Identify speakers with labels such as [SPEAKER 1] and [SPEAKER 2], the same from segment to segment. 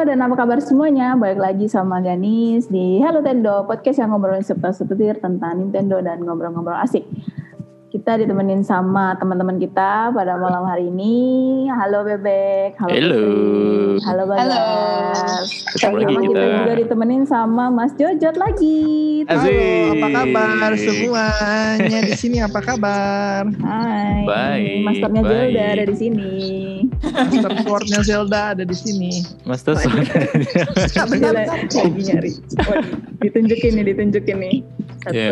[SPEAKER 1] dan apa kabar semuanya? Balik lagi sama Ganis di Hello Tendo, podcast yang ngobrolin seputar sepetir tentang Nintendo dan ngobrol-ngobrol asik. Kita ditemenin sama teman-teman kita pada malam hari ini. Halo Bebek, halo
[SPEAKER 2] Halo.
[SPEAKER 1] Putri. halo Bagas.
[SPEAKER 3] Halo.
[SPEAKER 2] Ketemu
[SPEAKER 1] Sama
[SPEAKER 2] lagi
[SPEAKER 1] kita.
[SPEAKER 2] kita.
[SPEAKER 1] juga ditemenin sama Mas Jojot lagi.
[SPEAKER 2] Asik.
[SPEAKER 3] Halo, apa kabar semuanya di sini? Apa kabar?
[SPEAKER 1] Hai.
[SPEAKER 2] Baik,
[SPEAKER 1] Masternya
[SPEAKER 2] baik.
[SPEAKER 1] Zelda ada di sini.
[SPEAKER 3] Master Sword-nya Zelda ada di sini.
[SPEAKER 2] Mas Tosun.
[SPEAKER 3] Bentar, bentar,
[SPEAKER 1] Gila,
[SPEAKER 3] bentar.
[SPEAKER 1] lagi nyari. Waduh, ditunjukin nih, ditunjukin nih. Satu,
[SPEAKER 2] Iya.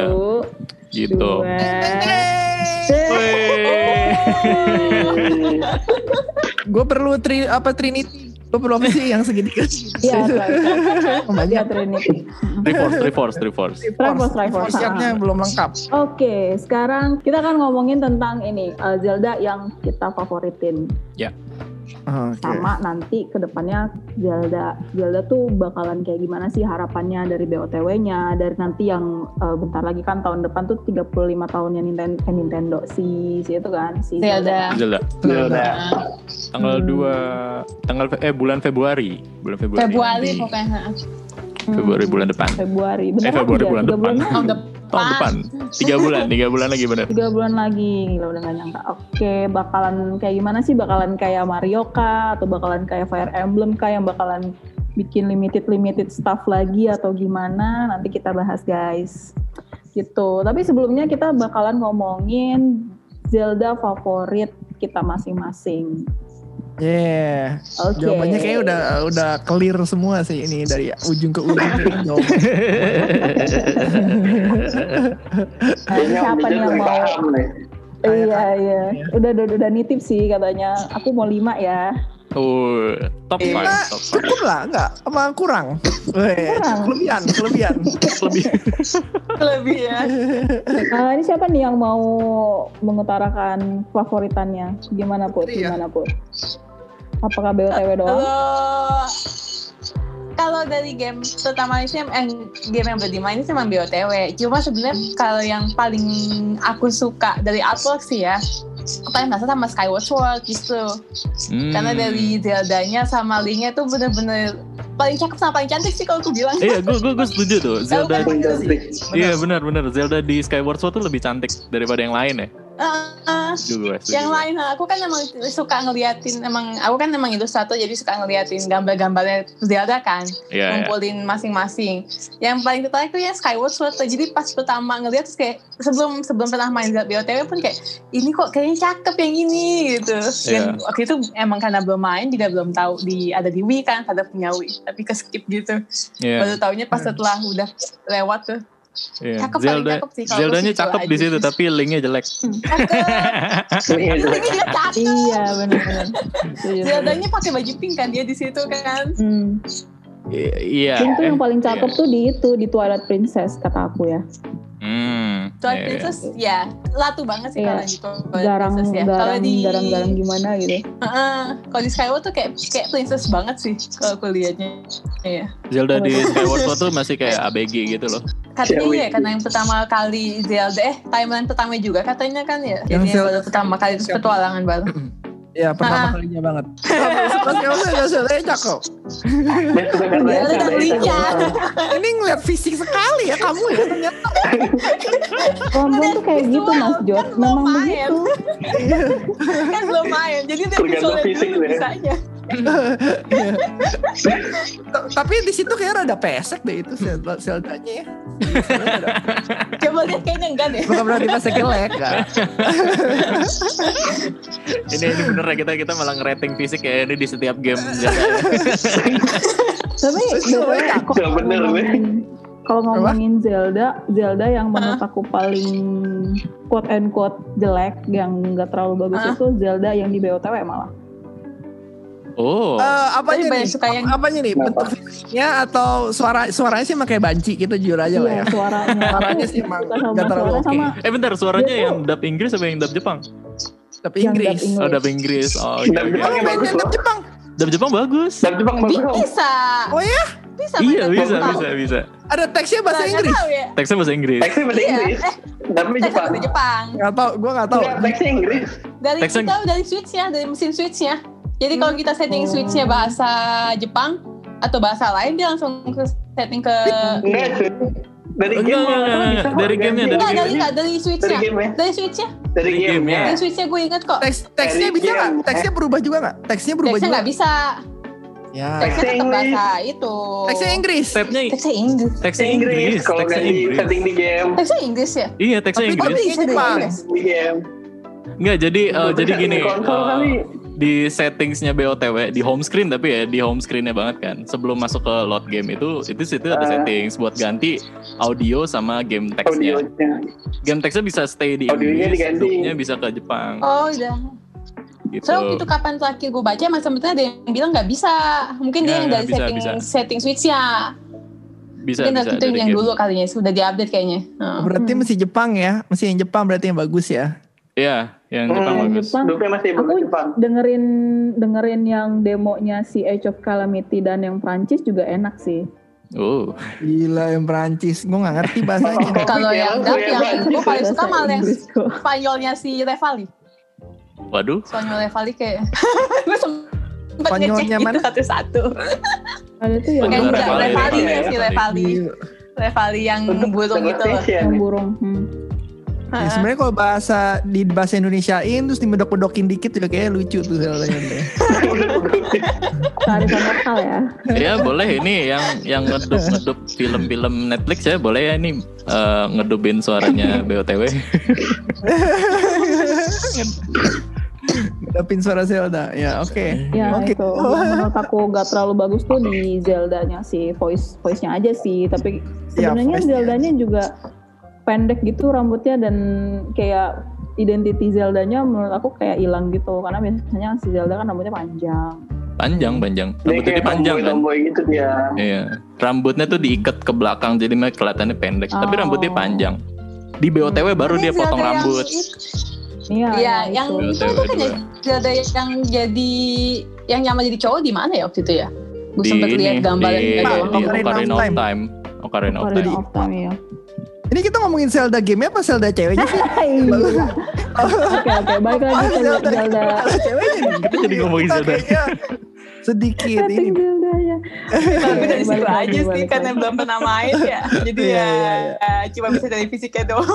[SPEAKER 2] gitu.
[SPEAKER 1] dua,
[SPEAKER 3] Eh,
[SPEAKER 2] Wey.
[SPEAKER 3] Gue perlu tri apa Trinity? Gue perlu apa sih yang segitiga?
[SPEAKER 1] Iya,
[SPEAKER 3] banyak.
[SPEAKER 1] Iya, Trinity.
[SPEAKER 2] Three force, three force, three force.
[SPEAKER 1] Triforce, Triforce.
[SPEAKER 3] Siapnya belum lengkap.
[SPEAKER 1] Oke, sekarang kita akan ngomongin tentang ini uh, Zelda yang kita favoritin. Sama
[SPEAKER 2] Iya.
[SPEAKER 1] nanti kedepannya Zelda, Zelda tuh bakalan kayak gimana sih harapannya dari BOTW-nya, dari nanti yang uh, bentar lagi kan tahun depan tuh 35 tahunnya Nintendo, eh, Nintendo si si itu kan si
[SPEAKER 4] Zelda.
[SPEAKER 2] Zelda.
[SPEAKER 3] Zelda.
[SPEAKER 2] Tanggal 2 tanggal eh bulan Februari, bulan Februari.
[SPEAKER 4] Februari
[SPEAKER 2] nanti.
[SPEAKER 4] pokoknya
[SPEAKER 1] Hmm,
[SPEAKER 2] Februari bulan depan.
[SPEAKER 1] Februari, bener
[SPEAKER 2] Eh, Februari
[SPEAKER 1] aja,
[SPEAKER 2] bulan
[SPEAKER 1] tiga
[SPEAKER 2] depan.
[SPEAKER 1] bulan
[SPEAKER 4] tahun
[SPEAKER 1] lagi.
[SPEAKER 4] depan.
[SPEAKER 2] Tahun depan. Tiga bulan, tiga bulan lagi benar.
[SPEAKER 1] tiga bulan lagi gila udah gak nyangka oke bakalan kayak gimana sih bakalan kayak Mario kah atau bakalan kayak Fire Emblem kah yang bakalan bikin limited limited stuff lagi atau gimana nanti kita bahas guys gitu tapi sebelumnya kita bakalan ngomongin Zelda favorit kita masing-masing
[SPEAKER 3] Yeah.
[SPEAKER 1] oke
[SPEAKER 3] Jawabannya kayaknya udah udah clear semua sih ini dari ujung ke ujung. Jawabannya.
[SPEAKER 1] Nah, ini siapa nih yang mau iya iya udah udah udah nitip sih katanya aku mau lima ya
[SPEAKER 2] Oh, top
[SPEAKER 4] Iya.
[SPEAKER 3] Lima.
[SPEAKER 2] 5, top
[SPEAKER 3] Cukup lah, enggak? Apa kurang? Weh,
[SPEAKER 1] Kurang.
[SPEAKER 3] kelebihan, kelebihan.
[SPEAKER 2] 5. Lebih.
[SPEAKER 4] lebih ya.
[SPEAKER 1] Nah, ini siapa nih yang mau mengutarakan favoritannya? Gimana Put?
[SPEAKER 3] Putri ya?
[SPEAKER 1] Gimana Put? Apakah BOTW doang?
[SPEAKER 4] Kalau kalau dari game terutama sih eh, game yang udah dimainin sih emang BOTW. Cuma sebenarnya kalau yang paling aku suka dari artwork sih ya, aku paling merasa sama Skyward Sword justru.
[SPEAKER 2] Hmm.
[SPEAKER 4] Karena dari Zelda-nya sama Link-nya tuh bener-bener paling cakep sama paling cantik sih kalau aku bilang.
[SPEAKER 2] Iya, gue gue setuju tuh. Zelda.
[SPEAKER 4] Tahu kan?
[SPEAKER 2] Iya, benar benar. Zelda di Skyward Sword tuh lebih cantik daripada yang lain ya.
[SPEAKER 4] Ah, ah.
[SPEAKER 2] Juga gue setuju.
[SPEAKER 4] yang lain nah, aku kan emang suka ngeliatin emang aku kan emang ilustrator jadi suka ngeliatin gambar-gambarnya Zelda kan
[SPEAKER 2] Iya, iya.
[SPEAKER 4] ngumpulin masing-masing yang paling tertarik tuh ya Skyward Sword jadi pas pertama ngeliat terus kayak sebelum sebelum pernah main Zelda BOTW pun kayak ini kok kayaknya cakep yang ini gitu dan
[SPEAKER 2] Iya.
[SPEAKER 4] waktu itu emang karena belum main juga belum tahu di ada di Wii kan ada punya Wii tapi ke skip gitu
[SPEAKER 2] Iya.
[SPEAKER 4] baru taunya pas setelah udah lewat tuh
[SPEAKER 2] Iya.
[SPEAKER 4] Cakep, paling
[SPEAKER 2] Zelda,
[SPEAKER 4] cakep sih kalau
[SPEAKER 2] Zeldanya
[SPEAKER 4] gua sih
[SPEAKER 2] cakep
[SPEAKER 4] itu
[SPEAKER 2] di
[SPEAKER 4] aja.
[SPEAKER 2] situ tapi linknya jelek.
[SPEAKER 4] cakep
[SPEAKER 2] iya.
[SPEAKER 4] Ini juga cakep
[SPEAKER 1] Iya benar-benar. Setuju.
[SPEAKER 3] Iya.
[SPEAKER 4] Zeldanya pakai baju pink kan dia di situ kan
[SPEAKER 1] Hmm.
[SPEAKER 2] I- Iya.
[SPEAKER 1] Link tuh yang
[SPEAKER 2] eh,
[SPEAKER 1] paling
[SPEAKER 2] iya.
[SPEAKER 1] cakep tuh di itu di Twilight Princess kata aku ya.
[SPEAKER 2] Hmm.
[SPEAKER 4] Twilight
[SPEAKER 2] iya, iya.
[SPEAKER 4] Princess ya latu banget sih
[SPEAKER 1] Iya.
[SPEAKER 4] kalau di Twilight
[SPEAKER 1] Garang
[SPEAKER 4] Princess ya. Kalau
[SPEAKER 1] garang
[SPEAKER 4] di
[SPEAKER 1] garang garang gimana gitu.
[SPEAKER 4] Heeh. kalau di Skyward tuh kayak kayak princess banget sih kalau aku lihatnya. Iya.
[SPEAKER 2] Zelda di Skyward Sword tuh masih kayak ABG gitu loh.
[SPEAKER 4] Katanya iya karena yang pertama kali Zelda eh timeline pertama juga katanya kan ya.
[SPEAKER 3] Yang
[SPEAKER 4] Jadi yang
[SPEAKER 3] Zelda-
[SPEAKER 4] baru pertama kali terus
[SPEAKER 3] Siapa?
[SPEAKER 4] petualangan baru.
[SPEAKER 3] Ya, pertama
[SPEAKER 4] Ah.
[SPEAKER 3] kalinya banget. Pas kamu saya saya Eh, cakep.
[SPEAKER 4] Zelda
[SPEAKER 5] Iya,
[SPEAKER 4] dan Linknya.
[SPEAKER 3] Ini ngeliat fisik sekali ya kamu ya ternyata.
[SPEAKER 1] Kamu tuh kayak
[SPEAKER 4] visual,
[SPEAKER 1] gitu Mas Jod,
[SPEAKER 4] kan
[SPEAKER 1] memang
[SPEAKER 4] mau main.
[SPEAKER 1] begitu.
[SPEAKER 4] kan belum main. Jadi dia
[SPEAKER 5] Tergantung
[SPEAKER 4] visualnya
[SPEAKER 5] fisik
[SPEAKER 4] dulu
[SPEAKER 5] ya.
[SPEAKER 4] bisanya.
[SPEAKER 3] Iya. T- Tapi di situ kayaknya rada pesek deh itu Zelda- Zeldanya ya.
[SPEAKER 4] Coba lihat kayaknya enggak deh.
[SPEAKER 3] Bukan berarti pesek jelek kan.
[SPEAKER 2] Ini ini bener ya kita kita malah ngerating fisik ya ini di setiap game Zelda.
[SPEAKER 1] Tapi
[SPEAKER 3] Sesuai
[SPEAKER 1] BTW,
[SPEAKER 3] kan?
[SPEAKER 1] kok
[SPEAKER 5] Nggak bener,
[SPEAKER 1] kalau
[SPEAKER 5] nih.
[SPEAKER 1] ngomongin- kalau ngomongin Zelda, Zelda yang menurut aku paling quote and quote jelek yang nggak terlalu bagus
[SPEAKER 4] Hah?
[SPEAKER 1] itu Zelda yang di BOTW malah.
[SPEAKER 2] Oh.
[SPEAKER 3] Eh,
[SPEAKER 4] Tapi
[SPEAKER 3] apanya
[SPEAKER 4] banyak
[SPEAKER 3] nih?
[SPEAKER 4] suka yang-
[SPEAKER 3] Apanya nih?
[SPEAKER 5] Kenapa?
[SPEAKER 3] Bentuk fisiknya atau suara suaranya sih pakai banci gitu jujur aja lah ya.
[SPEAKER 1] Iya, suaranya.
[SPEAKER 3] Suaranya sih emang
[SPEAKER 1] Suka sama
[SPEAKER 3] nggak terlalu
[SPEAKER 1] suara
[SPEAKER 3] oke.
[SPEAKER 1] sama
[SPEAKER 2] Eh bentar suaranya
[SPEAKER 4] Iya.
[SPEAKER 1] Dia tuh-
[SPEAKER 2] yang dub Inggris apa yang dub Jepang?
[SPEAKER 3] ya. Tapi
[SPEAKER 1] yang
[SPEAKER 3] Inggris.
[SPEAKER 1] dub Inggris.
[SPEAKER 2] Oh dub Inggris. Oh iya.
[SPEAKER 5] Dub
[SPEAKER 2] iya,
[SPEAKER 3] Kamu
[SPEAKER 5] Jepang
[SPEAKER 2] iya.
[SPEAKER 3] main
[SPEAKER 5] bagus
[SPEAKER 3] dendam
[SPEAKER 5] loh.
[SPEAKER 3] Jepang?
[SPEAKER 2] Dub Jepang bagus.
[SPEAKER 5] Dan Jepang bagus kok.
[SPEAKER 4] Bisa.
[SPEAKER 3] Oh ya?
[SPEAKER 4] Bisa.
[SPEAKER 2] Iya
[SPEAKER 4] main
[SPEAKER 2] bisa
[SPEAKER 4] Jepang.
[SPEAKER 2] bisa bisa.
[SPEAKER 3] Ada teksnya bahasa
[SPEAKER 4] Nggak
[SPEAKER 3] Inggris?
[SPEAKER 4] tahu ya.
[SPEAKER 2] Teksnya bahasa Inggris.
[SPEAKER 5] Teksnya bahasa
[SPEAKER 4] Iya.
[SPEAKER 5] Inggris, tapi
[SPEAKER 4] Teksnya
[SPEAKER 5] Jepang.
[SPEAKER 4] bahasa Jepang.
[SPEAKER 3] Gak tau, gue gak tau.
[SPEAKER 5] Enggak, teksnya Inggris.
[SPEAKER 4] dari
[SPEAKER 2] Teksnya-
[SPEAKER 4] kita dari switchnya dari mesin switchnya jadi kalau kita setting switchnya bahasa Jepang atau bahasa lain dia langsung ke setting ke
[SPEAKER 5] Enggak sih. Dari
[SPEAKER 2] Enggak,
[SPEAKER 5] game
[SPEAKER 2] enggak, enggak, enggak. Dari gamenya,
[SPEAKER 4] Enggak,
[SPEAKER 5] dari
[SPEAKER 4] dari,
[SPEAKER 5] game
[SPEAKER 4] enggak, dari
[SPEAKER 5] dari
[SPEAKER 4] switchnya
[SPEAKER 5] game ya.
[SPEAKER 4] dari switchnya
[SPEAKER 5] Dari
[SPEAKER 2] Dari
[SPEAKER 5] game ya.
[SPEAKER 2] gamenya.
[SPEAKER 4] dari switchnya gue inget kok
[SPEAKER 3] Teks teksnya
[SPEAKER 5] Dari
[SPEAKER 3] bisa
[SPEAKER 5] game,
[SPEAKER 3] nggak?
[SPEAKER 5] eh.
[SPEAKER 3] Teksnya berubah juga nggak? Teksnya berubah
[SPEAKER 4] teksnya
[SPEAKER 3] juga.
[SPEAKER 4] nggak bisa teksnya
[SPEAKER 3] Ya.
[SPEAKER 5] Teksnya
[SPEAKER 4] tetap
[SPEAKER 5] Inggris.
[SPEAKER 4] bahasa itu
[SPEAKER 3] Teksnya Inggris.
[SPEAKER 2] Stepnya
[SPEAKER 4] teksnya Inggris
[SPEAKER 2] teksnya Inggris,
[SPEAKER 5] kalau nggak
[SPEAKER 2] teksnya
[SPEAKER 5] di
[SPEAKER 2] Inggris.
[SPEAKER 5] setting di game.
[SPEAKER 4] teksnya Inggris ya
[SPEAKER 2] Iya, teksnya
[SPEAKER 3] Tapi-
[SPEAKER 2] Inggris.
[SPEAKER 4] bisa dari
[SPEAKER 3] Jepang.
[SPEAKER 4] Inggris
[SPEAKER 5] Di game.
[SPEAKER 2] Enggak, jadi eh,
[SPEAKER 5] Gua
[SPEAKER 2] jadi
[SPEAKER 5] bisa
[SPEAKER 2] gini.
[SPEAKER 5] di konsol
[SPEAKER 2] eh,
[SPEAKER 5] kali.
[SPEAKER 2] di settingsnya BOTW di home screen tapi ya di home screennya banget kan sebelum masuk ke load game itu itu situ ada
[SPEAKER 5] Eh.
[SPEAKER 2] settings buat ganti audio sama game teksnya
[SPEAKER 5] Audionya.
[SPEAKER 2] game teksnya bisa stay di
[SPEAKER 5] Audionya
[SPEAKER 2] Inggris
[SPEAKER 5] diganti.
[SPEAKER 2] loopnya bisa ke Jepang
[SPEAKER 4] oh udah
[SPEAKER 2] gitu
[SPEAKER 4] so itu kapan terakhir gue baca masa sebetulnya ada yang bilang nggak bisa mungkin
[SPEAKER 2] Nggak,
[SPEAKER 4] dia yang
[SPEAKER 2] nggak Ya,
[SPEAKER 4] dari
[SPEAKER 2] bisa,
[SPEAKER 4] setting
[SPEAKER 2] bisa.
[SPEAKER 4] setting switchnya
[SPEAKER 2] bisa
[SPEAKER 4] mungkin
[SPEAKER 2] bisa
[SPEAKER 4] dari itu
[SPEAKER 2] dari
[SPEAKER 4] yang
[SPEAKER 2] game.
[SPEAKER 4] dulu kalinya sudah diupdate kayaknya Oh. Heeh.
[SPEAKER 3] Berarti
[SPEAKER 1] Hmm.
[SPEAKER 3] mesti Jepang ya, mesti yang Jepang berarti yang bagus ya.
[SPEAKER 2] Iya, yang Jepang
[SPEAKER 5] Hmm,
[SPEAKER 2] bagus.
[SPEAKER 1] Jepang.
[SPEAKER 5] Dupnya masih belum
[SPEAKER 1] Aku-
[SPEAKER 5] Jepang.
[SPEAKER 1] dengerin dengerin yang demonya si Age of Calamity dan yang Prancis juga enak sih.
[SPEAKER 2] Oh,
[SPEAKER 3] Gila yang Perancis, gue nggak ngerti bahasanya.
[SPEAKER 4] kalau
[SPEAKER 5] Iya,
[SPEAKER 4] yang
[SPEAKER 5] aku
[SPEAKER 4] dap
[SPEAKER 3] ya.
[SPEAKER 5] yang
[SPEAKER 4] yang
[SPEAKER 5] baca.
[SPEAKER 4] gue paling suka malah yang
[SPEAKER 1] Inggris kok.
[SPEAKER 4] Spanyolnya si Revali
[SPEAKER 2] waduh.
[SPEAKER 4] Spanyol Revali kayak gue sempet ngecek
[SPEAKER 3] Spanyolnya
[SPEAKER 4] itu
[SPEAKER 3] mana?
[SPEAKER 4] satu-satu
[SPEAKER 1] Ada tuh yang
[SPEAKER 4] kayak
[SPEAKER 2] Spanyol
[SPEAKER 4] enggak
[SPEAKER 2] Revali,
[SPEAKER 4] Revali ya
[SPEAKER 5] Revali.
[SPEAKER 4] si Revali
[SPEAKER 3] Gila.
[SPEAKER 4] Revali yang burung gitu loh
[SPEAKER 5] Sensation
[SPEAKER 1] yang
[SPEAKER 5] ya.
[SPEAKER 1] burung. Hmm.
[SPEAKER 3] Ya, sebenarnya kalau bahasa di bahasa Indonesiain terus dimedok-medokin dikit juga kayaknya lucu tuh sebenarnya.
[SPEAKER 1] Kearifan lokal ya.
[SPEAKER 2] Ya boleh ini yang yang ngedup ngedup film-film Netflix ya boleh ya ini eh, ngedubin suaranya BOTW.
[SPEAKER 3] Ngedapin suara Zelda. Ya, oke.
[SPEAKER 1] Ya
[SPEAKER 3] Oke.
[SPEAKER 1] itu. Yang menurut aku gak terlalu bagus tuh di Zelda-nya sih voice voice-nya aja sih. Tapi
[SPEAKER 3] Ya,
[SPEAKER 1] sebenarnya
[SPEAKER 3] voice-nya.
[SPEAKER 1] Zelda-nya juga pendek gitu rambutnya dan kayak identity Zelda-nya menurut aku kayak hilang gitu karena biasanya si Zelda kan rambutnya panjang.
[SPEAKER 2] Panjang panjang.
[SPEAKER 5] Dia
[SPEAKER 2] Rambutnya
[SPEAKER 5] kayak
[SPEAKER 2] panjang kan.
[SPEAKER 5] tomboy-tomboy gitu dia.
[SPEAKER 2] Iya. Rambutnya tuh diikat ke belakang jadi mah kelihatannya pendek. Tapi
[SPEAKER 1] Oh.
[SPEAKER 2] rambutnya panjang. Di BOTW baru dia
[SPEAKER 4] Zelda
[SPEAKER 2] potong
[SPEAKER 4] yang
[SPEAKER 2] rambut.
[SPEAKER 4] itu-
[SPEAKER 1] Iya,
[SPEAKER 4] Iya, yang
[SPEAKER 1] itu.
[SPEAKER 4] itu
[SPEAKER 2] Betul,
[SPEAKER 4] itu kan
[SPEAKER 2] betul.
[SPEAKER 4] ya, Zelda yang jadi yang nyama jadi cowok di mana ya waktu itu ya? Gue
[SPEAKER 2] Di
[SPEAKER 4] sempet lihat gitu.
[SPEAKER 2] ini
[SPEAKER 4] gambar
[SPEAKER 2] di,
[SPEAKER 4] yang
[SPEAKER 2] di
[SPEAKER 3] doang. Ocarina of
[SPEAKER 2] Ocarina of
[SPEAKER 3] Time.
[SPEAKER 2] Time. Ocarina of
[SPEAKER 1] Ocarina
[SPEAKER 2] Time.
[SPEAKER 1] of Time, ya.
[SPEAKER 3] Ini kita ngomongin Zelda game apa Zelda ceweknya sih?
[SPEAKER 1] Hai. Oke oke, baik lagi
[SPEAKER 3] Ah,
[SPEAKER 1] ke
[SPEAKER 3] Zelda,
[SPEAKER 1] Zelda.
[SPEAKER 3] Zelda ceweknya. nih.
[SPEAKER 2] Kita jadi ngomongin Zelda.
[SPEAKER 3] Kayaknya Sedikit
[SPEAKER 1] Setting
[SPEAKER 3] ini.
[SPEAKER 1] Zelda ya.
[SPEAKER 4] Tapi dari situ
[SPEAKER 1] Balik lagi,
[SPEAKER 4] aja sih
[SPEAKER 1] balik
[SPEAKER 4] karena
[SPEAKER 1] lagi.
[SPEAKER 4] belum pernah main ya. Jadi
[SPEAKER 3] Iya,
[SPEAKER 4] ya
[SPEAKER 3] iya,
[SPEAKER 4] cuma bisa dari fisiknya doang.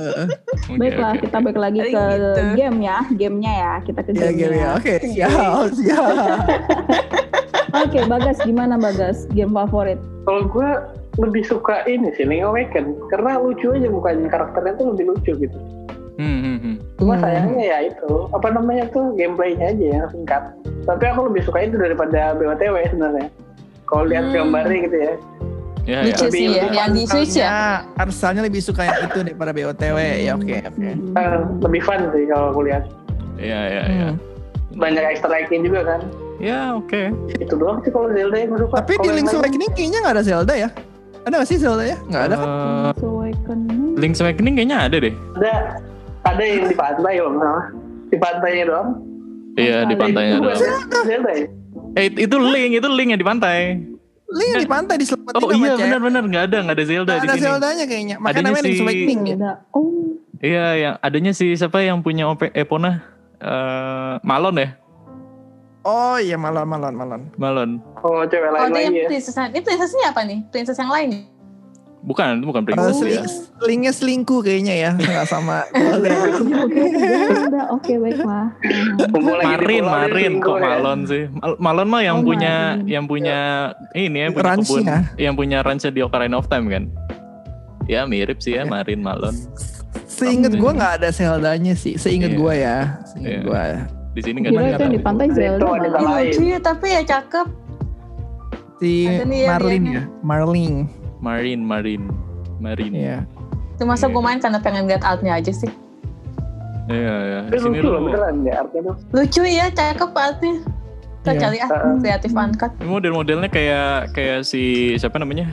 [SPEAKER 3] Heeh.
[SPEAKER 2] Oke,
[SPEAKER 1] Baiklah,
[SPEAKER 2] oke.
[SPEAKER 1] kita balik lagi
[SPEAKER 4] Jadi
[SPEAKER 1] ke
[SPEAKER 4] gitu.
[SPEAKER 1] game ya, gamenya ya, kita ke
[SPEAKER 3] Ya, game ya.
[SPEAKER 1] gamenya.
[SPEAKER 3] Oke, siap, siap.
[SPEAKER 1] Oke, Bagas, gimana Bagas? Game favorit?
[SPEAKER 5] Kalau gue lebih suka ini sih Link Awaken karena lucu aja mukanya karakternya tuh lebih lucu gitu.
[SPEAKER 2] Hmm, hmm, hmm.
[SPEAKER 5] Cuma sayangnya ya itu apa namanya tuh gameplaynya aja yang singkat. Tapi aku lebih suka itu daripada BOTW sebenarnya. Kalau lihat
[SPEAKER 4] Hmm.
[SPEAKER 5] gambarnya gitu ya.
[SPEAKER 2] Ya, ya.
[SPEAKER 4] Lucu sih ya,
[SPEAKER 5] Lebih-
[SPEAKER 4] yang di Switch ya.
[SPEAKER 3] Arsalnya lebih suka yang itu daripada BOTW. Ya, oke, oke.
[SPEAKER 1] Hmm.
[SPEAKER 5] eh, lebih fun sih kalau aku lihat.
[SPEAKER 2] Iya, iya, iya.
[SPEAKER 3] Hmm.
[SPEAKER 5] Banyak extra icon juga kan.
[SPEAKER 2] Ya, oke.
[SPEAKER 5] Itu doang sih kalau Zelda yang gue suka.
[SPEAKER 3] Tapi di
[SPEAKER 5] Kalau yang
[SPEAKER 3] Link's
[SPEAKER 5] lain-
[SPEAKER 3] Awakening kayaknya nggak ada Zelda ya? Ada nggak sih Zelda ya? Nggak ada. kan?
[SPEAKER 2] Eh,
[SPEAKER 1] So Awakening.
[SPEAKER 2] Link's Awakening kayaknya ada deh.
[SPEAKER 5] ada ada yang di pantai om salah. Di pantainya doang.
[SPEAKER 2] Iya, di
[SPEAKER 1] Ada.
[SPEAKER 2] pantainya
[SPEAKER 5] Itu
[SPEAKER 2] doang.
[SPEAKER 5] bukan Zelda ya.
[SPEAKER 2] Eh, it- itu Link, itu Link yang di pantai.
[SPEAKER 3] Link yang di pantai diselamatin
[SPEAKER 2] Oh
[SPEAKER 3] sama
[SPEAKER 2] iya,
[SPEAKER 3] cewek.
[SPEAKER 2] benar-benar nggak ada, nggak ada Zelda
[SPEAKER 3] ya?
[SPEAKER 2] di
[SPEAKER 3] Nggak ada
[SPEAKER 2] sini.
[SPEAKER 3] Zeldanya kayaknya. Makanya
[SPEAKER 2] Adanya
[SPEAKER 3] namanya Link's
[SPEAKER 2] si-
[SPEAKER 3] Awakening ya.
[SPEAKER 1] Ada. Oh,
[SPEAKER 2] Iya, yang adanya si siapa yang punya OP Epona? Eh, Malon ya,
[SPEAKER 3] Oh iya malon malon malon.
[SPEAKER 2] Malon.
[SPEAKER 5] Oh cewek
[SPEAKER 4] Oh,
[SPEAKER 5] lain
[SPEAKER 4] itu yang
[SPEAKER 5] lagi ya.
[SPEAKER 4] princess ini princessnya apa nih? Princess yang lain? ya?
[SPEAKER 2] Bukan, itu bukan
[SPEAKER 3] Kalau
[SPEAKER 2] Princess
[SPEAKER 3] seling,
[SPEAKER 2] ya.
[SPEAKER 3] selingnya selingkuh kayaknya ya nggak sama.
[SPEAKER 1] iya, oke, Zelda. Oke, baiklah.
[SPEAKER 5] Kumpul lagi di
[SPEAKER 2] Marin,
[SPEAKER 5] pulau, dia
[SPEAKER 2] Marin,
[SPEAKER 5] selingkuh
[SPEAKER 2] kok
[SPEAKER 5] ya.
[SPEAKER 2] Malon sih. Mal- Malon mah yang
[SPEAKER 1] Oh,
[SPEAKER 2] punya,
[SPEAKER 1] Marin.
[SPEAKER 2] yang punya ini ya, punya
[SPEAKER 3] Ranch
[SPEAKER 2] kebun,
[SPEAKER 3] ya.
[SPEAKER 2] yang punya ranch di Ocarina of Time kan. Ya mirip sih ya, Marin, Malon.
[SPEAKER 3] Seinget gue nggak ada Zeldanya sih.
[SPEAKER 2] Iya.
[SPEAKER 3] Seinget gue ya.
[SPEAKER 2] Iya.
[SPEAKER 3] Seinget gue.
[SPEAKER 2] Di sini nggak
[SPEAKER 1] Kira
[SPEAKER 2] ada.
[SPEAKER 1] itu yang di pantai
[SPEAKER 5] Ada
[SPEAKER 1] Zelda.
[SPEAKER 5] itu, ada
[SPEAKER 1] malah.
[SPEAKER 5] Lain.
[SPEAKER 4] Ih, lucu ya, tapi ya cakep.
[SPEAKER 3] Si
[SPEAKER 4] Ada nih yang-
[SPEAKER 3] Marlin
[SPEAKER 4] yang-
[SPEAKER 3] ya. Marlin.
[SPEAKER 2] Marin, Marin, Marin. Iya,
[SPEAKER 3] Iya.
[SPEAKER 4] Itu masa
[SPEAKER 2] Iya.
[SPEAKER 4] gue main karena pengen lihat altnya aja sih.
[SPEAKER 2] iya. Di
[SPEAKER 5] Itu
[SPEAKER 2] sini
[SPEAKER 5] lucu loh
[SPEAKER 2] lu
[SPEAKER 5] beneran ya artinya.
[SPEAKER 4] Lucu ya, cakep altnya. Kita
[SPEAKER 3] Iya.
[SPEAKER 4] cari ah,
[SPEAKER 5] Heeh.
[SPEAKER 4] kreatif uncut.
[SPEAKER 2] Ini model-modelnya kayak kayak si siapa namanya?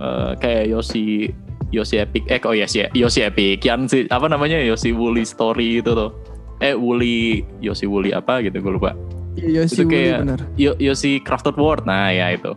[SPEAKER 2] Eh, kayak Yoshi Yoshi Epic eh oh yes ya Yoshi Epic yang si apa namanya Yoshi Woolly Story itu tuh eh Woolly Yoshi Woolly apa gitu gue lupa
[SPEAKER 3] Iya
[SPEAKER 2] Itu
[SPEAKER 3] sih Willy
[SPEAKER 2] kayak-
[SPEAKER 3] bener.
[SPEAKER 2] Yo, Yoshi Crafted World nah ya itu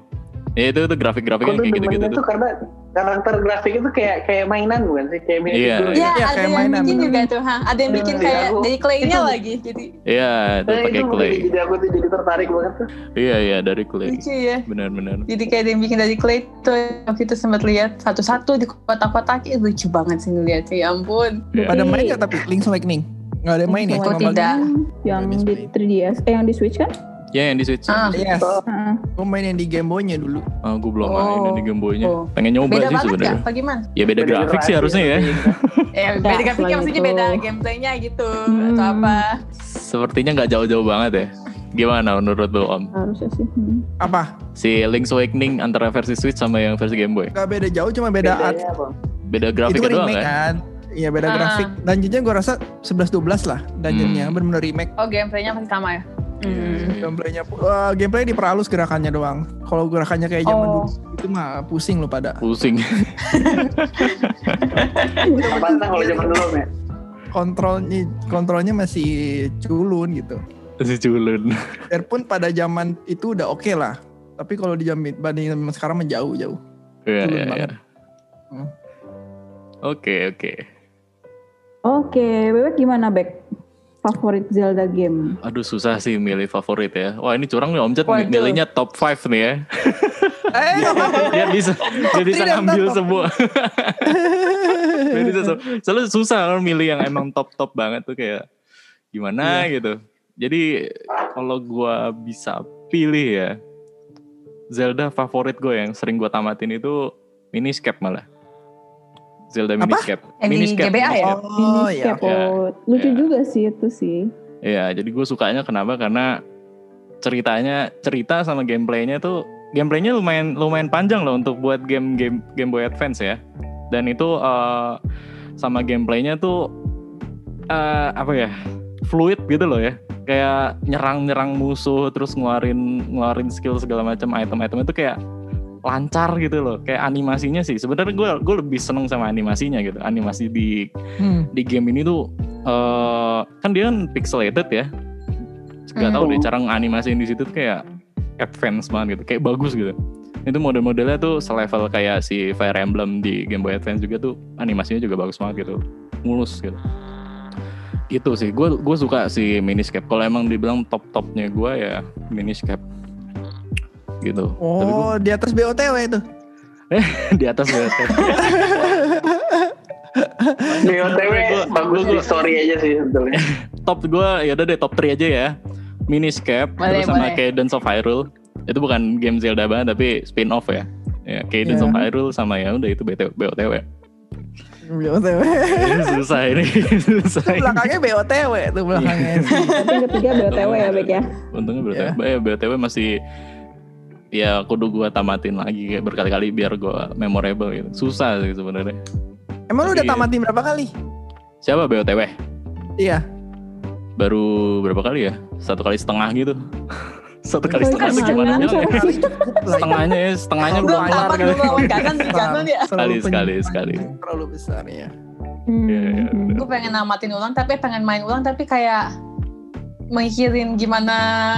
[SPEAKER 2] ya itu itu grafik-grafiknya
[SPEAKER 5] Aku tuh
[SPEAKER 2] kayak gitu-gitu
[SPEAKER 5] demennya
[SPEAKER 2] tuh
[SPEAKER 5] tuh karena karakter grafik itu kayak kayak mainan bukan sih kayak gitu. mini
[SPEAKER 2] Iya,
[SPEAKER 5] figur
[SPEAKER 2] iya.
[SPEAKER 4] Ya,
[SPEAKER 3] Iya,
[SPEAKER 4] ada
[SPEAKER 3] kayak
[SPEAKER 4] yang
[SPEAKER 3] mainan,
[SPEAKER 4] bikin
[SPEAKER 3] bener.
[SPEAKER 4] juga tuh, ha. ada yang
[SPEAKER 5] Iya,
[SPEAKER 4] bikin
[SPEAKER 5] iya,
[SPEAKER 4] kayak
[SPEAKER 5] aku-
[SPEAKER 4] dari clay-nya
[SPEAKER 5] itu-
[SPEAKER 4] lagi, jadi
[SPEAKER 2] Iya, itu
[SPEAKER 5] Nah,
[SPEAKER 2] pakai
[SPEAKER 5] itu mungkin
[SPEAKER 2] clay.
[SPEAKER 5] jadi aku tuh jadi tertarik banget tuh
[SPEAKER 2] Iya, iya dari clay.
[SPEAKER 4] lucu ya.
[SPEAKER 2] Benar-benar.
[SPEAKER 4] Jadi kayak ada yang bikin dari clay tuh, waktu itu sempat lihat satu-satu di kotak-kotak, Ih, lucu banget sih ngeliatnya, ya ampun.
[SPEAKER 2] Iya.
[SPEAKER 3] Pada main nggak tapi Link's Awakening? Nggak ada yang main ya?
[SPEAKER 4] Oh,
[SPEAKER 3] Cuma
[SPEAKER 1] Awakening.
[SPEAKER 4] tidak.
[SPEAKER 1] yang di 3DS, eh yang di Switch kan?
[SPEAKER 2] Ya yang di Switch.
[SPEAKER 4] Ah,
[SPEAKER 3] main- Yes.
[SPEAKER 5] Oh.
[SPEAKER 1] Heeh.
[SPEAKER 3] Gue main yang di Game Boy-nya dulu.
[SPEAKER 2] Ah, gue belum
[SPEAKER 4] Oh.
[SPEAKER 2] main yang di Gameboy-nya.
[SPEAKER 4] Oh.
[SPEAKER 2] Pengen nyoba sih
[SPEAKER 4] beda banget ya,
[SPEAKER 2] sebenarnya.
[SPEAKER 4] apa gimana?
[SPEAKER 2] Ya beda grafik sih harusnya ya.
[SPEAKER 4] Eh,
[SPEAKER 1] Enggak,
[SPEAKER 4] beda grafiknya
[SPEAKER 1] selain
[SPEAKER 4] maksudnya
[SPEAKER 1] itu.
[SPEAKER 4] beda gameplaynya gitu,
[SPEAKER 1] Hmm.
[SPEAKER 4] atau apa.
[SPEAKER 2] Sepertinya nggak jauh-jauh banget ya. Gimana menurut lo Om?
[SPEAKER 1] harusnya sih. Hmm.
[SPEAKER 3] Apa?
[SPEAKER 2] Si Link's Awakening antara versi Switch sama yang versi Gameboy.
[SPEAKER 3] Nggak beda jauh, cuma beda art.
[SPEAKER 5] Bedanya apa?
[SPEAKER 2] Beda grafik
[SPEAKER 3] Itu
[SPEAKER 2] doang
[SPEAKER 3] remake
[SPEAKER 2] kan?
[SPEAKER 3] kan? Iya beda
[SPEAKER 4] Ah.
[SPEAKER 3] grafik. Dungeonnya gue rasa 11-12 lah dungeonnya.
[SPEAKER 2] Hmm.
[SPEAKER 3] Bener-bener remake.
[SPEAKER 4] Oh, gameplaynya masih sama ya?
[SPEAKER 2] Iya,
[SPEAKER 4] Hmm.
[SPEAKER 2] iya, iya.
[SPEAKER 3] Gameplaynya, eh, gameplay diperhalus gerakannya doang. Kalau gerakannya kayak zaman
[SPEAKER 4] Oh.
[SPEAKER 3] dulu itu mah pusing lo pada.
[SPEAKER 2] iya. Pusing.
[SPEAKER 5] Apa tentang kalau zaman dulu ya?
[SPEAKER 3] Kontrolnya kontrolnya masih culun gitu.
[SPEAKER 2] si culun.
[SPEAKER 3] Biarpun pada zaman itu udah oke lah. Tapi kalau di zaman bandingin sama sekarang mah jauh jauh.
[SPEAKER 2] Iya,
[SPEAKER 3] Culun
[SPEAKER 2] iya, iya.
[SPEAKER 3] banget. Hmm.
[SPEAKER 2] Oke, oke.
[SPEAKER 1] Oke, Bebek gimana Bek? Favorit Zelda game?
[SPEAKER 2] Aduh susah sih milih favorit ya. Wah ini curang nih Om Jat
[SPEAKER 4] Waduh.
[SPEAKER 2] milihnya top 5 nih ya.
[SPEAKER 3] eh,
[SPEAKER 2] Iya.
[SPEAKER 3] apa?
[SPEAKER 2] dia bisa dia bisa
[SPEAKER 3] three dan
[SPEAKER 2] ngambil
[SPEAKER 3] top
[SPEAKER 2] semua dia bisa sem- soalnya susah kan milih yang emang top top banget tuh kayak gimana
[SPEAKER 4] Iya.
[SPEAKER 2] gitu jadi kalau gua bisa pilih ya Zelda favorit gue yang sering gua tamatin itu Miniscape malah Zelda
[SPEAKER 3] Apa?
[SPEAKER 2] Miniscape
[SPEAKER 4] Yang di GBA ya?
[SPEAKER 2] Miniscape.
[SPEAKER 3] Oh ya.
[SPEAKER 1] Miniscape, oh. Lucu
[SPEAKER 2] Iya.
[SPEAKER 1] juga sih itu sih.
[SPEAKER 2] Iya, jadi gue sukanya kenapa? Karena ceritanya, cerita sama gameplaynya tuh, gameplaynya lumayan lumayan panjang loh untuk buat game game Game Boy Advance ya. Dan itu eh, sama gameplaynya tuh eh, apa ya? Fluid gitu loh ya. Kayak nyerang-nyerang musuh, terus ngeluarin ngeluarin skill segala macam item-item itu kayak lancar gitu loh. Kayak animasinya sih. Sebenarnya gue gue lebih seneng sama animasinya gitu. Animasi di
[SPEAKER 3] Hmm.
[SPEAKER 2] di game ini tuh eh kan dia kan pixelated ya nggak tahu deh
[SPEAKER 5] Hmm.
[SPEAKER 2] cara animasiin di situ tuh kayak advance banget gitu kayak bagus gitu itu model-modelnya tuh selevel kayak si Fire Emblem di Game Boy Advance juga tuh animasinya juga bagus banget gitu mulus gitu gitu sih gue gue suka si Miniscape kalau emang dibilang top topnya gue ya Miniscape gitu Tapi gua-
[SPEAKER 3] Oh, di atas BOTW itu.
[SPEAKER 2] di atas banget
[SPEAKER 5] BOTW
[SPEAKER 2] Gua-
[SPEAKER 5] bagus
[SPEAKER 2] gua-
[SPEAKER 5] di story aja sih sebetulnya.
[SPEAKER 2] top gue ya udah deh top 3 aja ya Miniscape
[SPEAKER 4] Boleh,
[SPEAKER 2] terus sama
[SPEAKER 4] boleh.
[SPEAKER 2] Cadence of Hyrule itu bukan game Zelda banget tapi spin off ya ya Cadence
[SPEAKER 3] Iya.
[SPEAKER 2] of Hyrule sama ya udah itu BT BOTW
[SPEAKER 3] BOTW.
[SPEAKER 2] Ini susah ini susah ini.
[SPEAKER 3] belakangnya BOTW tuh belakangnya.
[SPEAKER 1] Tapi yang ketiga BTW ya Bek
[SPEAKER 2] Iya,
[SPEAKER 1] ya.
[SPEAKER 2] untungnya BOTW eh, BOTW masih ya kudu gue tamatin lagi kayak berkali-kali biar gue memorable gitu susah sih sebenarnya
[SPEAKER 3] Emang lu udah
[SPEAKER 2] Iya.
[SPEAKER 3] tamatin berapa kali?
[SPEAKER 2] siapa BOTW
[SPEAKER 3] Iya.
[SPEAKER 2] baru berapa kali ya satu kali setengah gitu satu kali
[SPEAKER 1] Satu
[SPEAKER 2] setengah
[SPEAKER 1] kali
[SPEAKER 2] tuh gimana
[SPEAKER 1] setengah,
[SPEAKER 2] bilang ya?
[SPEAKER 1] satu
[SPEAKER 2] setengahnya ya setengahnya
[SPEAKER 3] Belum
[SPEAKER 2] belum
[SPEAKER 4] Belum
[SPEAKER 2] kelar
[SPEAKER 4] tamat
[SPEAKER 2] kali.
[SPEAKER 4] dulu lawan kanan di kanan ya.
[SPEAKER 2] Sekali,
[SPEAKER 3] Selalu
[SPEAKER 2] sekali,
[SPEAKER 3] penyimpanannya
[SPEAKER 2] sekali.
[SPEAKER 3] Terlalu besar ya.
[SPEAKER 1] Hmm.
[SPEAKER 2] Iya, iya, bener.
[SPEAKER 4] gue pengen namatin ulang tapi pengen main ulang tapi kayak mikirin gimana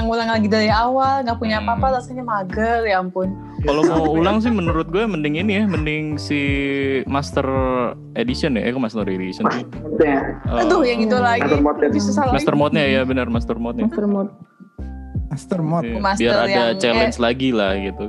[SPEAKER 4] ngulang lagi dari awal nggak punya
[SPEAKER 2] Hmm.
[SPEAKER 4] apa-apa rasanya mager ya ampun
[SPEAKER 2] Kalau mau ulang sih menurut gue mending ini ya, mending si Master Edition ya, eh kok Master Edition sih?
[SPEAKER 5] Maksudnya,
[SPEAKER 2] Eh,
[SPEAKER 4] aduh ya yang itu lagi
[SPEAKER 5] Hmm. Master mode
[SPEAKER 4] lebih susah lagi
[SPEAKER 2] Master Mode-nya ya benar Master Mode-nya.
[SPEAKER 1] Master Mode.
[SPEAKER 3] Master mod.
[SPEAKER 2] Iya,
[SPEAKER 4] Master
[SPEAKER 2] Biar ada
[SPEAKER 4] yang-
[SPEAKER 2] challenge lagi lah gitu,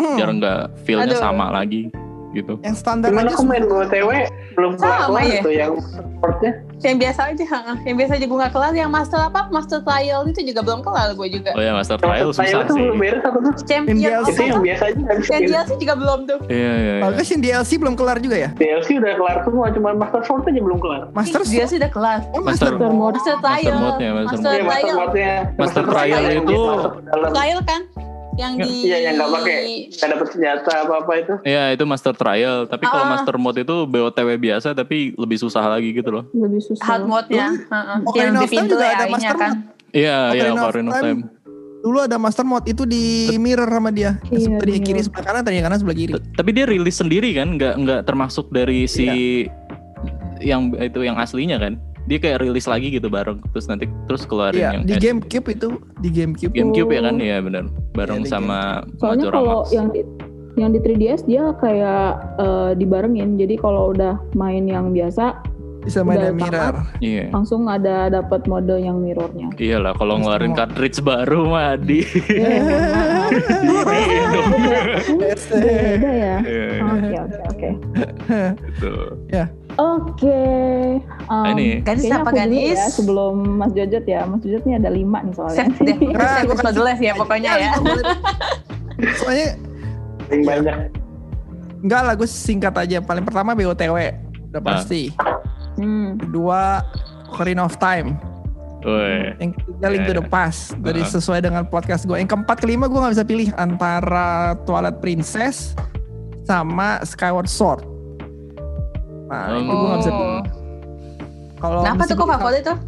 [SPEAKER 3] Hmm,
[SPEAKER 2] biar nggak feel-nya
[SPEAKER 4] Aduh.
[SPEAKER 2] sama lagi gitu.
[SPEAKER 3] Yang standar
[SPEAKER 5] Gimana
[SPEAKER 3] aja
[SPEAKER 5] aku main BOTW belum
[SPEAKER 4] Sama
[SPEAKER 5] kelar kelar
[SPEAKER 4] ya.
[SPEAKER 5] tuh yang supportnya.
[SPEAKER 4] yang biasa aja heeh. yang biasa aja gue nggak kelar yang master apa master trial itu juga belum kelar gue juga
[SPEAKER 2] Oh ya Master
[SPEAKER 5] Yang
[SPEAKER 2] Trial susah
[SPEAKER 5] tuh
[SPEAKER 2] sih.
[SPEAKER 5] belum beres aku tuh.
[SPEAKER 4] champion
[SPEAKER 3] Yang
[SPEAKER 4] of
[SPEAKER 5] Itu yang biasa aja habis
[SPEAKER 4] yang dia sih juga belum tuh
[SPEAKER 2] Iya iya. iya.
[SPEAKER 3] Bagus ya. yang DLC belum kelar juga ya?
[SPEAKER 5] DLC udah kelar semua, cuma Master Sword aja belum kelar.
[SPEAKER 3] Master
[SPEAKER 4] dia sih udah kelar
[SPEAKER 3] Oh, Master,
[SPEAKER 1] Master Mode.
[SPEAKER 2] Master
[SPEAKER 4] master trial
[SPEAKER 2] Mode-nya, Master
[SPEAKER 4] Master
[SPEAKER 5] Iya,
[SPEAKER 2] Mode.
[SPEAKER 5] Master
[SPEAKER 4] Trial.
[SPEAKER 5] Sword-nya.
[SPEAKER 2] Master Trial
[SPEAKER 5] Trial
[SPEAKER 2] itu-
[SPEAKER 5] masuk ke dalam.
[SPEAKER 4] trial kan yang di
[SPEAKER 5] Iya, yang nggak pakai, nggak dapet senjata apa-apa itu.
[SPEAKER 2] Iya itu Master Trial, tapi kalau
[SPEAKER 4] Ah.
[SPEAKER 2] Master Mode itu BOTW biasa tapi lebih susah lagi gitu loh.
[SPEAKER 1] Lebih susah.
[SPEAKER 4] hard mode-nya heeh.
[SPEAKER 3] Ocarina
[SPEAKER 4] Iya. yang di
[SPEAKER 3] of Time
[SPEAKER 4] pintu
[SPEAKER 3] juga ada
[SPEAKER 4] AI-nya
[SPEAKER 3] master
[SPEAKER 4] kan
[SPEAKER 2] Iya iya
[SPEAKER 3] Ocarina
[SPEAKER 2] Ocarina
[SPEAKER 3] of
[SPEAKER 2] of Time.
[SPEAKER 3] Dulu ada Master mod itu di mirror sama dia.
[SPEAKER 1] Iya,
[SPEAKER 3] tadi
[SPEAKER 1] di
[SPEAKER 3] kiri
[SPEAKER 1] mirror.
[SPEAKER 3] sebelah kanan, tadi kanan sebelah kiri.
[SPEAKER 2] T- Tapi dia rilis sendiri kan, nggak nggak termasuk dari si
[SPEAKER 3] Iya.
[SPEAKER 2] yang itu yang aslinya kan. Dia kayak rilis lagi gitu bareng, terus nanti terus keluarin
[SPEAKER 3] Iya,
[SPEAKER 2] yang Iya.
[SPEAKER 3] di
[SPEAKER 2] eh,
[SPEAKER 3] GameCube itu, di GameCube.
[SPEAKER 2] GameCube ya kan ya benar, bareng
[SPEAKER 3] Iya, di
[SPEAKER 2] sama
[SPEAKER 1] Soalnya
[SPEAKER 2] Majora
[SPEAKER 1] kalau
[SPEAKER 2] Max.
[SPEAKER 1] yang di Yang di 3DS dia kayak eh, dibarengin. Jadi kalau udah main yang biasa
[SPEAKER 3] sama ada
[SPEAKER 1] Udah
[SPEAKER 3] mirror.
[SPEAKER 2] Iya.
[SPEAKER 1] langsung ada dapat mode yang mirrornya.
[SPEAKER 2] Iyalah kalau ngeluarin
[SPEAKER 3] Semua. Iya,
[SPEAKER 2] cartridge baru mah di.
[SPEAKER 1] Iya,
[SPEAKER 3] Mirror.
[SPEAKER 1] Beda ya.
[SPEAKER 2] Iya, iya,
[SPEAKER 1] Oke oke oke.
[SPEAKER 2] gitu.
[SPEAKER 3] Iya.
[SPEAKER 1] Oke.
[SPEAKER 2] Nah,
[SPEAKER 1] em,
[SPEAKER 2] ini.
[SPEAKER 4] Gadis
[SPEAKER 1] kayaknya
[SPEAKER 4] apa
[SPEAKER 1] aku dulu
[SPEAKER 4] gadis?
[SPEAKER 1] ya sebelum Mas Jojot ya. Mas Jojot nih ada lima nih soalnya.
[SPEAKER 4] Sep deh, itu
[SPEAKER 3] Nah,
[SPEAKER 4] saya
[SPEAKER 3] gua kasih-
[SPEAKER 4] jelas ya pokoknya ya.
[SPEAKER 3] Iya, Soalnya
[SPEAKER 5] Paling banyak.
[SPEAKER 3] enggak lah gue singkat aja. Paling pertama BOTW udah
[SPEAKER 2] Ah.
[SPEAKER 3] pasti.
[SPEAKER 1] Hmm.
[SPEAKER 3] Kedua Ocarina of Time.
[SPEAKER 2] Woi.
[SPEAKER 3] Yang ketiga Link
[SPEAKER 2] Iya,
[SPEAKER 3] to the Past. Dari sesuai dengan podcast gue. Yang keempat kelima gue nggak bisa pilih antara Twilight Princess sama Skyward Sword. Nah, itu gue nggak bisa pilih.
[SPEAKER 4] Oh.
[SPEAKER 3] Kalau
[SPEAKER 4] Kenapa
[SPEAKER 3] mesti
[SPEAKER 4] tuh kok
[SPEAKER 3] pilih
[SPEAKER 4] favorit tuh?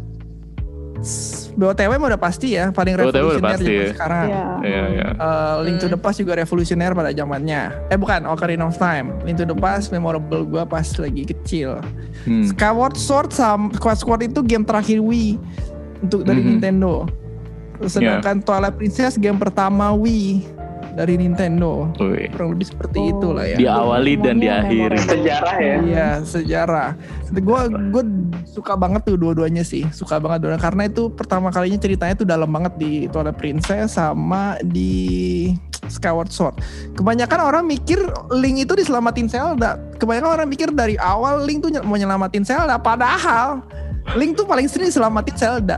[SPEAKER 3] S- BOTW mah udah pasti ya, paling
[SPEAKER 2] BOTW udah
[SPEAKER 3] revolusioner
[SPEAKER 2] pasti
[SPEAKER 3] zaman
[SPEAKER 2] ya.
[SPEAKER 3] sekarang.
[SPEAKER 1] Ya.
[SPEAKER 2] Iya, iya.
[SPEAKER 3] Eh, Link to the Past juga revolusioner pada zamannya. Eh bukan, Ocarina of Time. Link to the Past memorable gua pas lagi kecil.
[SPEAKER 2] Hmm.
[SPEAKER 3] Skyward Sword sama Skyward Sword itu game terakhir Wii untuk dari
[SPEAKER 2] Mhm.
[SPEAKER 3] Nintendo. Sedangkan Twilight Princess game pertama Wii dari Nintendo.
[SPEAKER 2] Woi.
[SPEAKER 3] Kurang lebih seperti
[SPEAKER 1] Oh.
[SPEAKER 3] itulah ya.
[SPEAKER 2] Dia- Diawali dan
[SPEAKER 1] Semuanya
[SPEAKER 2] diakhiri.
[SPEAKER 1] memorable.
[SPEAKER 5] Sejarah ya.
[SPEAKER 3] Iya sejarah. Gue gue suka banget tuh dua-duanya sih, suka banget dua karena itu pertama kalinya ceritanya tuh dalam banget di Twilight Princess sama di Skyward Sword. Kebanyakan orang mikir Link itu diselamatin Zelda. Kebanyakan orang mikir dari awal Link tuh nyel- mau nyelamatin Zelda, padahal Link tuh paling sering diselamatin Zelda.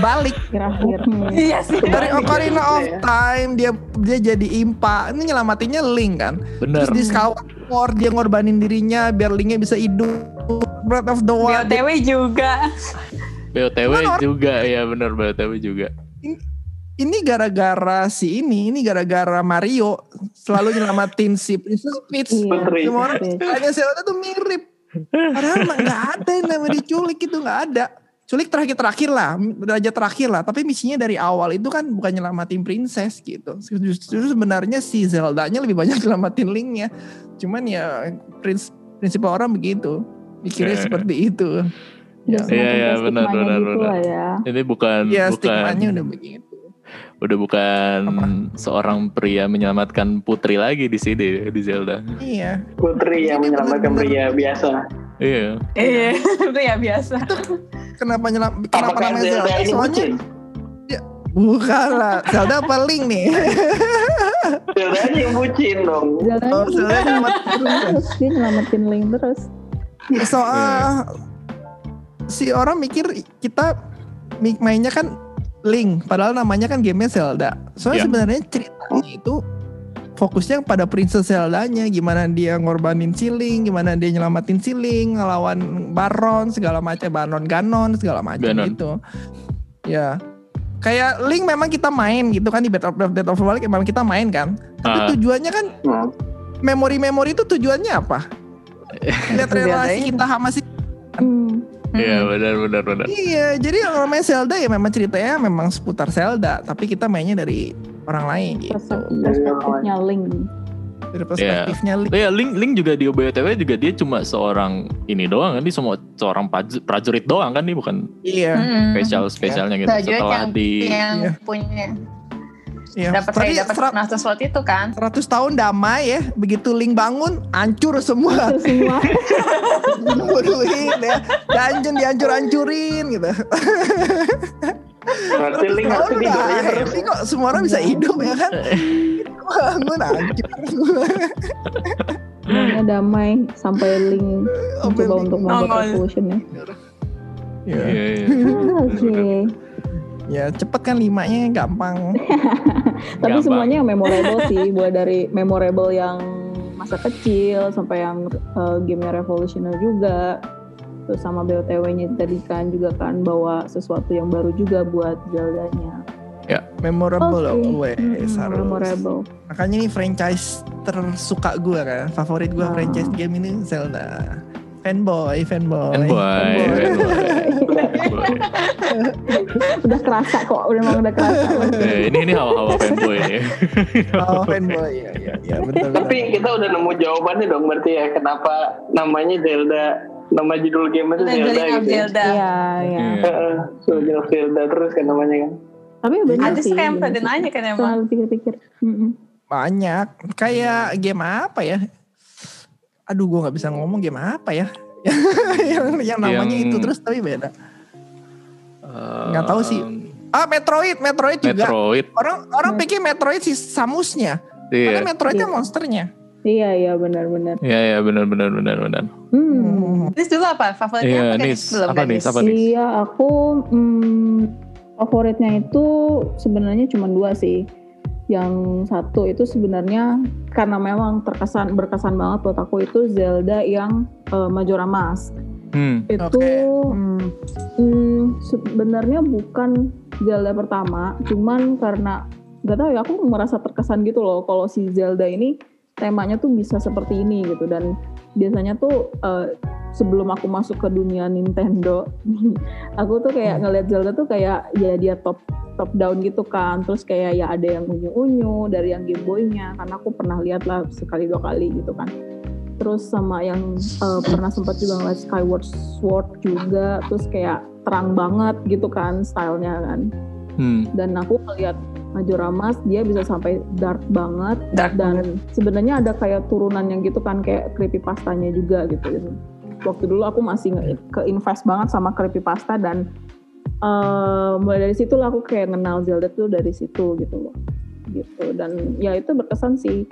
[SPEAKER 3] Balik
[SPEAKER 1] Terakhir. Hmm.
[SPEAKER 4] Iya sih.
[SPEAKER 3] dari Ocarina of
[SPEAKER 5] Ya.
[SPEAKER 3] Time dia dia jadi impa. Ini nyelamatinnya Link kan.
[SPEAKER 2] Bener.
[SPEAKER 3] Terus di Skyward Sword dia ngorbanin dirinya biar Linknya bisa hidup. Breath of the Wild.
[SPEAKER 4] BOTW juga.
[SPEAKER 2] BOTW
[SPEAKER 3] Cuman orang-
[SPEAKER 2] juga ya bener BOTW juga.
[SPEAKER 3] Ini gara-gara si ini, ini gara-gara Mario selalu nyelamatin si Princess Peach.
[SPEAKER 1] Iya,
[SPEAKER 5] Putri.
[SPEAKER 3] Semua orang
[SPEAKER 1] Peach.
[SPEAKER 3] hanya Zelda tuh mirip. Padahal mah nggak ada yang namanya diculik itu nggak ada. Culik terakhir-terakhir lah, raja terakhir lah. Tapi misinya dari awal itu kan bukan nyelamatin princess gitu. Justru sebenarnya si Zelda-nya lebih banyak nyelamatin Link-nya. Cuman ya prins prinsip orang begitu. Mikirnya
[SPEAKER 2] Eh.
[SPEAKER 3] seperti itu.
[SPEAKER 1] Udah
[SPEAKER 3] Ya.
[SPEAKER 1] semakin
[SPEAKER 2] Iya, iya,
[SPEAKER 1] ke
[SPEAKER 2] benar,
[SPEAKER 1] stigmanya
[SPEAKER 2] benar,
[SPEAKER 1] gitu
[SPEAKER 2] benar.
[SPEAKER 1] lah ya.
[SPEAKER 2] Ini bukan
[SPEAKER 3] Ya
[SPEAKER 2] bukan
[SPEAKER 3] stigmanya udah begitu.
[SPEAKER 2] udah bukan
[SPEAKER 3] Apa?
[SPEAKER 2] seorang pria menyelamatkan putri lagi di sini di Zelda.
[SPEAKER 3] Iya.
[SPEAKER 5] Putri yang menyelamatkan pria biasa.
[SPEAKER 2] Iya.
[SPEAKER 4] Iya, itu ya biasa.
[SPEAKER 3] Kenapa nyelam? Kenapa
[SPEAKER 5] Apakah
[SPEAKER 3] namanya
[SPEAKER 5] Zelda
[SPEAKER 3] Zelda?
[SPEAKER 5] ini
[SPEAKER 3] Soalnya
[SPEAKER 5] bucin?
[SPEAKER 3] bukan lah. Zelda apa Link nih?
[SPEAKER 5] Zelda yang bucin dong.
[SPEAKER 1] Zelda
[SPEAKER 3] Oh, Zelda nyelamatin princess.
[SPEAKER 1] terus dia nyelamatin Link terus.
[SPEAKER 2] Iya.
[SPEAKER 3] soal si orang mikir kita mi- mainnya kan Link padahal namanya kan gamenya Zelda
[SPEAKER 2] Iya.
[SPEAKER 3] soalnya sebenarnya ceritanya itu fokusnya pada Princess Zeldanya gimana dia ngorbanin si Link gimana dia nyelamatin si Link ngelawan Baron segala macam Baron Ganon segala macam
[SPEAKER 2] Ganon.
[SPEAKER 3] gitu ya kayak Link memang kita main gitu kan di Battle of Death of the Wild memang kita main kan tapi
[SPEAKER 2] Ah.
[SPEAKER 3] tujuannya kan
[SPEAKER 5] Hmm.
[SPEAKER 3] memori-memori itu tujuannya apa lihat relasi kita sama si
[SPEAKER 1] Hmm.
[SPEAKER 2] Iya benar benar benar.
[SPEAKER 3] Iya, jadi yang namanya Zelda ya memang ceritanya memang seputar Zelda, tapi kita mainnya dari orang lain gitu.
[SPEAKER 1] Perspektif- Perspektifnya Link.
[SPEAKER 5] Iya.
[SPEAKER 3] Dari perspektifnya Link.
[SPEAKER 2] Ya Link Link juga di BOTW juga dia cuma seorang ini doang kan dia semua seorang paj- prajurit doang kan dia bukan
[SPEAKER 3] Iya,
[SPEAKER 2] spesial spesialnya gitu
[SPEAKER 4] Hmm. Prajurit
[SPEAKER 2] setelah
[SPEAKER 4] yang-
[SPEAKER 2] di
[SPEAKER 4] Yang
[SPEAKER 3] Iya.
[SPEAKER 4] punya
[SPEAKER 1] Hmm,
[SPEAKER 3] iya.
[SPEAKER 4] dapat
[SPEAKER 3] Tadi
[SPEAKER 4] saya dapat
[SPEAKER 3] serat-
[SPEAKER 4] nasus slot itu kan.
[SPEAKER 3] 100 tahun damai ya, begitu Link bangun, hancur semua.
[SPEAKER 1] Terus semua.
[SPEAKER 3] Bunuhin ya. Dungeon dihancur-hancurin gitu.
[SPEAKER 5] Berarti Link ya? harus
[SPEAKER 3] Tahun
[SPEAKER 5] tidur aja
[SPEAKER 3] udah
[SPEAKER 5] terus.
[SPEAKER 3] happy kok semua orang bisa hidup ya kan. Bangun hancur semua.
[SPEAKER 1] Semuanya damai sampai Link mencoba
[SPEAKER 3] Sampai Link
[SPEAKER 1] untuk membuat
[SPEAKER 4] nongol.
[SPEAKER 1] revolution ya.
[SPEAKER 3] Iya.
[SPEAKER 2] Iya, iya.
[SPEAKER 1] Oke.
[SPEAKER 3] Ya cepet kan limanya gampang.
[SPEAKER 1] Tapi
[SPEAKER 2] Gampang.
[SPEAKER 1] semuanya yang memorable sih, mulai dari memorable yang masa kecil sampai yang uh, game revolusioner juga. Terus sama BOTW-nya tadi kan juga kan bawa sesuatu yang baru juga buat Zelda-nya.
[SPEAKER 3] Memorable
[SPEAKER 1] Oke.
[SPEAKER 3] always
[SPEAKER 1] Hmm,
[SPEAKER 3] harus.
[SPEAKER 1] memorable.
[SPEAKER 3] Makanya ini franchise tersuka gue kan, favorit gue
[SPEAKER 1] Ah.
[SPEAKER 3] franchise game ini Zelda. Fanboy, fanboy.
[SPEAKER 2] Fanboy, fanboy. Fanboy.
[SPEAKER 1] Udah kerasa kok, udah emang udah kerasa.
[SPEAKER 2] Eh, ini ini hawa-hawa fanboy ya. nih.
[SPEAKER 3] Oh, fanboy. Iya, iya, iya, betul.
[SPEAKER 5] Tapi kita udah nemu jawabannya dong berarti ya kenapa namanya Zelda nama judul game itu Zelda
[SPEAKER 4] Legend of
[SPEAKER 5] gitu. ya.
[SPEAKER 4] Zelda.
[SPEAKER 1] Iya, iya.
[SPEAKER 2] Iya.
[SPEAKER 5] Heeh, Legend of Zelda terus kan namanya kan.
[SPEAKER 1] Tapi benar
[SPEAKER 4] Ada
[SPEAKER 1] sih.
[SPEAKER 4] sih kayak
[SPEAKER 1] bener
[SPEAKER 4] pada
[SPEAKER 1] sih.
[SPEAKER 4] nanya kan emang.
[SPEAKER 1] Setelah pikir-pikir. Mm-mm.
[SPEAKER 3] Banyak. Kayak game apa ya? Aduh, gue nggak bisa
[SPEAKER 2] Hmm.
[SPEAKER 3] ngomong game apa ya? yang, yang namanya
[SPEAKER 2] Yang-
[SPEAKER 3] itu terus tapi beda.
[SPEAKER 2] Eh,
[SPEAKER 3] Nggak tahu sih. Ah, Metroid, Metroid juga.
[SPEAKER 2] Metroid.
[SPEAKER 3] Orang orang pikir Metroid sih Samusnya,
[SPEAKER 2] Iya.
[SPEAKER 3] tapi Metroidnya
[SPEAKER 1] Hmm. Iya.
[SPEAKER 3] monsternya.
[SPEAKER 1] Iya iya benar-benar.
[SPEAKER 2] Iya iya benar benar benar benar.
[SPEAKER 1] Hmm.
[SPEAKER 4] Nis dulu apa? Favoritnya
[SPEAKER 2] Iya,
[SPEAKER 4] apa?
[SPEAKER 2] Nis.
[SPEAKER 4] Belum
[SPEAKER 2] Apa,
[SPEAKER 4] kan,
[SPEAKER 2] Nis? Apa? nih?
[SPEAKER 1] Iya aku hmm, favoritnya itu sebenarnya cuma dua sih. Yang satu itu sebenarnya karena memang terkesan berkesan banget buat aku itu Zelda yang eh, Majora Mask.
[SPEAKER 2] Hmm.
[SPEAKER 1] itu
[SPEAKER 3] Oke.
[SPEAKER 1] hmm, hmm, sebenarnya bukan Zelda pertama cuman karena nggak tahu ya aku merasa terkesan gitu loh kalau si Zelda ini temanya tuh bisa seperti ini gitu dan biasanya tuh eh, sebelum aku masuk ke dunia Nintendo aku tuh kayak ngeliat Zelda tuh kayak ya dia top top down gitu kan terus kayak ya ada yang unyu unyu dari yang Game Boy-nya karena aku pernah lihat lah sekali dua kali gitu kan terus sama yang eh, pernah sempat juga ngeliat Skyward Sword juga terus kayak terang banget gitu kan stylenya kan
[SPEAKER 2] Hmm.
[SPEAKER 1] dan aku ngeliat Majora Mask dia bisa sampai dark banget
[SPEAKER 4] Dark
[SPEAKER 1] dan sebenarnya ada kayak turunannya gitu kan kayak creepypastanya juga gitu waktu dulu aku masih nge- ke-invest banget sama creepypasta dan eh, mulai dari situ lah aku kayak kenal Zelda tuh dari situ gitu loh gitu dan ya itu berkesan sih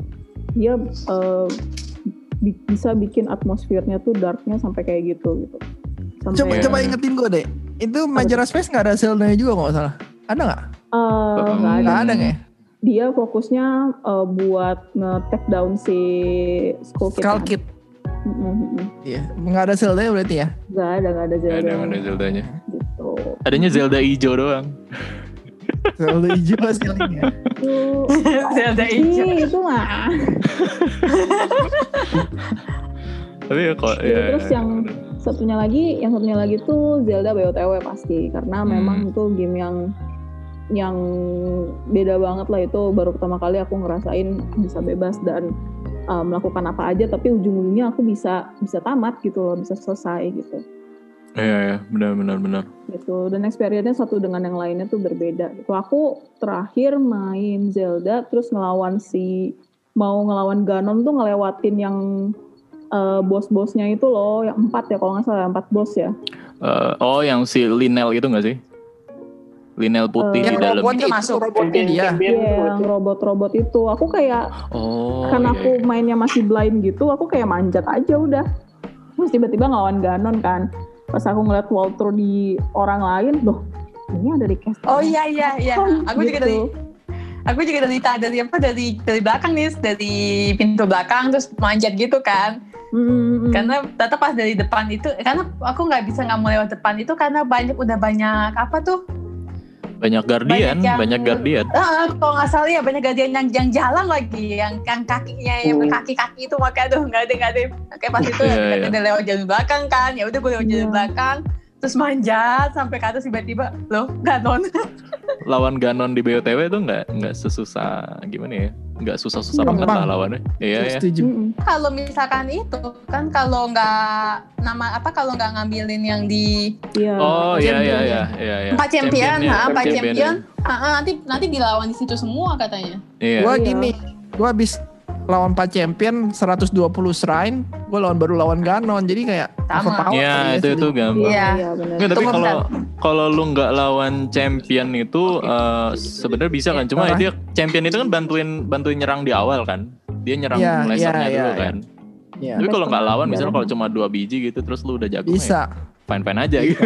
[SPEAKER 1] dia eh, bi- bisa bikin atmosfernya tuh darknya sampai kayak gitu gitu sampai
[SPEAKER 3] Coba
[SPEAKER 2] Iya.
[SPEAKER 3] coba ingetin gue deh. Itu Majora Space nggak ada Zelda-nya juga kalau nggak salah. Ada nggak?
[SPEAKER 1] eh, nggak ada
[SPEAKER 3] Nggak ada nggak ya?
[SPEAKER 1] dia fokusnya eh, buat nge-take down si Skull Kid.
[SPEAKER 3] Skull
[SPEAKER 1] kan?
[SPEAKER 3] Kid.
[SPEAKER 1] Mm, mm, mm.
[SPEAKER 3] Iya. Nggak ada Zelda berarti ya?
[SPEAKER 1] Nggak ada, nggak ada
[SPEAKER 2] Gak
[SPEAKER 1] Zelda.
[SPEAKER 2] ada mana Zeldanya.
[SPEAKER 1] Gitu.
[SPEAKER 2] Adanya Zelda hijau doang.
[SPEAKER 3] Zelda hijau lah sekarang ya.
[SPEAKER 1] Itu,
[SPEAKER 4] Zelda hijau.
[SPEAKER 1] Ih, itu mah.
[SPEAKER 2] Tapi ya kok
[SPEAKER 1] Iya,
[SPEAKER 2] ya.
[SPEAKER 1] terus yang- Satunya lagi, yang satunya lagi tuh Zelda BOTW pasti. Karena
[SPEAKER 2] Hmm.
[SPEAKER 1] memang itu game yang yang beda banget lah itu baru pertama kali aku ngerasain bisa bebas dan eh, melakukan apa aja tapi ujung-ujungnya aku bisa bisa tamat gitu loh bisa selesai gitu
[SPEAKER 2] Iya iya benar benar benar.
[SPEAKER 1] gitu dan experience-nya satu dengan yang lainnya tuh berbeda gitu aku terakhir main Zelda terus ngelawan si mau ngelawan Ganon tuh ngelewatin yang eh, bos-bosnya itu loh yang empat ya kalau nggak salah empat bos ya
[SPEAKER 2] Eh, oh yang si Linel itu nggak sih? Linel putih
[SPEAKER 1] Eh,
[SPEAKER 2] di
[SPEAKER 3] Yang
[SPEAKER 2] dalam.
[SPEAKER 3] robotnya
[SPEAKER 4] Itu
[SPEAKER 3] masuk.
[SPEAKER 4] masuk.
[SPEAKER 3] Robotnya dia.
[SPEAKER 5] Champion
[SPEAKER 1] Iya,
[SPEAKER 5] tuh.
[SPEAKER 1] yang robot-robot itu aku kayak
[SPEAKER 2] Oh.
[SPEAKER 1] karena
[SPEAKER 2] iya,
[SPEAKER 1] aku mainnya masih blind gitu aku kayak manjat aja udah terus tiba-tiba ngelawan Ganon kan pas aku ngeliat walkthrough di orang lain doh ini ada di cast
[SPEAKER 4] Oh iya iya iya. Aku
[SPEAKER 1] Gitu.
[SPEAKER 4] juga dari aku juga dari dari apa dari dari belakang nih dari pintu belakang terus manjat gitu kan.
[SPEAKER 1] Mm, mm,
[SPEAKER 2] Hmm.
[SPEAKER 1] mm.
[SPEAKER 4] Karena tetap pas dari depan itu karena aku nggak bisa nggak mau lewat depan itu karena banyak udah banyak apa tuh?
[SPEAKER 2] iya. Banyak guardian,
[SPEAKER 4] banyak yang-
[SPEAKER 2] banyak guardian.
[SPEAKER 4] Ah, kalau nggak salah ya banyak gadian yang yang jalan lagi yang yang kakinya yang
[SPEAKER 5] Hmm.
[SPEAKER 4] kaki-kaki itu makanya tuh nggak ada nggak ada kayak pas itu
[SPEAKER 2] Oh. Iya,
[SPEAKER 4] yeah,
[SPEAKER 2] iya.
[SPEAKER 4] lewat jalan belakang kan ya udah gue lewat jalan
[SPEAKER 1] Iya.
[SPEAKER 4] belakang terus manjat sampai ke atas tiba-tiba loh nggak non
[SPEAKER 2] Lawan Ganon di BOTW itu nggak nggak sesusah gimana ya? Nggak susah-susah
[SPEAKER 1] Iya.
[SPEAKER 2] banget lah
[SPEAKER 3] Gampang.
[SPEAKER 2] lawannya. Iya iya.
[SPEAKER 3] Setuju.
[SPEAKER 1] Mm, mm.
[SPEAKER 4] kalau misalkan itu kan kalau nggak nama apa kalau nggak ngambilin yang di
[SPEAKER 1] Iya.
[SPEAKER 2] Oh iya iya iya iya. iya.
[SPEAKER 4] empat champion
[SPEAKER 2] Championnya,
[SPEAKER 4] nah, empat
[SPEAKER 2] championnya.
[SPEAKER 4] champion Ah, ah, nanti nanti dilawan di situ semua katanya
[SPEAKER 2] Iya.
[SPEAKER 3] Gue
[SPEAKER 1] Iya.
[SPEAKER 3] gini. Gue habis lawan Pak Champion 120 shrine. Gue lawan baru lawan Ganon. Jadi kayak
[SPEAKER 4] Sama.
[SPEAKER 3] overpower.
[SPEAKER 2] Iya
[SPEAKER 3] Iya,
[SPEAKER 2] itu itu
[SPEAKER 3] setuju.
[SPEAKER 2] gampang.
[SPEAKER 4] Iya.
[SPEAKER 1] Iya benar.
[SPEAKER 2] Nggak, tapi
[SPEAKER 4] Tunggu
[SPEAKER 2] kalau kalau lu nggak lawan champion itu eh, sebenarnya bisa kan cuma
[SPEAKER 3] Parah.
[SPEAKER 2] dia champion itu kan bantuin bantuin nyerang di awal kan dia nyerang
[SPEAKER 3] Iya,
[SPEAKER 2] lasernya
[SPEAKER 3] iya,
[SPEAKER 2] dulu
[SPEAKER 3] iya.
[SPEAKER 2] kan
[SPEAKER 3] Iya.
[SPEAKER 2] tapi kalau nggak lawan
[SPEAKER 1] Iya.
[SPEAKER 2] misalnya kalau cuma dua biji gitu terus lu udah jago
[SPEAKER 3] Bisa.
[SPEAKER 2] fine fine aja gitu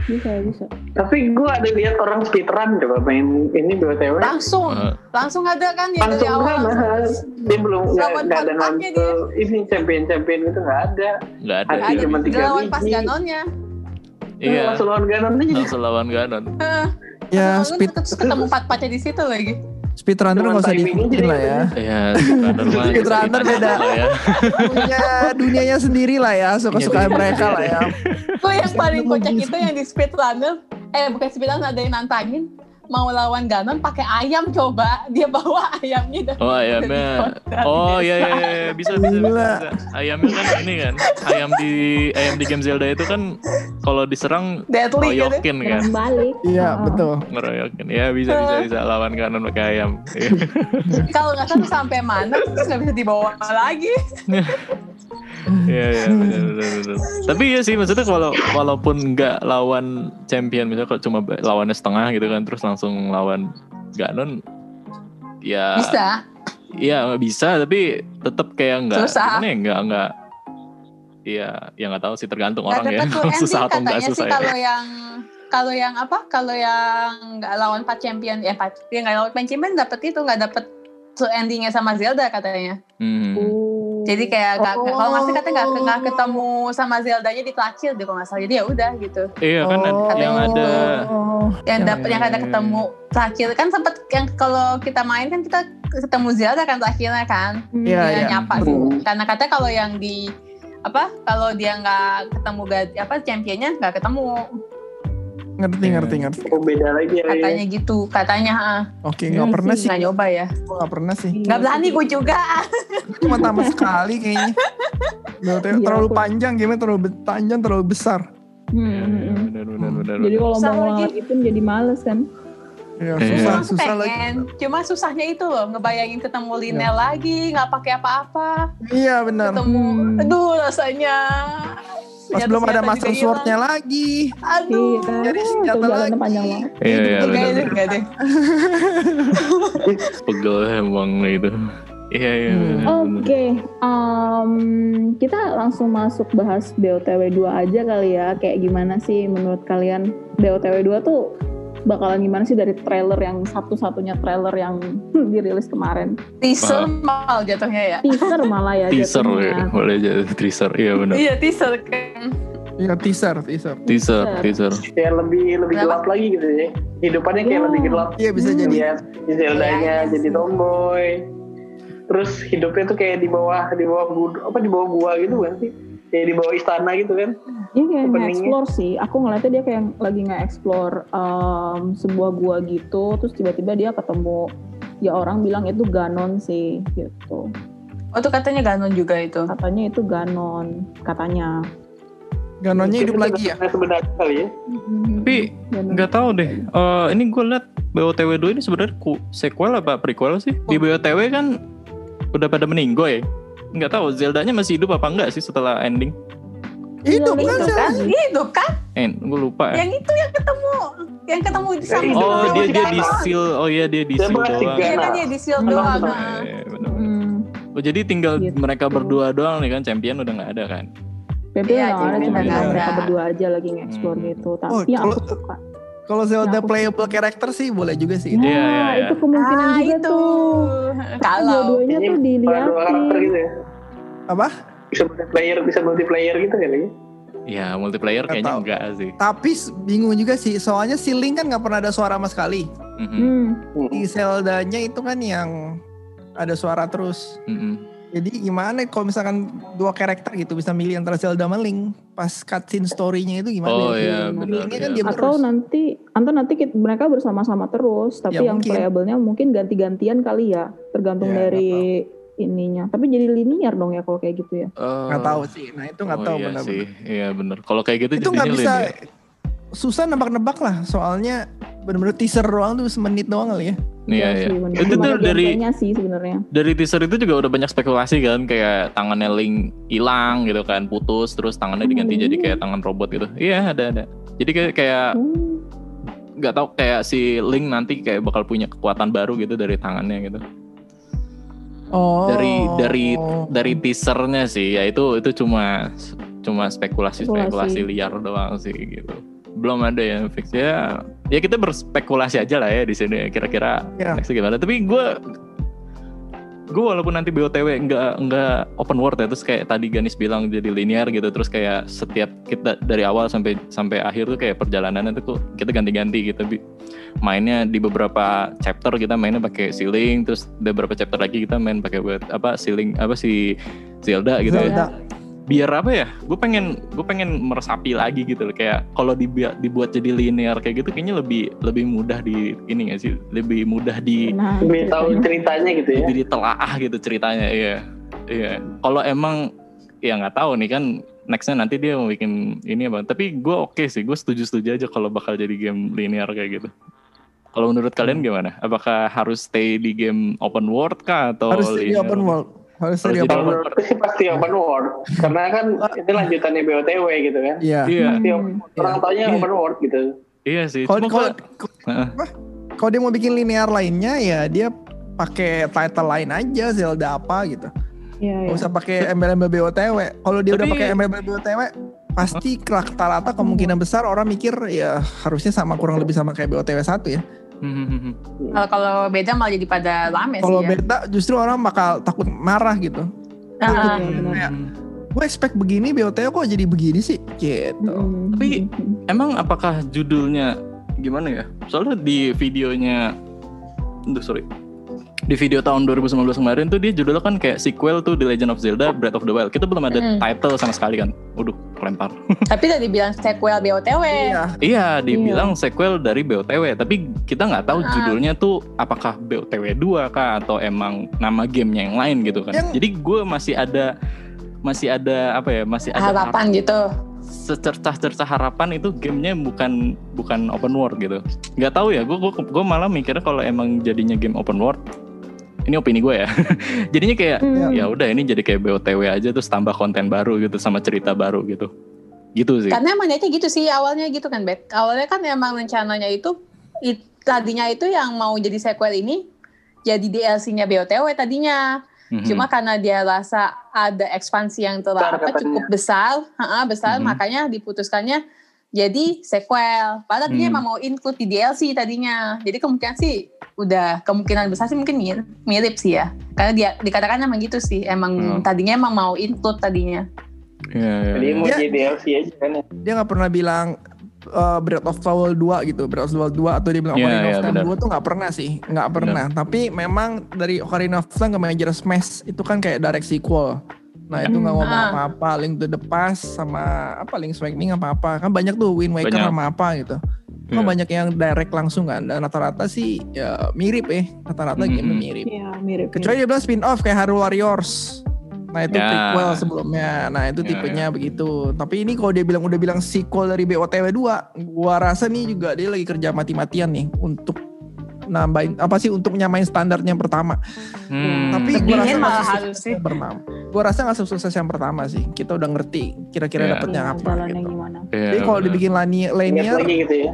[SPEAKER 1] Iya, Bisa bisa.
[SPEAKER 5] Tapi gue ada lihat orang speedrun coba main ini BOTW.
[SPEAKER 4] langsung
[SPEAKER 2] Eh,
[SPEAKER 4] langsung ada kan ya dari
[SPEAKER 5] Langsung
[SPEAKER 4] awal
[SPEAKER 5] kan bahas. Dia belum nggak
[SPEAKER 4] Lawan
[SPEAKER 5] nggak ada
[SPEAKER 4] kontaknya
[SPEAKER 5] nonton ini champion-champion itu nggak ada.
[SPEAKER 2] nggak ada
[SPEAKER 5] Ada
[SPEAKER 4] Nggak ada
[SPEAKER 5] cuma tiga
[SPEAKER 4] dilawan
[SPEAKER 5] biji.
[SPEAKER 4] pas ganonnya
[SPEAKER 2] iya
[SPEAKER 5] Langsung lawan Ganon aja.
[SPEAKER 2] langsung lawan ganon
[SPEAKER 3] Ya
[SPEAKER 4] Lalu
[SPEAKER 3] speed
[SPEAKER 4] tetep ketemu empat pacar di situ lagi.
[SPEAKER 3] speedrunner
[SPEAKER 5] Cuman
[SPEAKER 3] nggak usah
[SPEAKER 5] timingnya
[SPEAKER 3] diikutin
[SPEAKER 5] jadi
[SPEAKER 3] lah ya.
[SPEAKER 2] iya speedrunner mah bisa
[SPEAKER 3] Speedrunner
[SPEAKER 2] ditanya
[SPEAKER 3] beda.
[SPEAKER 2] lah ya.
[SPEAKER 3] Punya dunianya sendiri lah ya. Suka-suka
[SPEAKER 2] Iya,
[SPEAKER 3] mereka lah ya.
[SPEAKER 4] Tuh yang paling
[SPEAKER 3] Ketemu
[SPEAKER 4] kocak
[SPEAKER 3] di
[SPEAKER 4] itu yang di speedrunner. Eh bukan speedrunner ada yang nantangin. mau lawan Ganon pakai ayam coba dia bawa ayamnya dari
[SPEAKER 2] Oh ayamnya. Oh iya iya iya. bisa bisa, bisa,
[SPEAKER 3] Gila.
[SPEAKER 2] bisa. Ayamnya kan ini kan. Ayam di ayam di game Zelda itu kan kalau diserang
[SPEAKER 4] deadly gitu
[SPEAKER 2] ngeroyokin kan.
[SPEAKER 1] Serang balik.
[SPEAKER 3] Iya
[SPEAKER 1] Oh.
[SPEAKER 3] betul.
[SPEAKER 2] Ngeroyokin. Ya bisa bisa bisa lawan kanan pakai ayam. Iya.
[SPEAKER 4] kalau nggak tahu sampai mana terus nggak bisa dibawa lagi
[SPEAKER 2] Iya iya benar benar benar. Tapi ya sih maksudnya kalau walaupun nggak lawan champion misalnya kalau cuma ba- lawannya setengah gitu kan terus langsung lawan Ganon ya
[SPEAKER 4] bisa
[SPEAKER 2] Iya bisa tapi tetap kayak nggak
[SPEAKER 4] Susah.
[SPEAKER 2] gimana ya nggak nggak Iya ya nggak tahu sih tergantung
[SPEAKER 4] nggak
[SPEAKER 2] orang ya
[SPEAKER 4] dapat full ending
[SPEAKER 2] susah atau nggak
[SPEAKER 4] katanya sih
[SPEAKER 2] susah ya.
[SPEAKER 4] kalau yang kalau yang apa kalau yang nggak lawan Pak Champion ya Pak yang nggak lawan Pak Champion dapat itu nggak dapat full endingnya sama Zelda katanya
[SPEAKER 2] Hmm.
[SPEAKER 4] Jadi kayak nggak
[SPEAKER 1] Oh.
[SPEAKER 4] kalau nggak sih katanya nggak nggak ketemu sama Zeldanya di Tlacil deh kalau nggak salah. Jadi ya udah gitu.
[SPEAKER 2] Iya kan ada-
[SPEAKER 3] Oh.
[SPEAKER 2] yang ada
[SPEAKER 4] Yang
[SPEAKER 3] Ya,
[SPEAKER 4] dapat
[SPEAKER 2] ya,
[SPEAKER 4] yang ada
[SPEAKER 2] ya.
[SPEAKER 4] ketemu Tlacil kan sempet yang kalau kita main kan kita ketemu Zelda kan Tlacilnya kan.
[SPEAKER 3] Iya
[SPEAKER 4] Dia
[SPEAKER 3] iya.
[SPEAKER 4] nyapa
[SPEAKER 5] Betul.
[SPEAKER 4] tuh. Karena katanya kalau yang di apa kalau dia nggak ketemu gad- apa championnya nggak ketemu
[SPEAKER 3] Ngerti ngerti ngerti.
[SPEAKER 2] Iya.
[SPEAKER 5] Oh, beda lagi ya.
[SPEAKER 4] katanya gitu katanya ah.
[SPEAKER 3] Oke nggak pernah Hmm, Iya sih.
[SPEAKER 4] nggak nyoba ya
[SPEAKER 3] Gue nggak pernah sih.
[SPEAKER 1] Iya,
[SPEAKER 4] nggak berani gue juga
[SPEAKER 3] Cuma tambah sekali kayaknya. Berarti
[SPEAKER 1] Iya,
[SPEAKER 3] terlalu
[SPEAKER 1] aku-
[SPEAKER 3] panjang game terlalu be- panjang terlalu besar.
[SPEAKER 1] Hmm,
[SPEAKER 2] Iya,
[SPEAKER 1] hmm,
[SPEAKER 2] iya,
[SPEAKER 1] hmm.
[SPEAKER 2] benar benar benar.
[SPEAKER 1] Jadi
[SPEAKER 2] benar.
[SPEAKER 1] kalau
[SPEAKER 4] Susah
[SPEAKER 1] mau ngulang
[SPEAKER 4] lagi.
[SPEAKER 1] lagi pun jadi males kan.
[SPEAKER 3] Ya,
[SPEAKER 2] Iya.
[SPEAKER 3] susah
[SPEAKER 4] Aku
[SPEAKER 3] susah lagi.
[SPEAKER 4] pengen cuma susahnya itu loh ngebayangin ketemu Linel lagi nggak pakai apa-apa
[SPEAKER 3] Iya benar.
[SPEAKER 4] ketemu
[SPEAKER 1] Hmm.
[SPEAKER 4] aduh rasanya
[SPEAKER 3] Pas
[SPEAKER 4] Senjata-
[SPEAKER 3] belum ada
[SPEAKER 4] senjata
[SPEAKER 3] master
[SPEAKER 4] juga hilang.
[SPEAKER 3] swordnya Iya, lagi.
[SPEAKER 4] aduh
[SPEAKER 3] Jadi
[SPEAKER 1] Ah,
[SPEAKER 3] senjata
[SPEAKER 1] perjalanan
[SPEAKER 3] lagi.
[SPEAKER 1] panjang banget.
[SPEAKER 2] Iya iya
[SPEAKER 3] Itu
[SPEAKER 4] Enggak
[SPEAKER 2] benar.
[SPEAKER 4] deh, enggak deh.
[SPEAKER 2] Pegel emang itu. Iya iya.
[SPEAKER 3] Hmm.
[SPEAKER 2] benar, benar.
[SPEAKER 1] Oh, Oke, em, kita langsung masuk bahas BOTW 2 aja kali ya. Kayak gimana sih menurut kalian BOTW 2 tuh bakalan gimana sih dari trailer yang satu-satunya trailer yang dirilis kemarin.
[SPEAKER 4] Teaser mal jatuhnya ya.
[SPEAKER 1] Teaser malah ya
[SPEAKER 2] Teaser ya.
[SPEAKER 1] jatuhnya.
[SPEAKER 2] boleh jadi teaser. Iya benar.
[SPEAKER 4] Iya teaser kan.
[SPEAKER 3] Iya teaser teaser.
[SPEAKER 2] Teaser teaser.
[SPEAKER 5] Kayak lebih lebih gelap lagi gitu ya. Hidupannya kayak
[SPEAKER 1] Iya.
[SPEAKER 5] lebih gelap.
[SPEAKER 3] Iya bisa
[SPEAKER 1] Hmm.
[SPEAKER 3] jadi.
[SPEAKER 5] Lihat di
[SPEAKER 4] Iya,
[SPEAKER 5] Zeldanya
[SPEAKER 4] iya
[SPEAKER 5] jadi
[SPEAKER 4] sih.
[SPEAKER 5] tomboy. Terus hidupnya tuh kayak di bawah di bawah gua, apa di bawah gua gitu kan sih. Kayak di bawah istana gitu kan.
[SPEAKER 1] Dia Iya, kayak
[SPEAKER 5] Openingnya.
[SPEAKER 1] nge-explore sih. Aku ngeliatnya dia kayak lagi nge-explore em, sebuah gua gitu. Terus tiba-tiba dia ketemu ya orang bilang itu Ganon sih gitu.
[SPEAKER 4] Oh tuh katanya Ganon juga itu.
[SPEAKER 1] Katanya itu Ganon katanya.
[SPEAKER 3] Ganonnya hidup
[SPEAKER 2] Iya,
[SPEAKER 5] Itu
[SPEAKER 3] lagi ya.
[SPEAKER 5] sebenarnya Sebenarnya kali ya.
[SPEAKER 2] Tapi
[SPEAKER 1] Ganon.
[SPEAKER 2] nggak tahu deh. Eh, ini gue liat BOTW 2 ini sebenarnya ku- sequel apa prequel sih? Di BOTW kan udah pada meninggoy. Nggak tahu Zeldanya masih hidup apa enggak sih setelah ending?
[SPEAKER 3] Itu bukan
[SPEAKER 4] Itu
[SPEAKER 3] sih.
[SPEAKER 4] kan, itu kan,
[SPEAKER 2] Eh, gue lupa. ya.
[SPEAKER 4] yang itu yang ketemu, yang ketemu di sana.
[SPEAKER 2] Oh
[SPEAKER 5] Itu
[SPEAKER 2] dia dia
[SPEAKER 5] Ganon.
[SPEAKER 2] di seal. Oh iya dia di
[SPEAKER 5] Dia
[SPEAKER 2] seal
[SPEAKER 5] masih
[SPEAKER 2] doang.
[SPEAKER 4] Iya kan ya di shield
[SPEAKER 1] Ganon.
[SPEAKER 4] doang.
[SPEAKER 5] Ganon.
[SPEAKER 4] ah.
[SPEAKER 2] Eh, bener-bener.
[SPEAKER 1] Hmm.
[SPEAKER 2] Oh, jadi tinggal
[SPEAKER 1] Gitu.
[SPEAKER 2] mereka berdua doang nih kan champion udah nggak ada kan?
[SPEAKER 1] PP udah nggak ada
[SPEAKER 4] Iya,
[SPEAKER 2] jadi
[SPEAKER 1] cuma
[SPEAKER 2] nggak
[SPEAKER 1] ada
[SPEAKER 2] ada.
[SPEAKER 1] mereka berdua aja lagi nge-explore
[SPEAKER 2] Hmm.
[SPEAKER 1] gitu. Tapi
[SPEAKER 3] Oh,
[SPEAKER 1] yang aku
[SPEAKER 3] kalau-
[SPEAKER 1] suka.
[SPEAKER 3] Kalau
[SPEAKER 4] Iya,
[SPEAKER 3] Zelda
[SPEAKER 1] Aku-
[SPEAKER 3] playable character sih boleh juga sih.
[SPEAKER 1] Nah,
[SPEAKER 2] Iya, iya, iya.
[SPEAKER 1] itu kemungkinan
[SPEAKER 4] Ah,
[SPEAKER 1] juga
[SPEAKER 4] itu.
[SPEAKER 1] tuh.
[SPEAKER 4] Kalau
[SPEAKER 1] Dua-duanya
[SPEAKER 5] Ini
[SPEAKER 1] tuh
[SPEAKER 4] Iya
[SPEAKER 1] Hmm.
[SPEAKER 5] Pada dua karakter
[SPEAKER 1] dilihatin.
[SPEAKER 5] gitu ya.
[SPEAKER 3] Apa?
[SPEAKER 5] Bisa multiplayer, bisa multiplayer gitu kali ya.
[SPEAKER 2] Ya multiplayer
[SPEAKER 3] Nggak
[SPEAKER 2] kayaknya
[SPEAKER 3] tahu.
[SPEAKER 2] enggak sih.
[SPEAKER 3] Tapi s- bingung juga sih. Soalnya si Link kan nggak pernah ada suara sama sekali.
[SPEAKER 2] Mhm,
[SPEAKER 1] Hmm.
[SPEAKER 3] Di Zeldanya itu kan yang ada suara terus.
[SPEAKER 2] mhm.
[SPEAKER 3] Jadi gimana kalau misalkan dua karakter gitu bisa milih antara Zelda sama Link pas cutscene story-nya itu ya, gimana?
[SPEAKER 2] Oh
[SPEAKER 1] iya,
[SPEAKER 2] iya benar.
[SPEAKER 3] Linknya
[SPEAKER 2] iya.
[SPEAKER 3] kan dia
[SPEAKER 1] Atau
[SPEAKER 3] terus.
[SPEAKER 1] nanti, atau nanti kit- mereka bersama-sama terus, tapi
[SPEAKER 3] Ya,
[SPEAKER 1] yang
[SPEAKER 3] mungkin.
[SPEAKER 1] playable-nya mungkin ganti-gantian kali ya, tergantung
[SPEAKER 3] Ya,
[SPEAKER 1] dari ininya. Tapi jadi linear dong ya kalau kayak gitu ya.
[SPEAKER 2] Eh,
[SPEAKER 3] Nggak tahu sih. Nah itu nggak
[SPEAKER 2] oh,
[SPEAKER 3] tahu
[SPEAKER 2] iya
[SPEAKER 3] benar-benar.
[SPEAKER 2] sih. Iya benar. Kalau kayak gitu
[SPEAKER 3] itu nggak
[SPEAKER 2] jadinya
[SPEAKER 3] bisa
[SPEAKER 2] linear.
[SPEAKER 3] susah nebak-nebak lah soalnya bener-bener teaser doang tuh semenit doang kali ya
[SPEAKER 2] Iya iya.
[SPEAKER 1] sih, bener.
[SPEAKER 2] Itu
[SPEAKER 1] Cuma
[SPEAKER 2] tuh
[SPEAKER 1] ada
[SPEAKER 2] dari
[SPEAKER 1] gameplaynya sih sebenarnya.
[SPEAKER 2] dari teaser itu juga udah banyak spekulasi kan kayak tangannya Link hilang gitu kan putus terus tangannya
[SPEAKER 1] Oh,
[SPEAKER 2] diganti
[SPEAKER 3] Hmm.
[SPEAKER 1] iya.
[SPEAKER 2] jadi kayak tangan robot gitu. Iya ada ada. Jadi kayak kayak
[SPEAKER 1] Hmm.
[SPEAKER 2] nggak tahu kayak si Link nanti kayak bakal punya kekuatan baru gitu dari tangannya gitu.
[SPEAKER 3] oh
[SPEAKER 2] Dari- dari- Dari teasernya sih ya itu itu cuma cuma spekulasi spekulasi
[SPEAKER 1] Spekulasi.
[SPEAKER 2] liar doang sih gitu. Belum ada yang fix ya. Ya kita berspekulasi aja lah ya di sini kira-kira
[SPEAKER 3] Ya.
[SPEAKER 2] nextnya gimana. Tapi gue gue walaupun nanti BOTW nggak nggak open world ya terus kayak tadi Ganis bilang jadi linear gitu terus kayak setiap kita dari awal sampai sampai akhir tuh kayak perjalanannya tuh kok kita ganti-ganti gitu Bi. mainnya di beberapa chapter kita mainnya pakai ceiling terus di beberapa chapter lagi kita main pakai buat- apa ceiling apa si Zelda gitu ya
[SPEAKER 3] Zelda.
[SPEAKER 2] biar apa ya gue pengen gue pengen meresapi lagi gitu loh kayak kalau dibuat dibuat jadi linear kayak gitu kayaknya lebih lebih mudah di ini gak sih lebih mudah di
[SPEAKER 1] Nah,
[SPEAKER 5] lebih tahu ceritanya gitu
[SPEAKER 3] Iya.
[SPEAKER 5] ya
[SPEAKER 2] lebih ditelaah gitu ceritanya iya iya kalau emang ya nggak tahu nih kan nextnya nanti dia mau bikin ini apa tapi gue oke sih gue setuju setuju aja kalau bakal jadi game linear kayak gitu kalau menurut
[SPEAKER 3] Hmm.
[SPEAKER 2] kalian gimana apakah harus stay di game open world kah atau
[SPEAKER 3] harus jadi
[SPEAKER 2] linear?
[SPEAKER 3] open world harus
[SPEAKER 2] Harus
[SPEAKER 3] jadi
[SPEAKER 2] jadi iya. open
[SPEAKER 3] open world
[SPEAKER 5] Kalau menurutku sih pasti open world karena kan itu lanjutannya BOTW gitu kan
[SPEAKER 3] iya
[SPEAKER 2] iya
[SPEAKER 5] pasti open world. orang
[SPEAKER 3] Iya.
[SPEAKER 5] taunya
[SPEAKER 3] Iya.
[SPEAKER 5] open world gitu
[SPEAKER 2] iya sih
[SPEAKER 3] kalau
[SPEAKER 2] Cuma
[SPEAKER 3] kalau
[SPEAKER 2] kalau- Heeh.
[SPEAKER 3] apa? kalau dia mau bikin linear lainnya ya dia pakai title lain aja Zelda apa gitu
[SPEAKER 1] Iya,
[SPEAKER 3] Gak
[SPEAKER 2] Oh,
[SPEAKER 1] iya.
[SPEAKER 3] usah pakai embel-embel BOTW. Kalau dia udah
[SPEAKER 2] Tapi-
[SPEAKER 3] pakai embel-embel BOTW, pasti rata-rata kemungkinan besar orang mikir ya harusnya sama kurang lebih sama kayak BOTW 1 ya.
[SPEAKER 2] Hmm, hmm, hmm.
[SPEAKER 4] Kalau kalau beda malah jadi pada lame sih.
[SPEAKER 3] Kalau
[SPEAKER 4] ya.
[SPEAKER 3] beta justru orang bakal takut marah gitu.
[SPEAKER 4] Ah, ah.
[SPEAKER 1] Iya, benar.
[SPEAKER 3] Kayak, Gue expect begini BOTW kok jadi begini sih?
[SPEAKER 4] Hmm.
[SPEAKER 3] Gitu.
[SPEAKER 1] Mm-mm.
[SPEAKER 2] Tapi- emang apakah judulnya gimana ya? Soalnya di videonya, aduh sorry, di video tahun 2019 kemarin tuh dia judulnya kan kayak sequel tuh The Legend of Zelda Breath of the Wild. Kita belum ada
[SPEAKER 4] Mm.
[SPEAKER 2] title sama sekali kan. Waduh, kelempar.
[SPEAKER 4] Tapi tadi bilang sequel BOTW.
[SPEAKER 3] Iya.
[SPEAKER 2] Iya, dibilang sequel dari BOTW, tapi kita nggak tahu
[SPEAKER 4] Ah.
[SPEAKER 2] judulnya tuh apakah BOTW 2 kah atau emang nama gamenya yang lain gitu kan.
[SPEAKER 3] Yang-
[SPEAKER 2] Jadi gue masih ada masih ada apa ya masih ada
[SPEAKER 4] Harapan gitu.
[SPEAKER 2] secercah-cercah harapan itu gamenya bukan bukan open world gitu nggak tahu ya gue gue malah mikirnya kalau emang jadinya game open world ini opini gue ya jadinya kayak
[SPEAKER 1] Mm.
[SPEAKER 3] Hmm.
[SPEAKER 2] ya udah ini jadi kayak BOTW aja terus tambah konten baru gitu sama cerita baru gitu gitu
[SPEAKER 3] Iya.
[SPEAKER 2] sih
[SPEAKER 4] Karena emang niatnya gitu sih awalnya gitu kan, Bet. Awalnya kan emang rencananya itu it- tadinya itu yang mau jadi sequel ini jadi DLC-nya BOTW tadinya.
[SPEAKER 2] Mhm.
[SPEAKER 4] Cuma karena dia rasa ada ekspansi yang telah
[SPEAKER 5] Besar
[SPEAKER 4] apa,
[SPEAKER 5] katanya.
[SPEAKER 4] cukup besar, ha-ha, besar
[SPEAKER 2] Mhm.
[SPEAKER 4] makanya diputuskannya jadi sequel. Padahal
[SPEAKER 2] Hmm.
[SPEAKER 4] tadinya emang mau include di DLC tadinya. Jadi kemungkinan sih udah kemungkinan besar sih mungkin mir- mirip sih ya. Karena dia dikatakan emang gitu sih. Emang
[SPEAKER 5] Mm.
[SPEAKER 2] Hmm.
[SPEAKER 4] tadinya emang mau include tadinya.
[SPEAKER 2] Iya, iya,
[SPEAKER 5] jadi
[SPEAKER 2] iya.
[SPEAKER 5] mau
[SPEAKER 3] Iya.
[SPEAKER 5] jadi DLC aja kan ya
[SPEAKER 3] Dia nggak pernah bilang eh, Breath of the Wild 2 gitu, Breath of the Wild 2 atau dia bilang
[SPEAKER 2] Iya,
[SPEAKER 3] Ocarina
[SPEAKER 2] iya,
[SPEAKER 3] of Time
[SPEAKER 2] benar.
[SPEAKER 3] 2 tuh nggak pernah sih, nggak pernah. Tapi memang dari Ocarina of Time ke Major Smash itu kan kayak direct sequel. Nah itu nggak ngomong
[SPEAKER 4] Ah.
[SPEAKER 3] apa-apa, Link to the Past sama apa Link Awakening apa apa kan banyak tuh Wind Waker
[SPEAKER 2] Banyak.
[SPEAKER 3] sama apa gitu. Kan
[SPEAKER 2] Iya.
[SPEAKER 3] banyak yang direct langsung kan dan rata-rata sih ya mirip eh rata-rata
[SPEAKER 2] Mhm.
[SPEAKER 3] game mirip.
[SPEAKER 1] Iya, mirip.
[SPEAKER 3] Kecuali dia bilang spin off kayak Haru Warriors. Nah itu
[SPEAKER 2] Ya.
[SPEAKER 3] prequel sebelumnya. Nah itu
[SPEAKER 2] Ya,
[SPEAKER 3] tipenya begitu. Tapi ini kalau dia bilang udah bilang sequel dari BOTW 2, gua rasa nih juga dia lagi kerja mati-matian nih untuk nambahin apa sih untuk nyamain standarnya yang pertama.
[SPEAKER 2] Hmm.
[SPEAKER 3] Tapi
[SPEAKER 4] Ingin
[SPEAKER 3] gua
[SPEAKER 4] malah
[SPEAKER 3] rasa nggak
[SPEAKER 4] harus
[SPEAKER 3] sesukses
[SPEAKER 4] sih.
[SPEAKER 3] yang pertama. Gua rasa nggak sukses yang pertama sih. Kita udah ngerti kira-kira
[SPEAKER 2] Ya.
[SPEAKER 3] dapetnya
[SPEAKER 1] Iya,
[SPEAKER 3] apa.
[SPEAKER 1] jalannya
[SPEAKER 3] Gitu.
[SPEAKER 1] gimana?
[SPEAKER 2] Iya,
[SPEAKER 3] Jadi kalau
[SPEAKER 2] benar.
[SPEAKER 3] dibikin lani-
[SPEAKER 5] ingat
[SPEAKER 3] linear,
[SPEAKER 5] lagi gitu ya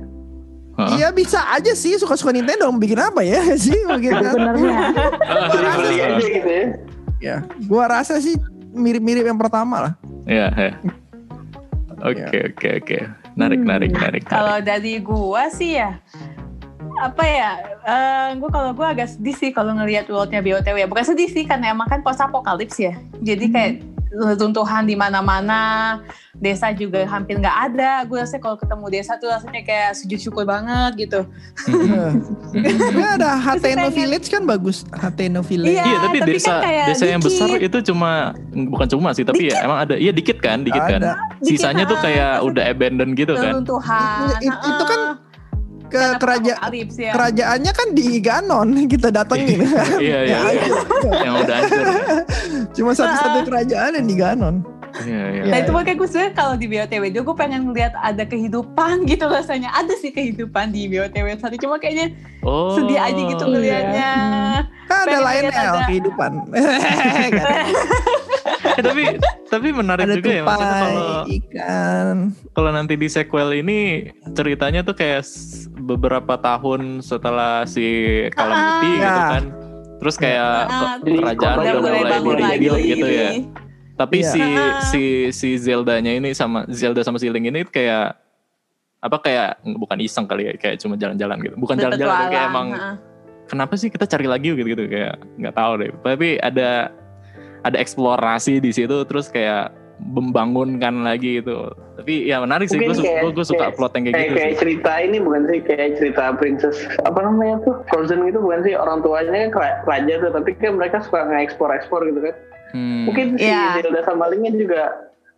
[SPEAKER 2] Hah?
[SPEAKER 3] iya bisa aja sih suka-suka Nintendo mau bikin apa ya sih mungkin.
[SPEAKER 1] Sebenarnya
[SPEAKER 2] Ah,
[SPEAKER 5] jadi beli
[SPEAKER 2] ah, ah.
[SPEAKER 5] aja gitu ya
[SPEAKER 3] ya, gua rasa sih mirip-mirip yang pertama lah.
[SPEAKER 2] Iya, iya. oke oke oke narik
[SPEAKER 1] Hmm.
[SPEAKER 2] narik narik narik.
[SPEAKER 4] Kalau dari gua sih ya apa ya eh gua kalau gua agak sedih sih kalau ngelihat worldnya BOTW ya bukan sedih sih karena emang kan post apokalips ya jadi
[SPEAKER 3] Hmm.
[SPEAKER 4] kayak runtuhan di mana-mana desa juga hampir nggak ada gue rasa kalau ketemu desa tuh rasanya kayak sujud syukur banget gitu
[SPEAKER 3] Iya.
[SPEAKER 2] Mhm.
[SPEAKER 3] Sebenarnya ada Hateno
[SPEAKER 4] pengen-
[SPEAKER 3] Village kan bagus. Hateno Village.
[SPEAKER 4] Iya,
[SPEAKER 2] Iya, tapi,
[SPEAKER 4] tapi kan
[SPEAKER 2] desa
[SPEAKER 4] kayak
[SPEAKER 2] desa yang
[SPEAKER 4] dikit.
[SPEAKER 2] besar itu cuma bukan cuma sih, tapi ya emang ada iya dikit kan, dikit kan.
[SPEAKER 3] Ada.
[SPEAKER 2] Sisanya tuh
[SPEAKER 4] ah,
[SPEAKER 2] kayak udah abandoned gitu kan.
[SPEAKER 4] runtuhan
[SPEAKER 3] Itu- itu- itu kan Ke kerajaan
[SPEAKER 4] apokalips ya
[SPEAKER 3] kerajaannya kan di Ganon kita datengin.
[SPEAKER 2] Iya, iya.
[SPEAKER 3] Ya,
[SPEAKER 2] iya. Yang udah hancur.
[SPEAKER 3] Cuma satu-satu kerajaan yang di Ganon.
[SPEAKER 2] Iya, iya.
[SPEAKER 4] Nah itu makanya gue sebenernya kalau di BOTW juga gue pengen ngeliat ada kehidupan gitu rasanya. Ada sih kehidupan di BOTW satu cuma kayaknya
[SPEAKER 2] Oh.
[SPEAKER 4] sedih aja gitu
[SPEAKER 1] iya.
[SPEAKER 4] ngeliatnya.
[SPEAKER 3] Kan ada
[SPEAKER 4] Pengen
[SPEAKER 3] lain
[SPEAKER 4] lihat ada-
[SPEAKER 3] kehidupan. Kan
[SPEAKER 1] iya.
[SPEAKER 2] Eh, tapi tapi menarik
[SPEAKER 3] ada
[SPEAKER 2] juga ya maksudnya
[SPEAKER 3] tupai
[SPEAKER 2] kalau
[SPEAKER 3] ikan.
[SPEAKER 2] kalau nanti di sequel ini ceritanya tuh kayak s- beberapa tahun setelah si Calamity
[SPEAKER 3] Ah.
[SPEAKER 2] gitu
[SPEAKER 3] Ya.
[SPEAKER 2] kan. Terus kayak
[SPEAKER 4] Ah.
[SPEAKER 2] ke- kerajaan
[SPEAKER 5] Jadi
[SPEAKER 2] udah
[SPEAKER 5] mulai
[SPEAKER 2] mulai
[SPEAKER 5] bangun lagi
[SPEAKER 2] diambil gitu ya.
[SPEAKER 4] ini.
[SPEAKER 2] Tapi
[SPEAKER 3] Iya.
[SPEAKER 2] si
[SPEAKER 4] Ah.
[SPEAKER 2] si si Zelda-nya ini sama Zelda sama si Link ini kayak apa kayak bukan iseng kali ya kayak cuma jalan-jalan gitu. Bukan jalan-jalan tapi kayak emang
[SPEAKER 4] Berpetualang, ah.
[SPEAKER 2] kenapa sih kita cari lagi gitu gitu kayak nggak tahu deh. Tapi ada ada eksplorasi di situ terus kayak membangunkan lagi itu. Tapi ya menarik sih gue
[SPEAKER 5] Mungkin kayak-
[SPEAKER 2] gue suka
[SPEAKER 5] kayak-
[SPEAKER 2] plot yang kayak
[SPEAKER 5] kayak
[SPEAKER 2] gitu
[SPEAKER 5] kayak
[SPEAKER 2] sih.
[SPEAKER 5] cerita ini bukan sih kayak cerita princess apa namanya tuh Frozen gitu bukan sih orang tuanya kan kera- raja tuh tapi kan mereka suka nge-explore explore gitu kan
[SPEAKER 2] Hmm.
[SPEAKER 5] mungkin si
[SPEAKER 4] Iya.
[SPEAKER 5] Zelda sama Linknya juga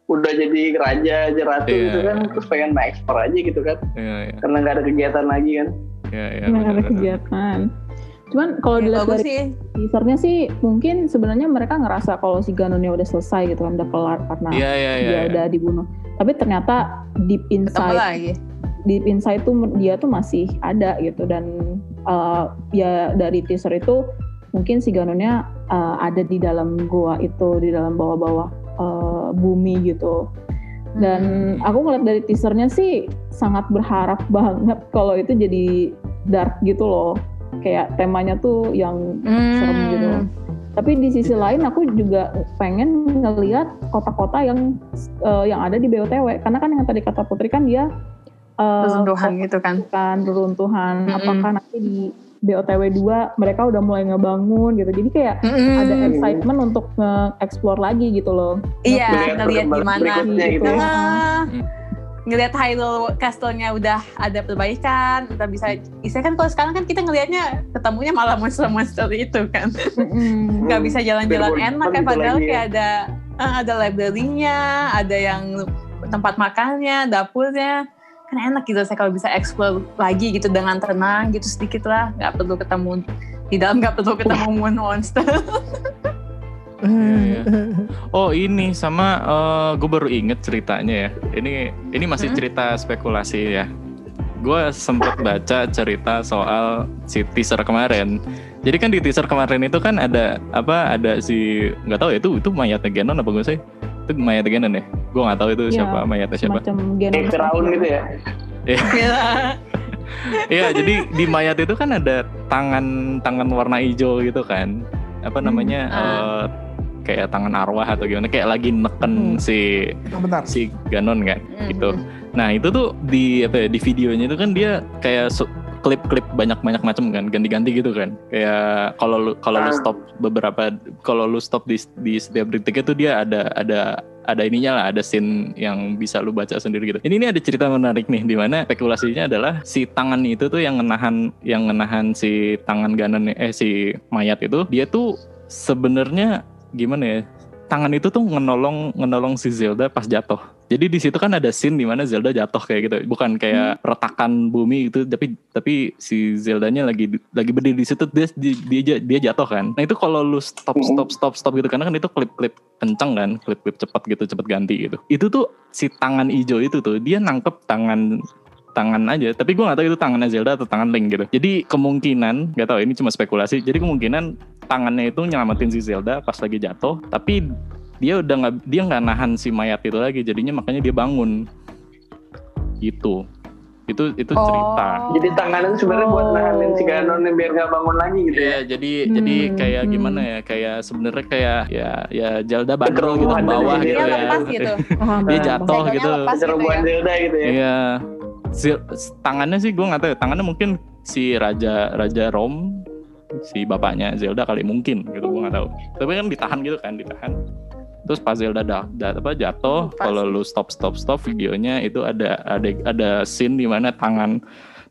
[SPEAKER 5] udah jadi raja jadi ratu
[SPEAKER 2] Iya.
[SPEAKER 5] gitu kan terus pengen ekspor aja gitu kan
[SPEAKER 2] Iya, iya,
[SPEAKER 5] karena nggak ada kegiatan lagi kan
[SPEAKER 2] iya, iya.
[SPEAKER 1] nggak ada
[SPEAKER 2] bener, bener.
[SPEAKER 1] kegiatan. Cuman kalau
[SPEAKER 4] Ya,
[SPEAKER 1] dilihat
[SPEAKER 4] bagus
[SPEAKER 1] dari
[SPEAKER 4] sih.
[SPEAKER 1] teasernya sih mungkin sebenarnya mereka ngerasa kalau si Ganonnya udah selesai gitu kan udah kelar karena
[SPEAKER 2] Iya, iya, iya.
[SPEAKER 1] dia
[SPEAKER 2] iya.
[SPEAKER 1] udah dibunuh. Tapi ternyata deep
[SPEAKER 4] Ketemu
[SPEAKER 1] inside
[SPEAKER 4] lagi.
[SPEAKER 1] deep inside tuh dia tuh masih ada gitu dan uh, ya dari teaser itu mungkin si Ganonnya uh, ada di dalam goa itu di dalam bawah-bawah uh, bumi gitu dan
[SPEAKER 2] Hmm.
[SPEAKER 1] aku ngeliat dari teasernya sih sangat berharap banget kalau itu jadi dark gitu loh kayak temanya tuh yang serem
[SPEAKER 4] Hmm.
[SPEAKER 1] gitu tapi di sisi lain aku juga pengen ngeliat kota-kota yang eh, yang ada di BOTW karena kan yang tadi kata Putri kan dia eh,
[SPEAKER 4] Keseluruhan gitu kan.
[SPEAKER 1] kan reruntuhan
[SPEAKER 4] Mm-mm.
[SPEAKER 1] apakah nanti di BOTW 2 mereka udah mulai ngebangun gitu jadi kayak ada
[SPEAKER 4] Mm-mm.
[SPEAKER 1] excitement untuk nge-explore lagi gitu loh
[SPEAKER 4] Iya,
[SPEAKER 5] Melihat
[SPEAKER 4] ngelihat
[SPEAKER 5] perkembangan
[SPEAKER 4] gimana.
[SPEAKER 5] berikutnya gitu ya.
[SPEAKER 4] Heeh.
[SPEAKER 2] Hmm.
[SPEAKER 4] ngelihat Hyrule Castle-nya udah ada perbaikan, udah bisa. Istilahnya kan kalau sekarang kan kita ngelihatnya ketemunya malah monster-monster itu kan.
[SPEAKER 1] Mm-mm.
[SPEAKER 4] nggak bisa jalan-jalan
[SPEAKER 5] Biar
[SPEAKER 4] enak kan
[SPEAKER 5] Hmm, gitu
[SPEAKER 4] padahal
[SPEAKER 5] lagi ya.
[SPEAKER 4] kayak ada eh, ada library-nya, ada yang tempat makannya, dapurnya kan enak gitu saya kalau bisa explore lagi gitu dengan tenang gitu sedikit lah nggak perlu ketemu di dalam nggak perlu ketemu moon monster
[SPEAKER 2] Iya, iya. Oh ini sama gue baru inget ceritanya ya. Ini ini masih
[SPEAKER 4] Hmm?
[SPEAKER 2] cerita spekulasi ya. Gue sempet baca cerita soal si teaser kemarin. Jadi kan di teaser kemarin itu kan ada apa ada si nggak tahu ya itu itu mayatnya Ganon apa gue sih? Itu mayatnya Ganon ya. Gue nggak tahu itu
[SPEAKER 1] Iya,
[SPEAKER 2] siapa mayatnya siapa.
[SPEAKER 1] macam
[SPEAKER 5] kayak
[SPEAKER 4] Iya.
[SPEAKER 1] genom
[SPEAKER 5] Firaun gitu ya
[SPEAKER 4] Gila.
[SPEAKER 2] Iya jadi di mayat itu kan ada tangan tangan warna hijau gitu kan. Apa namanya?
[SPEAKER 4] ah.
[SPEAKER 2] eh, kayak tangan arwah atau gimana kayak lagi
[SPEAKER 1] Hmm.
[SPEAKER 2] neken si
[SPEAKER 3] bentar.
[SPEAKER 2] si Ganon kan
[SPEAKER 4] Hmm.
[SPEAKER 2] gitu. Nah itu tuh di apa ya, di videonya itu kan dia kayak su- klip-klip banyak-banyak macam kan ganti-ganti gitu kan. Kayak kalau lu kalau lu
[SPEAKER 5] Ah.
[SPEAKER 2] stop beberapa kalau lu stop di, di setiap detiknya tuh dia ada ada ada ininya lah, ada scene yang bisa lu baca sendiri gitu. Ini ini ada cerita menarik nih di mana spekulasinya adalah si tangan itu tuh yang ngenahan yang ngenahan si tangan Ganon eh si mayat itu dia tuh sebenarnya gimana ya? Tangan itu tuh ngenolong ngenolong si Zelda pas jatuh. Jadi di situ kan ada scene di mana Zelda jatuh kayak gitu, bukan kayak retakan bumi gitu, tapi tapi si Zeldanya lagi lagi berdiri di situ dia dia dia- dia jatuh kan. Nah itu kalau lu stop
[SPEAKER 5] Mhm.
[SPEAKER 2] stop stop stop gitu karena kan itu klip klip kenceng kan, klip klip cepat gitu cepat ganti gitu. Itu tuh si tangan hijau itu tuh dia nangkep tangan tangan aja tapi gua nggak tahu itu tangannya Zelda atau tangan Link gitu jadi kemungkinan nggak tahu ini cuma spekulasi jadi kemungkinan tangannya itu nyelamatin si Zelda pas lagi jatuh tapi dia udah nggak dia nggak nahan si mayat itu lagi jadinya makanya dia bangun gitu itu itu cerita
[SPEAKER 4] Oh.
[SPEAKER 5] jadi tangannya tuh sebenarnya buat nahanin si Ganon nih biar nggak bangun lagi gitu ya
[SPEAKER 2] Iya, jadi jadi
[SPEAKER 1] Hmm,
[SPEAKER 2] kayak
[SPEAKER 1] hmm.
[SPEAKER 2] gimana ya? Kayak sebenarnya kayak ya ya Zelda bandel gitu ke
[SPEAKER 5] Kegerobohan dari
[SPEAKER 2] bawah
[SPEAKER 5] sini
[SPEAKER 1] Iya,
[SPEAKER 2] gitu
[SPEAKER 4] Dia
[SPEAKER 5] ya.
[SPEAKER 4] lepas
[SPEAKER 2] ya.
[SPEAKER 4] gitu.
[SPEAKER 1] Paham,
[SPEAKER 2] Dia
[SPEAKER 1] paham.
[SPEAKER 2] jatuh
[SPEAKER 4] Segelnya
[SPEAKER 2] gitu.
[SPEAKER 4] lepas gitu
[SPEAKER 5] seruan
[SPEAKER 4] ya.
[SPEAKER 5] Zelda gitu ya
[SPEAKER 2] Iya. Zi- Tangannya sih gue nggak tahu. ya. Tangannya mungkin si raja raja Rom si bapaknya Zelda kali mungkin gitu gue nggak tahu. Tapi kan ditahan gitu kan ditahan. Terus pas Zelda da, da- apa jatuh,
[SPEAKER 4] Pas.
[SPEAKER 2] kalau lu stop stop stop videonya itu ada ada ada scene di mana tangan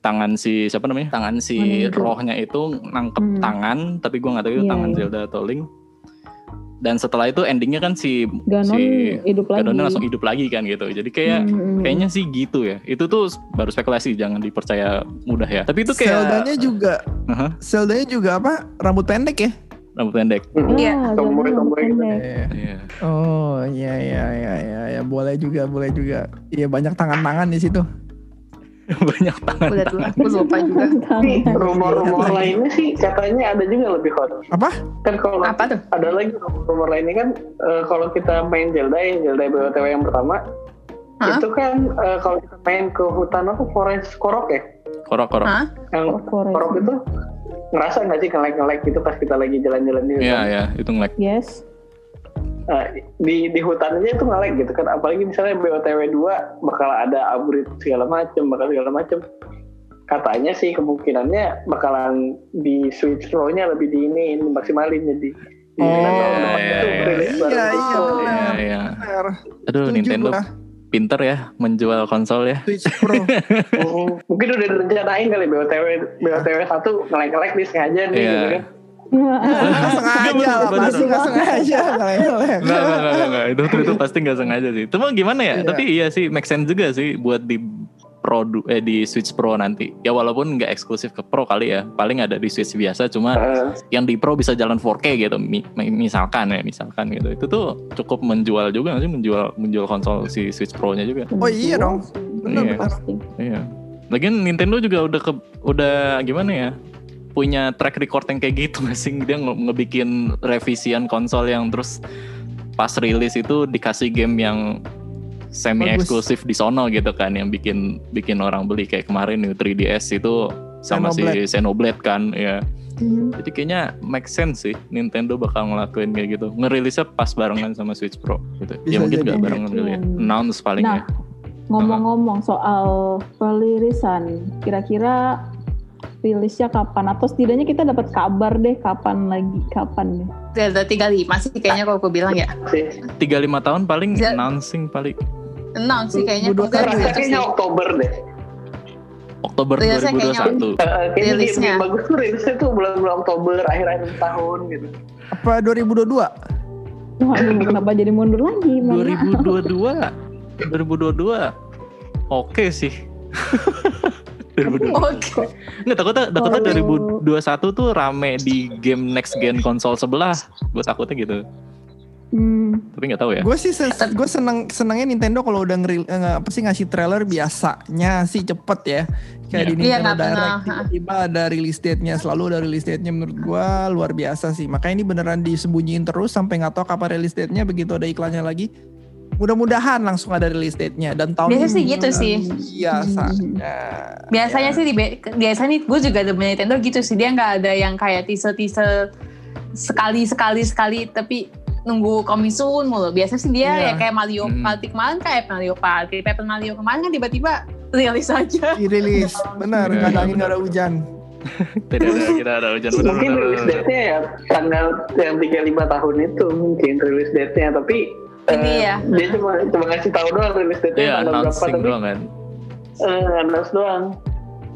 [SPEAKER 2] tangan si siapa namanya? Tangan si
[SPEAKER 1] Mana itu?
[SPEAKER 2] rohnya itu nangkep
[SPEAKER 1] Hmm.
[SPEAKER 2] tangan, tapi gue nggak tahu itu
[SPEAKER 1] Iya,
[SPEAKER 2] tangan
[SPEAKER 1] iya.
[SPEAKER 2] Zelda atau Link. Dan setelah itu endingnya kan si
[SPEAKER 1] Ganon
[SPEAKER 2] si
[SPEAKER 1] hidup lagi
[SPEAKER 2] Ganonnya langsung hidup lagi kan gitu. Jadi kayak
[SPEAKER 1] Hmm, hmm.
[SPEAKER 2] Kayaknya sih gitu ya. Itu tuh baru spekulasi, jangan dipercaya mudah ya. Tapi itu kayak
[SPEAKER 3] Seldanya juga,
[SPEAKER 2] Aha,
[SPEAKER 3] Seldanya juga apa? Rambut pendek ya?
[SPEAKER 2] rambut pendek.
[SPEAKER 5] Mhm.
[SPEAKER 4] Iya.
[SPEAKER 1] Ah,
[SPEAKER 5] Tomboy-
[SPEAKER 1] Ganon
[SPEAKER 5] tomboy gitu.
[SPEAKER 1] pendek.
[SPEAKER 2] Iya.
[SPEAKER 3] Oh iya iya iya iya ya. boleh juga boleh juga. Iya banyak tangan-tangan di situ.
[SPEAKER 2] Banyak tangan.
[SPEAKER 4] Udah tuh, aku lupa juga.
[SPEAKER 5] tapi
[SPEAKER 1] Tangan.
[SPEAKER 4] Iya.
[SPEAKER 5] rumor-rumor lainnya sih katanya ada juga lebih hot
[SPEAKER 3] Apa?
[SPEAKER 5] kan kalau
[SPEAKER 4] Apa tuh?
[SPEAKER 5] ada lagi rumor lainnya kan eh, kalau kita main Zelda ya Zelda BOTW yang pertama
[SPEAKER 4] Hah?
[SPEAKER 5] itu kan eh, kalau kita main ke hutan apa forest korok ya
[SPEAKER 2] Korok korok.
[SPEAKER 4] Hah?
[SPEAKER 5] yang
[SPEAKER 1] Korok.
[SPEAKER 5] korok itu ngerasa nggak sih ngelek-ngelek gitu pas kita lagi jalan-jalan di
[SPEAKER 2] Iya
[SPEAKER 5] hutan
[SPEAKER 2] iya, itu ngelag.
[SPEAKER 1] Yes.
[SPEAKER 5] Nah, di di hutan aja itu ngelek gitu kan apalagi misalnya BOTW 2 bakal ada abrit segala macem bakal segala macem katanya sih kemungkinannya bakalan di switch flow-nya lebih diinin maksimalin jadi
[SPEAKER 3] Oh,
[SPEAKER 5] Jadi kan
[SPEAKER 2] iya,
[SPEAKER 5] tahun depan
[SPEAKER 2] iya,
[SPEAKER 5] tuh
[SPEAKER 2] iya.
[SPEAKER 5] rilis baru.
[SPEAKER 3] Iya iya
[SPEAKER 4] Oh.
[SPEAKER 3] benar.
[SPEAKER 2] Iya iya.
[SPEAKER 3] benar.
[SPEAKER 2] Aduh
[SPEAKER 3] Setuju
[SPEAKER 2] Nintendo
[SPEAKER 3] gua.
[SPEAKER 2] pinter ya menjual konsol ya.
[SPEAKER 3] Switch Pro.
[SPEAKER 5] Mhm. mungkin udah direncanain kali BOTW BOTW satu ngelek-ngelek nih sengaja nih
[SPEAKER 2] Iya.
[SPEAKER 5] gitu kan
[SPEAKER 3] Nggak sengaja lah,
[SPEAKER 2] Bener,
[SPEAKER 3] pasti
[SPEAKER 2] bener. Nah.
[SPEAKER 3] nggak sengaja. ngeleng-ngeleng.
[SPEAKER 2] Enggak, enggak, enggak, enggak, enggak. Itu, itu, itu pasti nggak sengaja sih. Cuma gimana ya?
[SPEAKER 3] Iya.
[SPEAKER 2] Tapi iya sih, make sense juga sih buat di Pro eh di Switch Pro nanti. Ya walaupun nggak eksklusif ke Pro kali ya, paling ada di Switch biasa. Cuma
[SPEAKER 5] Eh,
[SPEAKER 2] yang di Pro bisa jalan 4K gitu, mi- mi- misalkan ya, misalkan gitu. Itu tuh cukup menjual juga nggak sih, menjual menjual konsol si Switch Pro-nya juga.
[SPEAKER 3] Oh iya dong.
[SPEAKER 2] Iya.
[SPEAKER 3] Benar-benar.
[SPEAKER 1] Pasti.
[SPEAKER 2] Iya. Lagian Nintendo juga udah ke, udah gimana ya? Punya track record yang kayak gitu nggak sih? Dia nge- ngebikin revisian konsol yang terus pas rilis itu dikasih game yang semi eksklusif di sono gitu kan yang bikin bikin orang beli kayak kemarin New 3DS itu sama si Xenoblade kan ya. Jadi kayaknya make sense sih Nintendo bakal ngelakuin kayak gitu. Ngerilisnya pas barengan sama Switch Pro gitu. ya
[SPEAKER 3] Bisa
[SPEAKER 2] mungkin
[SPEAKER 3] jadi.
[SPEAKER 2] nggak barengan kali ya.
[SPEAKER 1] Hmm.
[SPEAKER 2] Announce paling
[SPEAKER 1] Nah,
[SPEAKER 2] ya.
[SPEAKER 1] ngomong-ngomong soal pelirisan, kira-kira rilisnya kapan? Atau setidaknya kita dapat kabar deh kapan lagi, kapan ya?
[SPEAKER 4] Zelda 35 sih kayaknya kalau aku bilang ya.
[SPEAKER 5] sih.
[SPEAKER 2] 35 tahun paling
[SPEAKER 4] Bisa-
[SPEAKER 2] announcing paling
[SPEAKER 4] Enam sih kayaknya.
[SPEAKER 3] Dua- dua
[SPEAKER 4] Kalau
[SPEAKER 5] Rasanya
[SPEAKER 4] nggak gitu
[SPEAKER 5] kayaknya
[SPEAKER 4] sih.
[SPEAKER 5] Oktober deh.
[SPEAKER 2] Oktober
[SPEAKER 4] Rilisnya kayaknya
[SPEAKER 2] 2021.
[SPEAKER 5] Eh, kayaknya game,
[SPEAKER 4] Rilisnya.
[SPEAKER 5] game bagus tuh rilisnya tuh bulan-bulan Oktober akhir-akhir tahun gitu.
[SPEAKER 3] Apa 2022?
[SPEAKER 1] Waduh, kenapa jadi mundur lagi? Mohon maaf.
[SPEAKER 2] 2022. 2022. Oke sih. 2022.
[SPEAKER 4] Oke.
[SPEAKER 2] Nggak takutnya, takutnya
[SPEAKER 1] Kalau-
[SPEAKER 2] 2021 tuh rame di game next gen konsol sebelah. Gue takutnya gitu.
[SPEAKER 1] Hmm,
[SPEAKER 2] Tapi nggak tahu ya.
[SPEAKER 3] Gue sih sen- gue seneng senengnya Nintendo kalau udah ngeril eh, nggak- apa sih ngasih trailer biasanya sih cepet ya. Kayak
[SPEAKER 2] Iya.
[SPEAKER 3] di
[SPEAKER 4] Iya,
[SPEAKER 3] Nintendo
[SPEAKER 4] nggak pernah,
[SPEAKER 3] Direct tiba-tiba ada release date-nya, selalu ada release date-nya menurut gue luar biasa sih. Makanya ini beneran disembunyiin terus sampai nggak tahu kapan release date-nya begitu ada iklannya lagi. Mudah-mudahan langsung ada release date-nya dan tahun
[SPEAKER 4] Biasanya sih
[SPEAKER 3] ini
[SPEAKER 4] gitu sih. Hmm.
[SPEAKER 3] biasanya.
[SPEAKER 4] Biasanya
[SPEAKER 3] Iya.
[SPEAKER 4] sih di biasanya nih gue juga ada punya Nintendo gitu sih dia nggak ada yang kayak teaser teaser sekali sekali sekali tapi nunggu komisun mulu. Biasanya sih dia ya
[SPEAKER 3] Iya.
[SPEAKER 4] kayak Mario
[SPEAKER 2] Hmm.
[SPEAKER 4] Party kemarin kayak Mario Party, Paper Mario kemarin kan tiba-tiba rilis aja.
[SPEAKER 3] Iya, Dirilis, benar.
[SPEAKER 2] Iya,
[SPEAKER 3] Nggak ada
[SPEAKER 2] iya,
[SPEAKER 3] angin, nggak ada hujan.
[SPEAKER 2] Tidak ada kita ada hujan benar,
[SPEAKER 5] mungkin
[SPEAKER 2] benar,
[SPEAKER 5] rilis
[SPEAKER 2] benar.
[SPEAKER 5] date-nya ya tanggal yang 35 tahun itu mungkin rilis date-nya tapi eh,
[SPEAKER 4] Ini ya.
[SPEAKER 5] dia cuma cuma ngasih tahu doang rilis date-nya
[SPEAKER 2] Iya,
[SPEAKER 5] tanggal berapa
[SPEAKER 2] announcing
[SPEAKER 5] tapi
[SPEAKER 2] doang kan.
[SPEAKER 5] eh, announce doang.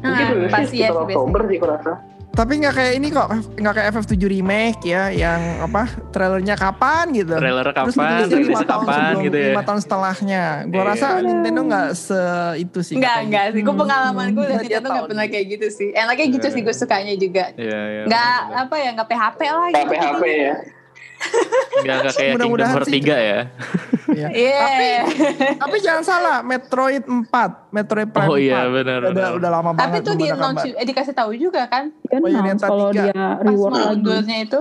[SPEAKER 5] Mungkin
[SPEAKER 4] Nah,
[SPEAKER 5] rilisnya
[SPEAKER 4] pasti ya
[SPEAKER 5] sekitar
[SPEAKER 4] sih biasanya.
[SPEAKER 5] Oktober sih kurasa.
[SPEAKER 3] Tapi nggak kayak ini kok, nggak kayak FF7 remake ya, yang apa trailernya kapan gitu.
[SPEAKER 2] Trailer kapan,
[SPEAKER 3] Terus rilisnya lima
[SPEAKER 2] rilisnya
[SPEAKER 3] tahun
[SPEAKER 2] kapan
[SPEAKER 3] sebelum-
[SPEAKER 2] gitu ya.
[SPEAKER 3] lima tahun setelahnya. Gua
[SPEAKER 2] Iya.
[SPEAKER 3] rasa Nintendo nggak se itu sih.
[SPEAKER 4] Enggak,
[SPEAKER 3] katanya.
[SPEAKER 4] enggak sih. Gue pengalaman gue dari
[SPEAKER 3] gitu. Hmm. Dia
[SPEAKER 4] Nintendo
[SPEAKER 3] tahu
[SPEAKER 4] nggak pernah
[SPEAKER 3] nih.
[SPEAKER 4] kayak gitu sih. Enaknya gitu
[SPEAKER 2] Iya.
[SPEAKER 4] sih gue sukanya juga.
[SPEAKER 2] Iya, iya.
[SPEAKER 4] Nggak apa ya, nggak PHP lah gitu.
[SPEAKER 5] PHP ya.
[SPEAKER 2] Nggak nggak kayak Kingdom
[SPEAKER 3] Mudah-mudahan
[SPEAKER 2] Hearts
[SPEAKER 3] sih.
[SPEAKER 2] 3 ya.
[SPEAKER 3] Iya.
[SPEAKER 4] Iya.
[SPEAKER 3] Tapi jangan salah, Metroid 4, Metroid Prime
[SPEAKER 2] Oh iya,
[SPEAKER 3] 4.
[SPEAKER 2] benar.
[SPEAKER 3] Udah,
[SPEAKER 2] benar.
[SPEAKER 3] udah lama banget.
[SPEAKER 4] Tapi tuh
[SPEAKER 3] belum
[SPEAKER 4] di
[SPEAKER 3] ada
[SPEAKER 4] announce
[SPEAKER 3] kabar.
[SPEAKER 4] ju- eh, dikasih tahu juga kan
[SPEAKER 1] kan
[SPEAKER 3] Bayonetta
[SPEAKER 1] kalau
[SPEAKER 3] iya, tiga.
[SPEAKER 1] dia
[SPEAKER 4] pas
[SPEAKER 1] reward
[SPEAKER 4] mau
[SPEAKER 1] lagi. Hmm,
[SPEAKER 4] undurnya itu.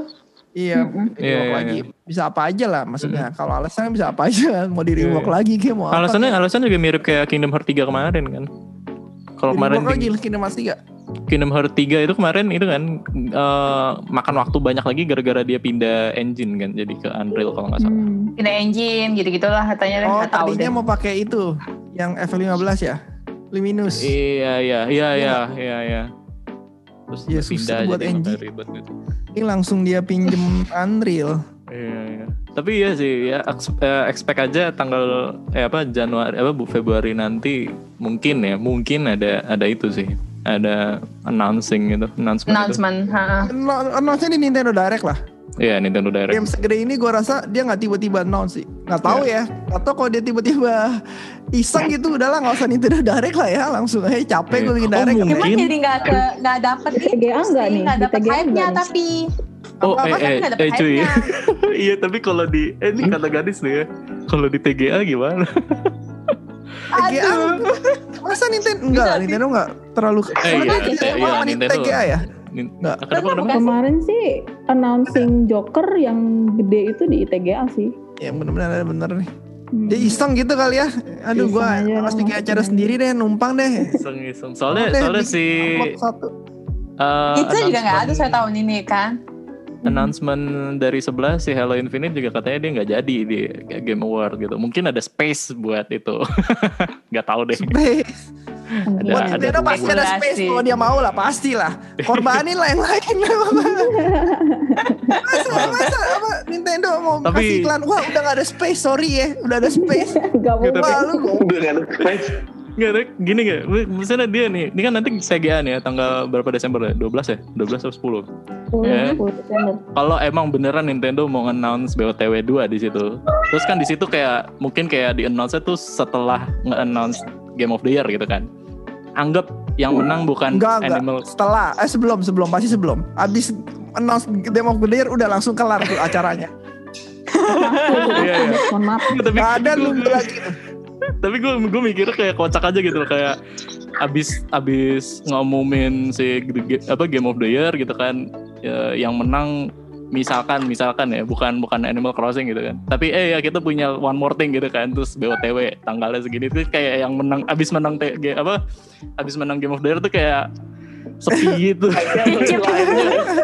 [SPEAKER 3] Iya,
[SPEAKER 4] Hmm.
[SPEAKER 1] Mm-mm.
[SPEAKER 3] di-rework
[SPEAKER 2] Iya, iya, Hmm.
[SPEAKER 3] lagi. Bisa apa aja lah maksudnya. Kalau alasannya bisa apa aja, mau di rework
[SPEAKER 2] Iya,
[SPEAKER 3] lagi kayak mau apa. ya?
[SPEAKER 2] Alasannya alasan juga mirip kayak Kingdom Hearts 3 kemarin kan. Kalau
[SPEAKER 3] kemarin
[SPEAKER 2] kemarin
[SPEAKER 3] lagi Kingdom Hearts 3.
[SPEAKER 2] Kingdom Hearts 3 itu kemarin itu kan eh, makan waktu banyak lagi gara-gara dia pindah engine kan jadi ke Unreal kalau nggak salah.
[SPEAKER 1] Hmm.
[SPEAKER 4] Pindah engine gitu-gitulah katanya deh,
[SPEAKER 3] Oh,
[SPEAKER 4] Eh, nggak tahu
[SPEAKER 3] tadinya
[SPEAKER 4] deh.
[SPEAKER 3] mau pakai itu yang F15 ya. Luminous.
[SPEAKER 2] Iya iya iya iya iya iya. Terus
[SPEAKER 3] Iya,
[SPEAKER 2] dia
[SPEAKER 3] susah
[SPEAKER 2] pindah
[SPEAKER 3] buat
[SPEAKER 2] jadi makanya
[SPEAKER 3] engine.
[SPEAKER 2] ribet gitu.
[SPEAKER 3] Ini langsung dia pinjem Unreal.
[SPEAKER 2] Iya iya. Tapi iya sih ya eks- eh, expect aja tanggal eh apa Januari apa Bu Februari nanti mungkin ya mungkin ada ada itu sih. Ada announcing gitu, announcement, itu.
[SPEAKER 4] announcement. ha-ha.
[SPEAKER 3] Anno- Announce-nya di Nintendo Direct lah.
[SPEAKER 2] Iya, Nintendo Direct.
[SPEAKER 3] Game segede ini gua rasa dia nggak tiba-tiba announce sih. Nggak tahu ya. Atau kalau dia tiba-tiba iseng gitu udahlah nggak usah Nintendo Direct lah ya. Langsung aja
[SPEAKER 2] Iya.
[SPEAKER 3] capek gue bikin
[SPEAKER 2] Oh,
[SPEAKER 3] Direct.
[SPEAKER 2] mungkin.
[SPEAKER 4] Cuman jadi nggak ke nggak dapet ini
[SPEAKER 1] TGA nggak
[SPEAKER 4] sih,
[SPEAKER 1] nih?
[SPEAKER 4] nggak
[SPEAKER 1] Di
[SPEAKER 4] dapet
[SPEAKER 1] TGA
[SPEAKER 4] hype-nya
[SPEAKER 1] nggak nih?
[SPEAKER 4] tapi
[SPEAKER 2] Oh,
[SPEAKER 4] Apa-apa kan
[SPEAKER 2] eh,
[SPEAKER 4] nggak
[SPEAKER 2] eh,
[SPEAKER 4] dapet
[SPEAKER 2] eh, cuy.
[SPEAKER 4] hype-nya.
[SPEAKER 2] iya, tapi kalau di eh ini kata gadis nih ya. Kalau di TGA gimana?
[SPEAKER 3] TGA. Masa Nintendo? Enggak lah,
[SPEAKER 4] Bisa sih.
[SPEAKER 3] Nintendo nggak terlalu.
[SPEAKER 2] Eh,
[SPEAKER 3] Emang
[SPEAKER 4] iya,
[SPEAKER 3] dia
[SPEAKER 4] iya,
[SPEAKER 3] emang
[SPEAKER 2] iya,
[SPEAKER 3] sama
[SPEAKER 2] Nintendo.
[SPEAKER 3] TGA ya?
[SPEAKER 2] Nin-
[SPEAKER 3] Nggak.
[SPEAKER 2] Kenapa kenapa?
[SPEAKER 1] Kemarin sih announcing Joker yang gede itu di ITGA sih.
[SPEAKER 3] Ya bener-bener ada bener nih.
[SPEAKER 1] Hmm.
[SPEAKER 3] Dia iseng gitu kali ya. Aduh
[SPEAKER 1] Iseng
[SPEAKER 3] gua
[SPEAKER 1] aja,
[SPEAKER 3] harus bikin
[SPEAKER 1] masukin
[SPEAKER 3] acara
[SPEAKER 1] aja.
[SPEAKER 3] sendiri deh, numpang deh.
[SPEAKER 2] Iseng iseng. Soalnya
[SPEAKER 3] Udah,
[SPEAKER 2] soalnya
[SPEAKER 3] bikin
[SPEAKER 2] si
[SPEAKER 3] amplop satu.
[SPEAKER 2] eh,
[SPEAKER 4] itu juga nggak ada saya
[SPEAKER 2] announcement-
[SPEAKER 4] tahun ini kan.
[SPEAKER 2] Announcement dari sebelah si Halo Infinite juga katanya dia nggak jadi di Game Award gitu. Mungkin ada space buat itu. Nggak tahu deh.
[SPEAKER 3] Space.
[SPEAKER 1] Mungkin.
[SPEAKER 3] Buat
[SPEAKER 2] Ada-
[SPEAKER 3] Nintendo
[SPEAKER 2] ada
[SPEAKER 3] pasti ada
[SPEAKER 4] regulasi.
[SPEAKER 3] space kalau dia mau lah, pasti lah. Korbanin lah yang lain. ya masa, masa apa Nintendo mau
[SPEAKER 2] Tapi-
[SPEAKER 3] kasih iklan? Wah udah gak ada space, sorry ya. Udah ada space.
[SPEAKER 1] Nggak
[SPEAKER 2] Gitu.
[SPEAKER 1] mau.
[SPEAKER 3] Wah lu
[SPEAKER 5] Udah nggak ada space.
[SPEAKER 2] Nggak, Rick, gini gak? Misalnya dia nih, ini kan nanti CGA nih ya, tanggal berapa Desember ya? 12 ya? 12 atau 10? Ya.
[SPEAKER 6] 10 Desember.
[SPEAKER 2] Kalau emang beneran Nintendo mau announce BOTW 2 di situ, terus kan di situ kayak mungkin kayak di announce tuh setelah nge-announce Game of the Year gitu kan. Anggap yang menang bukan
[SPEAKER 3] enggak enggak
[SPEAKER 2] Animal
[SPEAKER 3] setelah eh sebelum sebelum pasti sebelum abis announce demo of the Year, udah langsung kelar tuh acaranya
[SPEAKER 2] Iya, iya.
[SPEAKER 1] Mohon maaf.
[SPEAKER 2] tapi
[SPEAKER 3] nggak ada lu
[SPEAKER 2] gua-
[SPEAKER 3] lagi tuh.
[SPEAKER 2] tapi gue gue mikirnya kayak kocak aja gitu loh kayak abis abis ngumumin si ge- apa game of the year gitu kan ya, yang menang misalkan misalkan ya bukan bukan Animal Crossing gitu kan tapi eh ya kita punya one more thing gitu kan terus BOTW tanggalnya segini tuh kayak yang menang abis menang te- ge- apa abis menang game of the year tuh kayak sepi gitu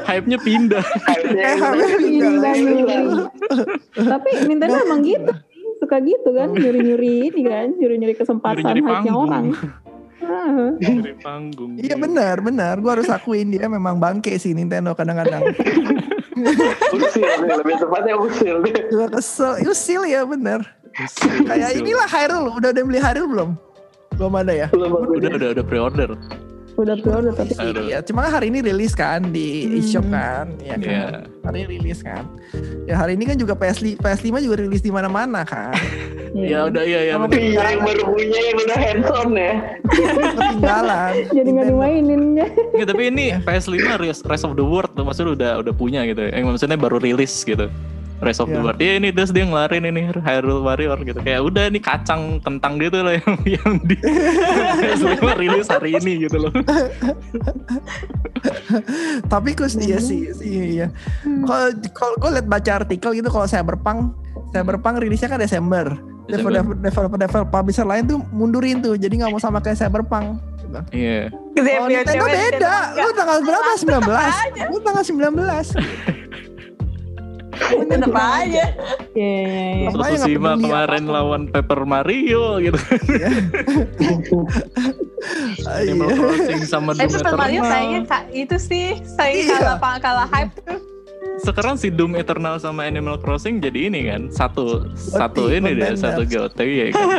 [SPEAKER 2] hype-nya pindah
[SPEAKER 3] Eh,
[SPEAKER 5] Akhirnya
[SPEAKER 3] habis
[SPEAKER 1] Iya,
[SPEAKER 3] juga.
[SPEAKER 1] iya. Tapi Nintendo emang gitu sih, suka gitu kan nyuri-nyuri ini kan, nyuri-nyuri kesempatan
[SPEAKER 2] Oh. Nyuri-nyuri
[SPEAKER 1] hype-nya
[SPEAKER 2] panggung.
[SPEAKER 1] orang. Ah, Heeh.
[SPEAKER 2] dari panggung
[SPEAKER 3] iya benar benar gua harus akuin dia memang bangke sih Nintendo kadang-kadang
[SPEAKER 5] usil sih, lebih tepatnya usil
[SPEAKER 3] gua kesel usil ya bener kayak
[SPEAKER 2] Gitu.
[SPEAKER 3] inilah Hyrule udah ada yang beli Hyrule belum belum ada ya
[SPEAKER 5] belum aku
[SPEAKER 2] udah udah udah pre-order
[SPEAKER 1] Udah pre-order tapi
[SPEAKER 2] Hyrule.
[SPEAKER 3] Iya, cuma hari ini rilis kan di
[SPEAKER 1] Hmm.
[SPEAKER 3] eShop kan, ya kan.
[SPEAKER 2] Iya.
[SPEAKER 3] Hari ini rilis kan. Ya hari ini kan juga PS5, PS5 juga rilis di mana-mana kan.
[SPEAKER 2] ya udah iya ya
[SPEAKER 3] Sama
[SPEAKER 5] Iya, yang baru punya yang udah hands-on ya.
[SPEAKER 3] Ketinggalan.
[SPEAKER 1] Iya. jadi nggak
[SPEAKER 3] Nintendo.
[SPEAKER 1] dimainin ya.
[SPEAKER 2] Nggak, Iya, tapi ini PS5 Res- Rest of the World tuh maksudnya udah udah punya gitu. ya. Yang maksudnya baru rilis gitu. Rest of the
[SPEAKER 3] Iya.
[SPEAKER 2] World. Ya ini terus dia ngelarin ini Hyrule Warrior gitu. Kayak udah nih kacang kentang gitu loh yang yang di PS5 rilis hari ini gitu loh.
[SPEAKER 3] Tapi kus dia
[SPEAKER 2] Hmm.
[SPEAKER 3] sih, sih iya. Kalau kalau gue liat baca artikel gitu kalau Cyberpunk, Cyberpunk rilisnya kan Desember.
[SPEAKER 2] Desember.
[SPEAKER 3] Developer, developer, developer publisher lain tuh mundurin tuh, jadi nggak mau sama kayak Cyberpunk. Gitu.
[SPEAKER 2] Iya.
[SPEAKER 4] Gede
[SPEAKER 3] Kalau Nintendo beda, lu tanggal berapa? 19? Lu tanggal 19.
[SPEAKER 4] Tetep aja.
[SPEAKER 1] Iya, iya, iya.
[SPEAKER 3] Makanya nggak
[SPEAKER 2] Tsushima
[SPEAKER 3] peduli
[SPEAKER 2] kemarin
[SPEAKER 3] apapun.
[SPEAKER 2] lawan Paper Mario gitu.
[SPEAKER 3] Ah, iya.
[SPEAKER 2] Animal Crossing sama
[SPEAKER 4] Tapi
[SPEAKER 2] Doom
[SPEAKER 4] Super Eh, Mario
[SPEAKER 2] Eternal.
[SPEAKER 4] sayangnya kak itu sih saya
[SPEAKER 3] Iya.
[SPEAKER 4] kalah pa- kalah hype tuh.
[SPEAKER 2] Sekarang si Doom Eternal sama Animal Crossing jadi ini kan satu satu ini deh
[SPEAKER 3] konten,
[SPEAKER 2] satu GOT ya kan.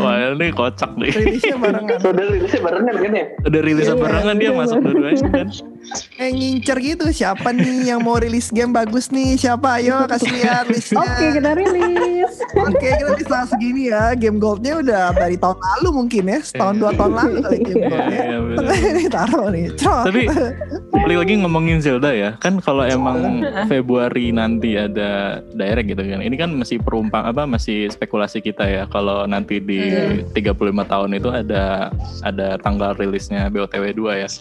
[SPEAKER 2] Wah ini kocak nih.
[SPEAKER 3] Rilisnya barengan.
[SPEAKER 5] Udah rilisnya barengan kan ya?
[SPEAKER 2] Udah rilis
[SPEAKER 3] Iya,
[SPEAKER 2] barengan dia
[SPEAKER 1] iya,
[SPEAKER 2] masuk
[SPEAKER 1] barengan.
[SPEAKER 2] dua-duanya kan.
[SPEAKER 3] Eh ngincer gitu siapa nih yang mau rilis game bagus nih siapa ayo kasih lihat listnya
[SPEAKER 1] Oke, gitu. kita rilis.
[SPEAKER 3] Oke, kita di saat segini ya game goldnya udah dari tahun lalu mungkin ya setahun dua tahun lalu kali game
[SPEAKER 2] Iya,
[SPEAKER 3] goldnya
[SPEAKER 2] iya, bener.
[SPEAKER 3] ini taruh nih
[SPEAKER 4] Oh.
[SPEAKER 3] cok
[SPEAKER 2] Tapi balik lagi ngomongin Zelda ya, kan kalau emang Februari nanti ada direct gitu kan. Ini kan masih perumpang apa masih spekulasi kita ya kalau nanti di
[SPEAKER 4] Iya.
[SPEAKER 2] 35 tahun itu ada ada tanggal rilisnya BOTW 2 ya.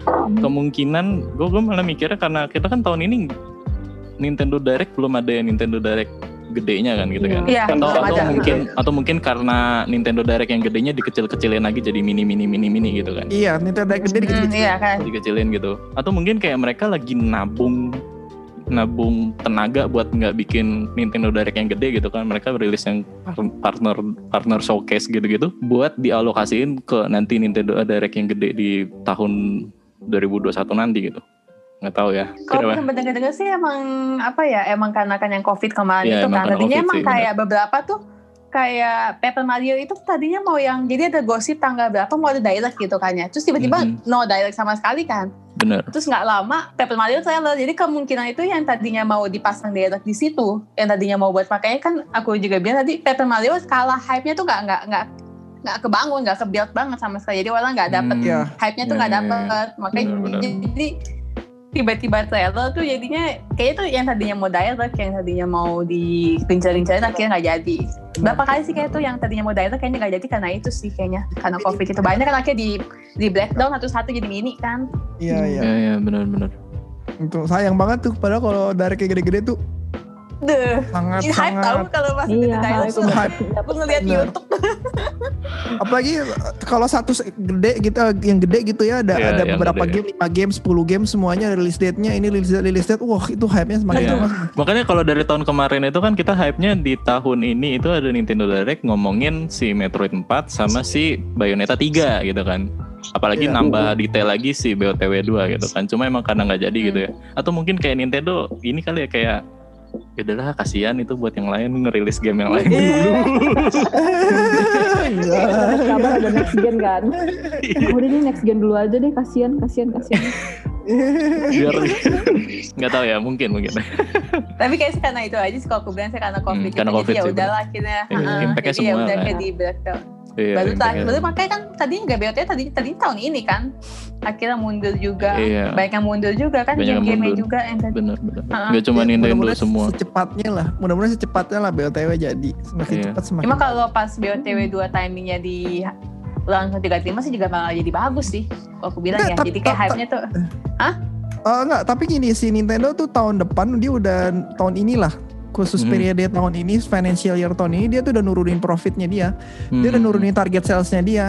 [SPEAKER 4] Hmm.
[SPEAKER 2] Kemungkinan gue gue malah mikirnya karena kita kan tahun ini Nintendo Direct belum ada ya Nintendo Direct gedenya kan gitu kan.
[SPEAKER 4] Iya,
[SPEAKER 2] Atau,
[SPEAKER 4] belum
[SPEAKER 2] atau
[SPEAKER 4] ada.
[SPEAKER 2] mungkin atau mungkin karena Nintendo Direct yang gedenya dikecil-kecilin lagi jadi mini mini mini mini gitu kan
[SPEAKER 3] iya Nintendo Direct gede dikit
[SPEAKER 4] Hmm,
[SPEAKER 3] dikit
[SPEAKER 4] iya kan.
[SPEAKER 2] dikecilin gitu atau mungkin kayak mereka lagi nabung nabung tenaga buat nggak bikin Nintendo Direct yang gede gitu kan mereka rilis yang par- partner partner showcase gitu-gitu buat dialokasiin ke nanti Nintendo Direct yang gede di tahun 2021 nanti gitu nggak tahu ya
[SPEAKER 4] Kalau
[SPEAKER 2] Kenapa?
[SPEAKER 4] yang dengar-dengar sih emang apa ya emang karena kan yang covid kemarin
[SPEAKER 2] Iya,
[SPEAKER 4] itu
[SPEAKER 2] emang
[SPEAKER 4] kan
[SPEAKER 2] karena
[SPEAKER 4] tadinya
[SPEAKER 2] COVID
[SPEAKER 4] emang
[SPEAKER 2] sih,
[SPEAKER 4] kayak beberapa tuh kayak Paper Mario itu tadinya mau yang jadi ada gosip tanggal berapa mau ada direct gitu kan ya terus tiba-tiba
[SPEAKER 2] Mhm.
[SPEAKER 4] no direct sama sekali kan
[SPEAKER 2] bener
[SPEAKER 4] terus nggak lama Paper Mario trailer jadi kemungkinan itu yang tadinya mau dipasang direct di situ yang tadinya mau buat makanya kan aku juga bilang tadi Paper Mario kalah hype-nya tuh nggak nggak nggak nggak kebangun nggak kebuild banget sama sekali jadi orang nggak dapet
[SPEAKER 2] Hmm,
[SPEAKER 3] Iya.
[SPEAKER 4] hype-nya tuh
[SPEAKER 2] Iya,
[SPEAKER 4] nggak
[SPEAKER 2] iya, iya.
[SPEAKER 4] dapet makanya
[SPEAKER 2] Benar, benar.
[SPEAKER 4] jadi tiba-tiba trailer tuh jadinya kayaknya tuh yang tadinya mau direct yang tadinya mau digencar-gencarin akhirnya nggak jadi berapa kali sih kayak tuh yang tadinya mau direct kayaknya nggak jadi karena itu sih kayaknya karena covid itu banyak kan akhirnya di di breakdown satu-satu jadi mini kan
[SPEAKER 3] iya iya
[SPEAKER 2] ya ya bener-bener
[SPEAKER 3] itu sayang banget tuh padahal kalau Direct yang gede-gede tuh
[SPEAKER 4] Duh,
[SPEAKER 3] sangat
[SPEAKER 4] ini hype tau
[SPEAKER 3] sangat
[SPEAKER 4] kalau pas
[SPEAKER 1] Iya,
[SPEAKER 4] iya,
[SPEAKER 1] hype.
[SPEAKER 4] itu
[SPEAKER 3] hype.
[SPEAKER 4] aku ngeliat
[SPEAKER 3] Bener.
[SPEAKER 4] YouTube
[SPEAKER 3] apalagi eh, kalau satu se- gede gitu eh, yang gede gitu ya ada
[SPEAKER 2] Iya,
[SPEAKER 3] ada
[SPEAKER 2] yang
[SPEAKER 3] beberapa
[SPEAKER 2] gede.
[SPEAKER 3] game 5 game 10 game semuanya release date-nya ini release date release date wah itu hype-nya semakin
[SPEAKER 2] Iya.
[SPEAKER 3] lama
[SPEAKER 2] makanya kalau dari tahun kemarin itu kan kita hype-nya di tahun ini itu ada Nintendo Direct ngomongin si Metroid 4 sama si Bayonetta 3 gitu kan apalagi
[SPEAKER 3] Iya.
[SPEAKER 2] nambah detail lagi si BOTW 2 gitu kan cuma emang karena nggak jadi gitu ya
[SPEAKER 3] Hmm.
[SPEAKER 2] atau mungkin kayak Nintendo ini kali ya kayak ya udahlah Iya. kasihan itu buat yang lain ngerilis game yang lain dulu
[SPEAKER 3] Enggak.
[SPEAKER 1] kabar ada next gen kan udah deh next gen dulu aja deh kasihan kasihan kasihan
[SPEAKER 2] biar nggak tahu ya mungkin mungkin
[SPEAKER 4] Tapi kayak sih karena itu aja sih kalau aku bilang sih karena covid.
[SPEAKER 2] Hmm, karena
[SPEAKER 4] Jadi
[SPEAKER 2] COVID
[SPEAKER 4] ya
[SPEAKER 2] sih,
[SPEAKER 4] udahlah akhirnya.
[SPEAKER 2] Iya,
[SPEAKER 4] heeh.
[SPEAKER 2] impact-nya
[SPEAKER 4] Jadi ya
[SPEAKER 2] semua
[SPEAKER 4] udah
[SPEAKER 2] kan.
[SPEAKER 4] kayak di breakdown.
[SPEAKER 2] Iya,
[SPEAKER 4] baru
[SPEAKER 2] impact-nya.
[SPEAKER 4] terakhir, baru makanya kan tadi nggak BOT tadi tadi tahun ini kan akhirnya mundur juga.
[SPEAKER 2] Iya.
[SPEAKER 4] Banyak yang mundur juga kan
[SPEAKER 2] Banyak yang
[SPEAKER 4] game-game
[SPEAKER 2] mundur.
[SPEAKER 4] juga yang tadi.
[SPEAKER 2] bener bener
[SPEAKER 4] Ah,
[SPEAKER 2] nggak cuma
[SPEAKER 3] Ya,
[SPEAKER 2] Nintendo
[SPEAKER 3] mudah-mudahan
[SPEAKER 2] semua
[SPEAKER 3] Secepatnya lah, mudah-mudahan secepatnya lah BOTW jadi semakin
[SPEAKER 2] Iya.
[SPEAKER 3] cepat semakin.
[SPEAKER 4] Cuma kalau pas BOTW 2 timingnya di langsung 35 sih juga bakal jadi bagus sih. Kalau aku bilang
[SPEAKER 3] Nggak,
[SPEAKER 4] ya,
[SPEAKER 3] tapi-
[SPEAKER 4] jadi kayak
[SPEAKER 3] tapi-
[SPEAKER 4] hype-nya tuh
[SPEAKER 3] Eh, enggak, tapi gini si Nintendo tuh tahun depan dia udah tahun inilah
[SPEAKER 2] Mhm.
[SPEAKER 3] khusus periode tahun ini financial year tahun ini dia tuh udah nurunin profitnya dia. Dia udah
[SPEAKER 2] Hmm.
[SPEAKER 3] nurunin target salesnya dia.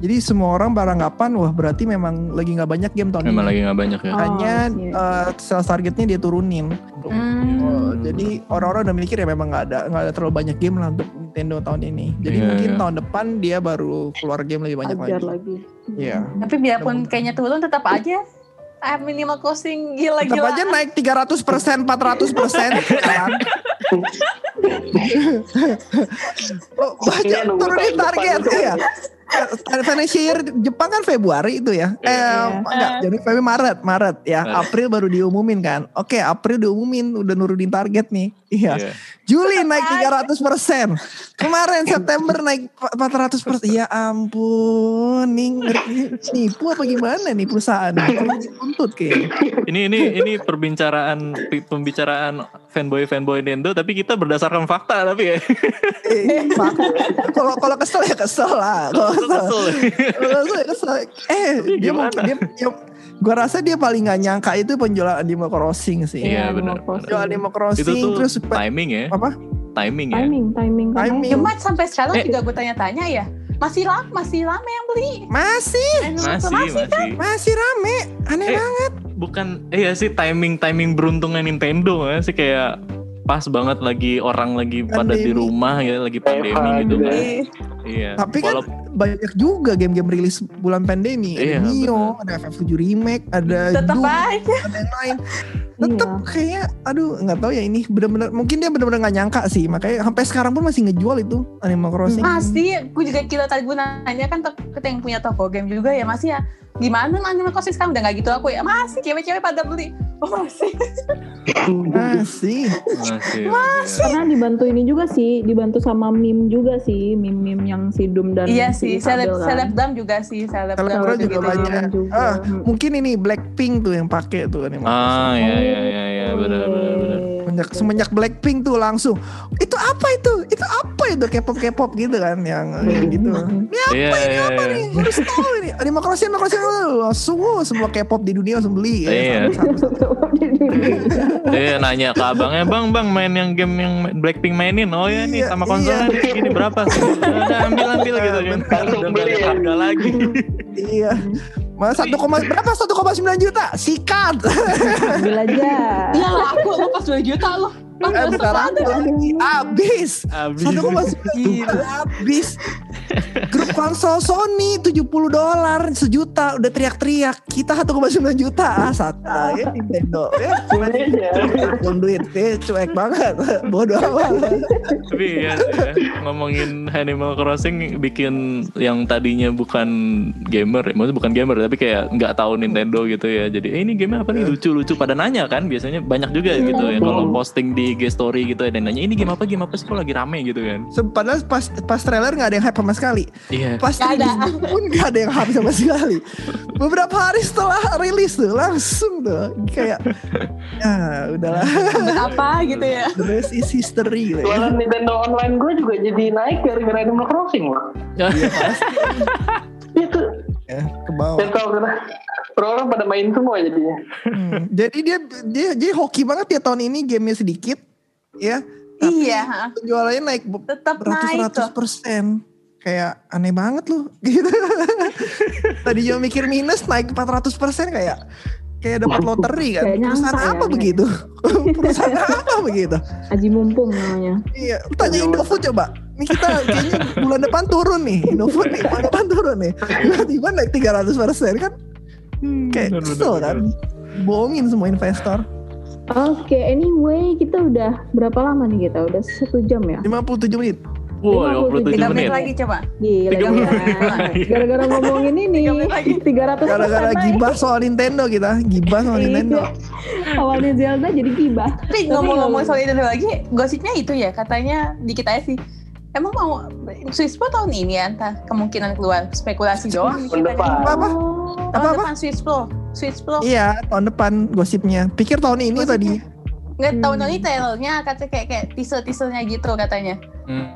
[SPEAKER 3] Jadi semua orang beranggapan wah berarti memang lagi nggak banyak game tahun
[SPEAKER 2] memang
[SPEAKER 3] ini.
[SPEAKER 2] lagi nggak banyak ya
[SPEAKER 1] Oh,
[SPEAKER 3] Hanya
[SPEAKER 1] iya.
[SPEAKER 3] eh, sales targetnya dia turunin.
[SPEAKER 4] hmm,
[SPEAKER 3] Oh, jadi orang-orang udah mikir ya memang nggak ada nggak ada terlalu banyak game lah untuk Nintendo tahun ini. Jadi
[SPEAKER 2] Iya,
[SPEAKER 3] mungkin
[SPEAKER 2] iya.
[SPEAKER 3] tahun depan dia baru keluar game lebih banyak
[SPEAKER 1] ajar
[SPEAKER 3] lagi.
[SPEAKER 1] lagi
[SPEAKER 3] Iya.
[SPEAKER 4] tapi biarpun kayaknya turun tetap aja ah, minimal closing
[SPEAKER 3] Tetap
[SPEAKER 4] gila-gila.
[SPEAKER 3] aja naik 300 persen, 400 persen. oh, banyak
[SPEAKER 5] Iya, nunggu
[SPEAKER 3] turunin
[SPEAKER 5] tahun depan
[SPEAKER 3] target
[SPEAKER 5] itu.
[SPEAKER 3] ya. Financial year Jepang kan Februari itu ya. Eh,
[SPEAKER 1] Iya.
[SPEAKER 3] enggak, jadi Februari Maret, Maret ya.
[SPEAKER 2] Maret.
[SPEAKER 3] April baru diumumin kan. Oke, April diumumin udah nurunin target nih. Iya.
[SPEAKER 2] Iya.
[SPEAKER 3] Juli naik 300 persen. Kemarin September naik 400 persen. Ya ampun, nih ngeri- nipu apa gimana nih perusahaan? Tuntut kayaknya.
[SPEAKER 2] ini ini ini perbincangan pembicaraan fanboy fanboy Nintendo tapi kita berdasarkan fakta tapi ya
[SPEAKER 3] Eh, fuck. Kalau kalau kesel ya kesel lah. Kalau
[SPEAKER 2] Kesel,
[SPEAKER 3] kesel,
[SPEAKER 2] kesel.
[SPEAKER 3] kalau kesel, ya kesel. Eh,
[SPEAKER 2] Tapi
[SPEAKER 3] dia mau
[SPEAKER 2] gimana?
[SPEAKER 3] dia, dia gua rasa dia paling gak nyangka itu penjualan Animal Crossing sih.
[SPEAKER 1] Iya,
[SPEAKER 2] Iya, benar,
[SPEAKER 1] Animal Crossing.
[SPEAKER 3] Penjualan Animal Crossing
[SPEAKER 2] itu tuh
[SPEAKER 3] terus
[SPEAKER 2] timing ya
[SPEAKER 3] apa?
[SPEAKER 2] timing ya
[SPEAKER 1] timing timing kan.
[SPEAKER 3] Timing.
[SPEAKER 1] timing
[SPEAKER 4] Cuma sampai sekarang
[SPEAKER 2] Eh.
[SPEAKER 4] juga gue tanya-tanya ya, masih lama, masih lama yang beli.
[SPEAKER 3] masih
[SPEAKER 2] masih masih,
[SPEAKER 3] masih rame.
[SPEAKER 2] Eh,
[SPEAKER 3] Aneh banget.
[SPEAKER 2] bukan iya sih timing timing beruntungnya Nintendo ya sih kayak pas banget lagi orang lagi pada di
[SPEAKER 3] Pandemi.
[SPEAKER 2] rumah ya lagi pandemi
[SPEAKER 5] Pandemi.
[SPEAKER 2] gitu kan
[SPEAKER 4] Iya.
[SPEAKER 2] iya
[SPEAKER 3] Tapi kan
[SPEAKER 2] Walaupun-
[SPEAKER 3] banyak juga game-game rilis bulan pandemi.
[SPEAKER 2] Iya,
[SPEAKER 3] Ada Nio, ada FF7 remake, ada
[SPEAKER 4] Tetap
[SPEAKER 3] Doom,
[SPEAKER 4] aja.
[SPEAKER 3] ada yang lain. Tetap
[SPEAKER 1] Iya.
[SPEAKER 3] kayaknya aduh nggak tahu ya ini benar-benar mungkin dia benar-benar nggak nyangka sih. Makanya sampai sekarang pun masih ngejual itu Animal Crossing.
[SPEAKER 1] Hmm.
[SPEAKER 4] Masih, gue juga kira tadi gue nanya kan tok- kita yang punya toko game juga ya masih ya. Gimana mana kosis sekarang udah gak gitu aku ya masih cewek-cewek pada beli. Oh masih.
[SPEAKER 3] Masih.
[SPEAKER 2] masih ya. masih
[SPEAKER 1] karena dibantu ini juga sih dibantu sama meme juga sih meme meme yang si Doom dan
[SPEAKER 4] iya
[SPEAKER 1] si
[SPEAKER 4] sih,
[SPEAKER 1] Isabel
[SPEAKER 4] seleb
[SPEAKER 1] kan.
[SPEAKER 4] selebgram juga sih, selebgram
[SPEAKER 3] Selebgram juga
[SPEAKER 4] gitu.
[SPEAKER 3] banyak.
[SPEAKER 1] juga.
[SPEAKER 3] Ah,
[SPEAKER 1] Hmm.
[SPEAKER 3] mungkin ini Blackpink tuh yang pakai tuh Animal
[SPEAKER 2] ah
[SPEAKER 3] Crossing.
[SPEAKER 2] ya ya ya ya benar benar benar
[SPEAKER 3] Semenjak, semenjak Blackpink tuh langsung itu apa itu? Itu apa itu K-pop K-pop gitu kan yang yang
[SPEAKER 1] Hmm.
[SPEAKER 3] gitu. Ini apa
[SPEAKER 2] Iya,
[SPEAKER 3] ini
[SPEAKER 2] iya,
[SPEAKER 3] apa
[SPEAKER 2] iya.
[SPEAKER 3] nih? Gua harus tahu ini. Animal Crossing, Animal Crossing langsung oh, semua K-pop di dunia langsung beli. ya.
[SPEAKER 2] Iya.
[SPEAKER 3] Satu-satu.
[SPEAKER 2] eh nanya ke abangnya bang bang main yang game yang Blackpink mainin oh ya nih
[SPEAKER 3] Iya,
[SPEAKER 2] sama konsolnya
[SPEAKER 3] iya.
[SPEAKER 2] nih, ini berapa sih udah ambil ambil gitu kan
[SPEAKER 5] Bentar.
[SPEAKER 2] udah nggak ada harga lagi
[SPEAKER 3] Iya. Mas satu koma berapa? 1,9 juta. Sikat.
[SPEAKER 1] Ambil aja.
[SPEAKER 4] Iya lah aku lepas 2 juta loh. Pas
[SPEAKER 3] Eh,
[SPEAKER 4] eh,
[SPEAKER 3] bentar lagi, lagi. Abis.
[SPEAKER 2] Habis.
[SPEAKER 3] 1,9 juta abis. Grup konsol Sony 70 dolar sejuta udah teriak-teriak. Kita 1,9 juta. Ah, sata ya Nintendo. Ya, cuman buang duit. Ya, cuek banget. Bodoh amat.
[SPEAKER 2] Tapi ya, ya, ngomongin Animal Crossing bikin yang tadinya bukan gamer, ya. maksudnya bukan gamer tapi kayak nggak tahu Nintendo gitu ya. Jadi eh, ini game apa
[SPEAKER 3] Iya.
[SPEAKER 2] nih lucu-lucu pada nanya kan biasanya banyak juga gitu ya kalau posting di IG story gitu ya dan nanya ini game apa game apa sih kok lagi rame gitu kan.
[SPEAKER 3] Se- Padahal pas, pas trailer gak ada yang hype sama sekali.
[SPEAKER 2] Iya.
[SPEAKER 3] Pas
[SPEAKER 4] Gak ada.
[SPEAKER 3] rilis pun gak ada yang hype sama sekali. Beberapa hari setelah rilis tuh langsung tuh kayak ya udahlah
[SPEAKER 4] apa gitu ya.
[SPEAKER 3] the rest is history gitu ya.
[SPEAKER 5] Jualan Nintendo online gue juga jadi naik gara-gara Animal Crossing loh.
[SPEAKER 2] Iya.
[SPEAKER 5] Itu
[SPEAKER 3] Ya, ke bawah.
[SPEAKER 5] dan Oh. kalau kena orang pada main semua jadinya.
[SPEAKER 3] Hmm. Jadi dia dia jadi hoki banget ya tahun ini gamenya sedikit ya. Tapi
[SPEAKER 4] Iya,
[SPEAKER 3] Penjualannya naik be-
[SPEAKER 4] tetap naik
[SPEAKER 3] beratus-ratus
[SPEAKER 4] tuh.
[SPEAKER 3] persen. Kayak aneh banget loh gitu. Tadi juga mikir minus naik 400 persen kayak kayak dapat loteri kan.
[SPEAKER 1] Kayak nyangka
[SPEAKER 3] Perusahaan
[SPEAKER 1] ya,
[SPEAKER 3] apa
[SPEAKER 1] kayak.
[SPEAKER 3] begitu? Perusahaan apa begitu?
[SPEAKER 1] Aji mumpung namanya.
[SPEAKER 3] Iya, tanya Indofood coba. Ini kita kayaknya bulan depan turun nih. Indofood nih, bulan depan turun nih. Nah, Tiba-tiba naik 300 persen kan. Kayak
[SPEAKER 2] Hmm, bener,
[SPEAKER 3] kesel
[SPEAKER 2] bener,
[SPEAKER 3] kan. Bohongin semua investor.
[SPEAKER 1] Oke, anyway kita udah berapa lama nih kita? Udah satu jam ya?
[SPEAKER 3] 57 menit.
[SPEAKER 2] Wah,
[SPEAKER 1] 57
[SPEAKER 2] 57
[SPEAKER 4] Tiga menit
[SPEAKER 2] menit.
[SPEAKER 4] lagi coba.
[SPEAKER 1] Gila,
[SPEAKER 2] Tiga
[SPEAKER 1] gara-gara-
[SPEAKER 2] menit.
[SPEAKER 1] gara-gara ngomongin ini
[SPEAKER 4] Tiga menit lagi.
[SPEAKER 1] 300
[SPEAKER 3] Gara-gara
[SPEAKER 1] pesan,
[SPEAKER 3] gibah soal Nintendo kita, gibah soal
[SPEAKER 1] Nay.
[SPEAKER 3] Nintendo.
[SPEAKER 1] Iya. awalnya Zelda jadi gibah
[SPEAKER 4] Tapi ngomong-ngomong soal itu lagi, gosipnya itu ya katanya dikit aja sih. Emang mau Swiss Pro tahun ini ya, entah kemungkinan keluar spekulasi doang.
[SPEAKER 5] Tahun depan.
[SPEAKER 4] Tahun
[SPEAKER 3] Apa?
[SPEAKER 1] Oh.
[SPEAKER 3] Apa, apa?
[SPEAKER 4] depan Swiss Pro, Swiss Pro.
[SPEAKER 3] Iya, tahun depan gosipnya. Pikir tahun ini
[SPEAKER 4] Gosipnya.
[SPEAKER 3] tadi.
[SPEAKER 4] Nggak tahun
[SPEAKER 1] Hmm.
[SPEAKER 4] ini trailernya katanya kayak kayak teaser teasernya gitu katanya.
[SPEAKER 2] Hmm.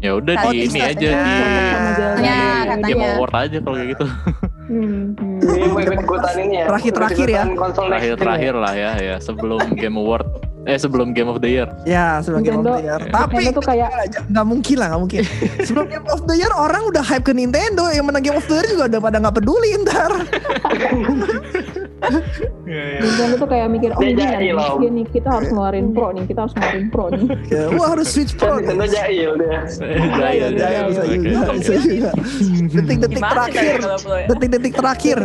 [SPEAKER 2] Ya udah
[SPEAKER 4] Oh,
[SPEAKER 2] di ini
[SPEAKER 4] teaser.
[SPEAKER 2] aja di
[SPEAKER 3] Eh,
[SPEAKER 1] Sama Zelda.
[SPEAKER 3] Iya,
[SPEAKER 4] Ya,
[SPEAKER 2] game
[SPEAKER 4] katanya.
[SPEAKER 2] award aja kalau kayak gitu.
[SPEAKER 1] Hmm, hmm.
[SPEAKER 5] Jadi mau ikut-ikutan ini ya.
[SPEAKER 3] Terakhir-terakhir ya.
[SPEAKER 5] ikut-ikutan Konsol next gen ya.
[SPEAKER 2] Terakhir-terakhir lah ya, ya sebelum game award eh sebelum game of the year.
[SPEAKER 3] Ya, sebelum Game of
[SPEAKER 1] Nintendo-
[SPEAKER 3] the Year. Tapi
[SPEAKER 1] Nintendo tuh kayak-
[SPEAKER 3] aja, nggak mungkin lah, nggak mungkin. Sebelum Game of the Year orang udah hype ke Nintendo, yang menang Game of the Year juga udah pada nggak peduli ntar.
[SPEAKER 1] Nintendo tuh kayak mikir oh
[SPEAKER 5] Dia
[SPEAKER 1] ini
[SPEAKER 5] jahil,
[SPEAKER 1] ada
[SPEAKER 5] Om.
[SPEAKER 1] game nih kita harus ngeluarin pro nih kita harus ngeluarin pro nih
[SPEAKER 3] Ya, Wah harus Switch
[SPEAKER 5] Kan
[SPEAKER 3] Pro. nih.
[SPEAKER 5] Nintendo jahil dia.
[SPEAKER 2] Jaya,
[SPEAKER 3] Ya, ya, bisa
[SPEAKER 2] Oke,
[SPEAKER 3] juga,
[SPEAKER 2] oke.
[SPEAKER 3] bisa juga. Detik-detik
[SPEAKER 4] Gimana sih
[SPEAKER 3] terakhir.
[SPEAKER 4] kayak kalau Pro ya?
[SPEAKER 3] Detik-detik terakhir,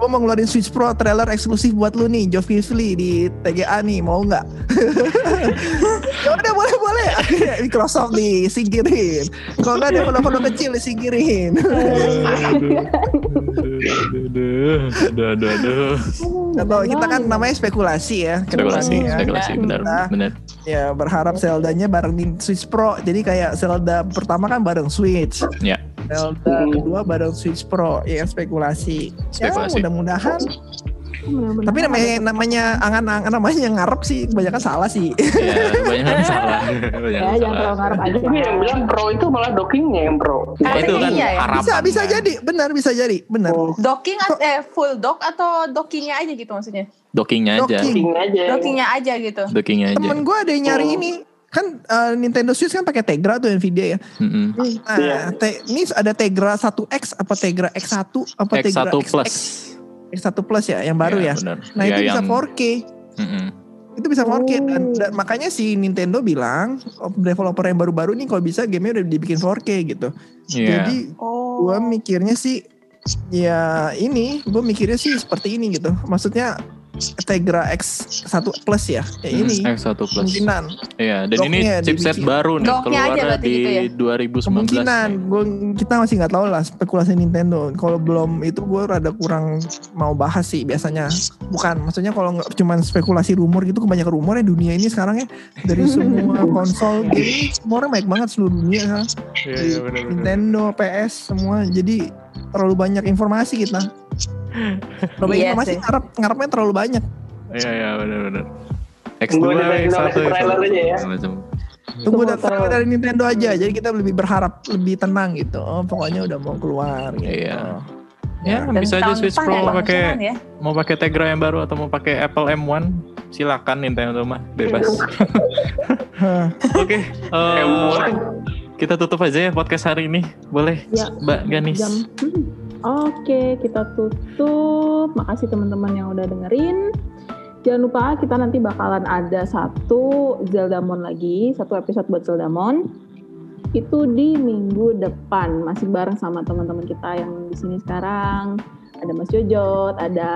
[SPEAKER 3] gue mau ngeluarin Switch Pro trailer eksklusif buat lu nih, Joe Fifley di TGA nih, mau nggak? ya udah boleh boleh. Akhirnya Microsoft disingkirin. Kalau nggak developer kecil disingkirin.
[SPEAKER 2] Aduh, aduh, aduh.
[SPEAKER 3] Gak tahu, kita kan
[SPEAKER 1] Iya,
[SPEAKER 3] namanya spekulasi ya.
[SPEAKER 2] Spekulasi,
[SPEAKER 3] Kedepannya ya.
[SPEAKER 2] spekulasi, benar,
[SPEAKER 3] Nah,
[SPEAKER 2] benar.
[SPEAKER 3] Ya berharap Zelda-nya bareng Nin- Switch Pro. Jadi kayak Zelda pertama kan bareng Switch.
[SPEAKER 2] Ya.
[SPEAKER 3] Zelda
[SPEAKER 5] Hmm.
[SPEAKER 3] kedua bareng Switch Pro. Ya kan spekulasi.
[SPEAKER 2] Spekulasi.
[SPEAKER 3] Ya mudah-mudahan.
[SPEAKER 1] Bener-bener. Iya,
[SPEAKER 3] Tapi namanya namanya angan-angan namanya ngarep sih kebanyakan salah sih.
[SPEAKER 2] Ya, banyak yang salah. Banyak
[SPEAKER 1] ya jangan
[SPEAKER 2] yang salah.
[SPEAKER 1] terlalu ngarep aja ya.
[SPEAKER 5] Tapi yang bilang pro itu malah dockingnya yang pro.
[SPEAKER 4] Ah,
[SPEAKER 2] Itu kan
[SPEAKER 4] Iya, ya.
[SPEAKER 2] harapan.
[SPEAKER 3] bisa bisa
[SPEAKER 2] kan.
[SPEAKER 3] jadi, benar bisa jadi, benar.
[SPEAKER 5] Oh,
[SPEAKER 4] Docking at- eh full dock atau dockingnya aja gitu maksudnya?
[SPEAKER 2] Dockingnya aja.
[SPEAKER 3] Docking.
[SPEAKER 5] Docking aja.
[SPEAKER 4] Dockingnya aja gitu.
[SPEAKER 2] Dockingnya aja.
[SPEAKER 3] Temen gue ada yang nyari
[SPEAKER 5] Oh.
[SPEAKER 3] ini kan eh, Nintendo Switch kan pakai Tegra tuh Nvidia ya.
[SPEAKER 2] Mm-mm.
[SPEAKER 3] Nah,
[SPEAKER 5] Iya.
[SPEAKER 3] te- ini ada Tegra 1X apa Tegra X1 apa Tegra
[SPEAKER 2] X1 Plus.
[SPEAKER 3] X1 Plus ya yang baru ya.
[SPEAKER 2] benar.
[SPEAKER 3] Nah
[SPEAKER 2] Ya,
[SPEAKER 3] itu bisa
[SPEAKER 2] yang-
[SPEAKER 3] 4K.
[SPEAKER 2] Mm-mm.
[SPEAKER 3] Itu bisa 4K dan,
[SPEAKER 1] Oh.
[SPEAKER 3] dan makanya si Nintendo bilang oh, developer yang baru-baru ini kalau bisa gamenya udah dibikin 4K gitu.
[SPEAKER 2] Iya.
[SPEAKER 3] Jadi
[SPEAKER 4] Oh.
[SPEAKER 3] gue mikirnya sih ya ini gue mikirnya sih seperti ini gitu. Maksudnya Tegra X1 Plus ya. Ya
[SPEAKER 2] Mm,
[SPEAKER 3] ini
[SPEAKER 2] X1 Plus.
[SPEAKER 3] kemungkinan
[SPEAKER 2] Iya, dan ini
[SPEAKER 3] Docknya
[SPEAKER 2] chipset
[SPEAKER 3] dibikin.
[SPEAKER 2] baru nih
[SPEAKER 4] Docknya aja
[SPEAKER 2] keluar
[SPEAKER 4] berarti
[SPEAKER 2] di
[SPEAKER 4] gitu ya?
[SPEAKER 2] 2019.
[SPEAKER 3] kemungkinan gue kita masih nggak tahu lah spekulasi Nintendo kalau belum itu gue rada kurang mau bahas sih biasanya bukan maksudnya kalau nggak cuman spekulasi rumor gitu kebanyakan rumornya dunia ini sekarang ya dari semua konsol game rumornya banyak banget seluruh dunia sekarang.
[SPEAKER 2] Iya,
[SPEAKER 3] Di Nintendo PS semua jadi terlalu banyak informasi kita terlalu banyak
[SPEAKER 4] Iya
[SPEAKER 3] informasi
[SPEAKER 4] sih.
[SPEAKER 3] ngarep ngarepnya terlalu banyak
[SPEAKER 2] Iya, iya, benar-benar.
[SPEAKER 5] Gua udah
[SPEAKER 2] X2, X1,
[SPEAKER 5] nonton trailer aja ya.
[SPEAKER 2] Macam.
[SPEAKER 3] tunggu
[SPEAKER 1] Semua
[SPEAKER 3] dat- tunggu
[SPEAKER 1] terlalu-
[SPEAKER 3] dari Nintendo aja jadi kita lebih berharap lebih tenang gitu oh, pokoknya udah mau keluar gitu.
[SPEAKER 2] Iya. Ya,
[SPEAKER 4] Dan
[SPEAKER 2] bisa aja
[SPEAKER 4] tahun
[SPEAKER 2] Switch
[SPEAKER 4] depan
[SPEAKER 2] Pro
[SPEAKER 4] ada
[SPEAKER 2] pakai
[SPEAKER 4] kemungkinan ya.
[SPEAKER 2] mau pakai Tegra yang baru atau mau pakai Apple M1 silakan Nintendo mah bebas.
[SPEAKER 3] Hah.
[SPEAKER 2] Oke, eh,
[SPEAKER 5] M1.
[SPEAKER 2] kita tutup aja ya podcast hari ini. Boleh
[SPEAKER 1] Ya.
[SPEAKER 2] Mbak Ganis.
[SPEAKER 1] Jam. Hmm. Oke, kita tutup. Makasih teman-teman yang udah dengerin. Jangan lupa kita nanti bakalan ada satu Zeldamon lagi, satu episode buat Zeldamon. Itu di minggu depan, masih bareng sama teman-teman kita yang di sini sekarang. Ada Mas Jojot, ada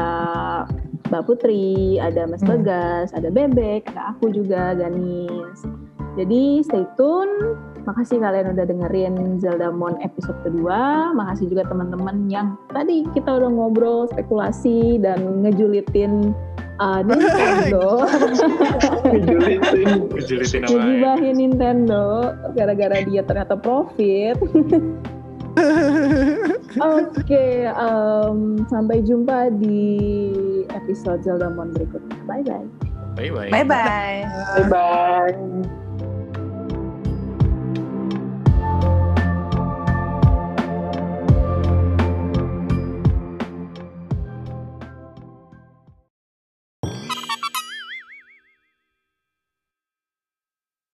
[SPEAKER 1] Mbak Putri, ada Mas
[SPEAKER 3] Hmm.
[SPEAKER 1] Bagas, ada Bebek, ada aku juga, Ganis. Jadi stay tune, Makasih kalian udah dengerin Zelda Mon episode kedua. Makasih juga teman-teman yang tadi kita udah ngobrol, spekulasi dan ngejulitin uh, Nintendo,
[SPEAKER 5] Dijulitin.
[SPEAKER 2] Kejulitin
[SPEAKER 1] ngegibahin ya, Nintendo gara-gara dia ternyata profit. Oke, em, sampai jumpa di episode Zelda Mon berikutnya. Bye bye.
[SPEAKER 2] Bye bye.
[SPEAKER 4] Bye bye.
[SPEAKER 5] Bye-bye.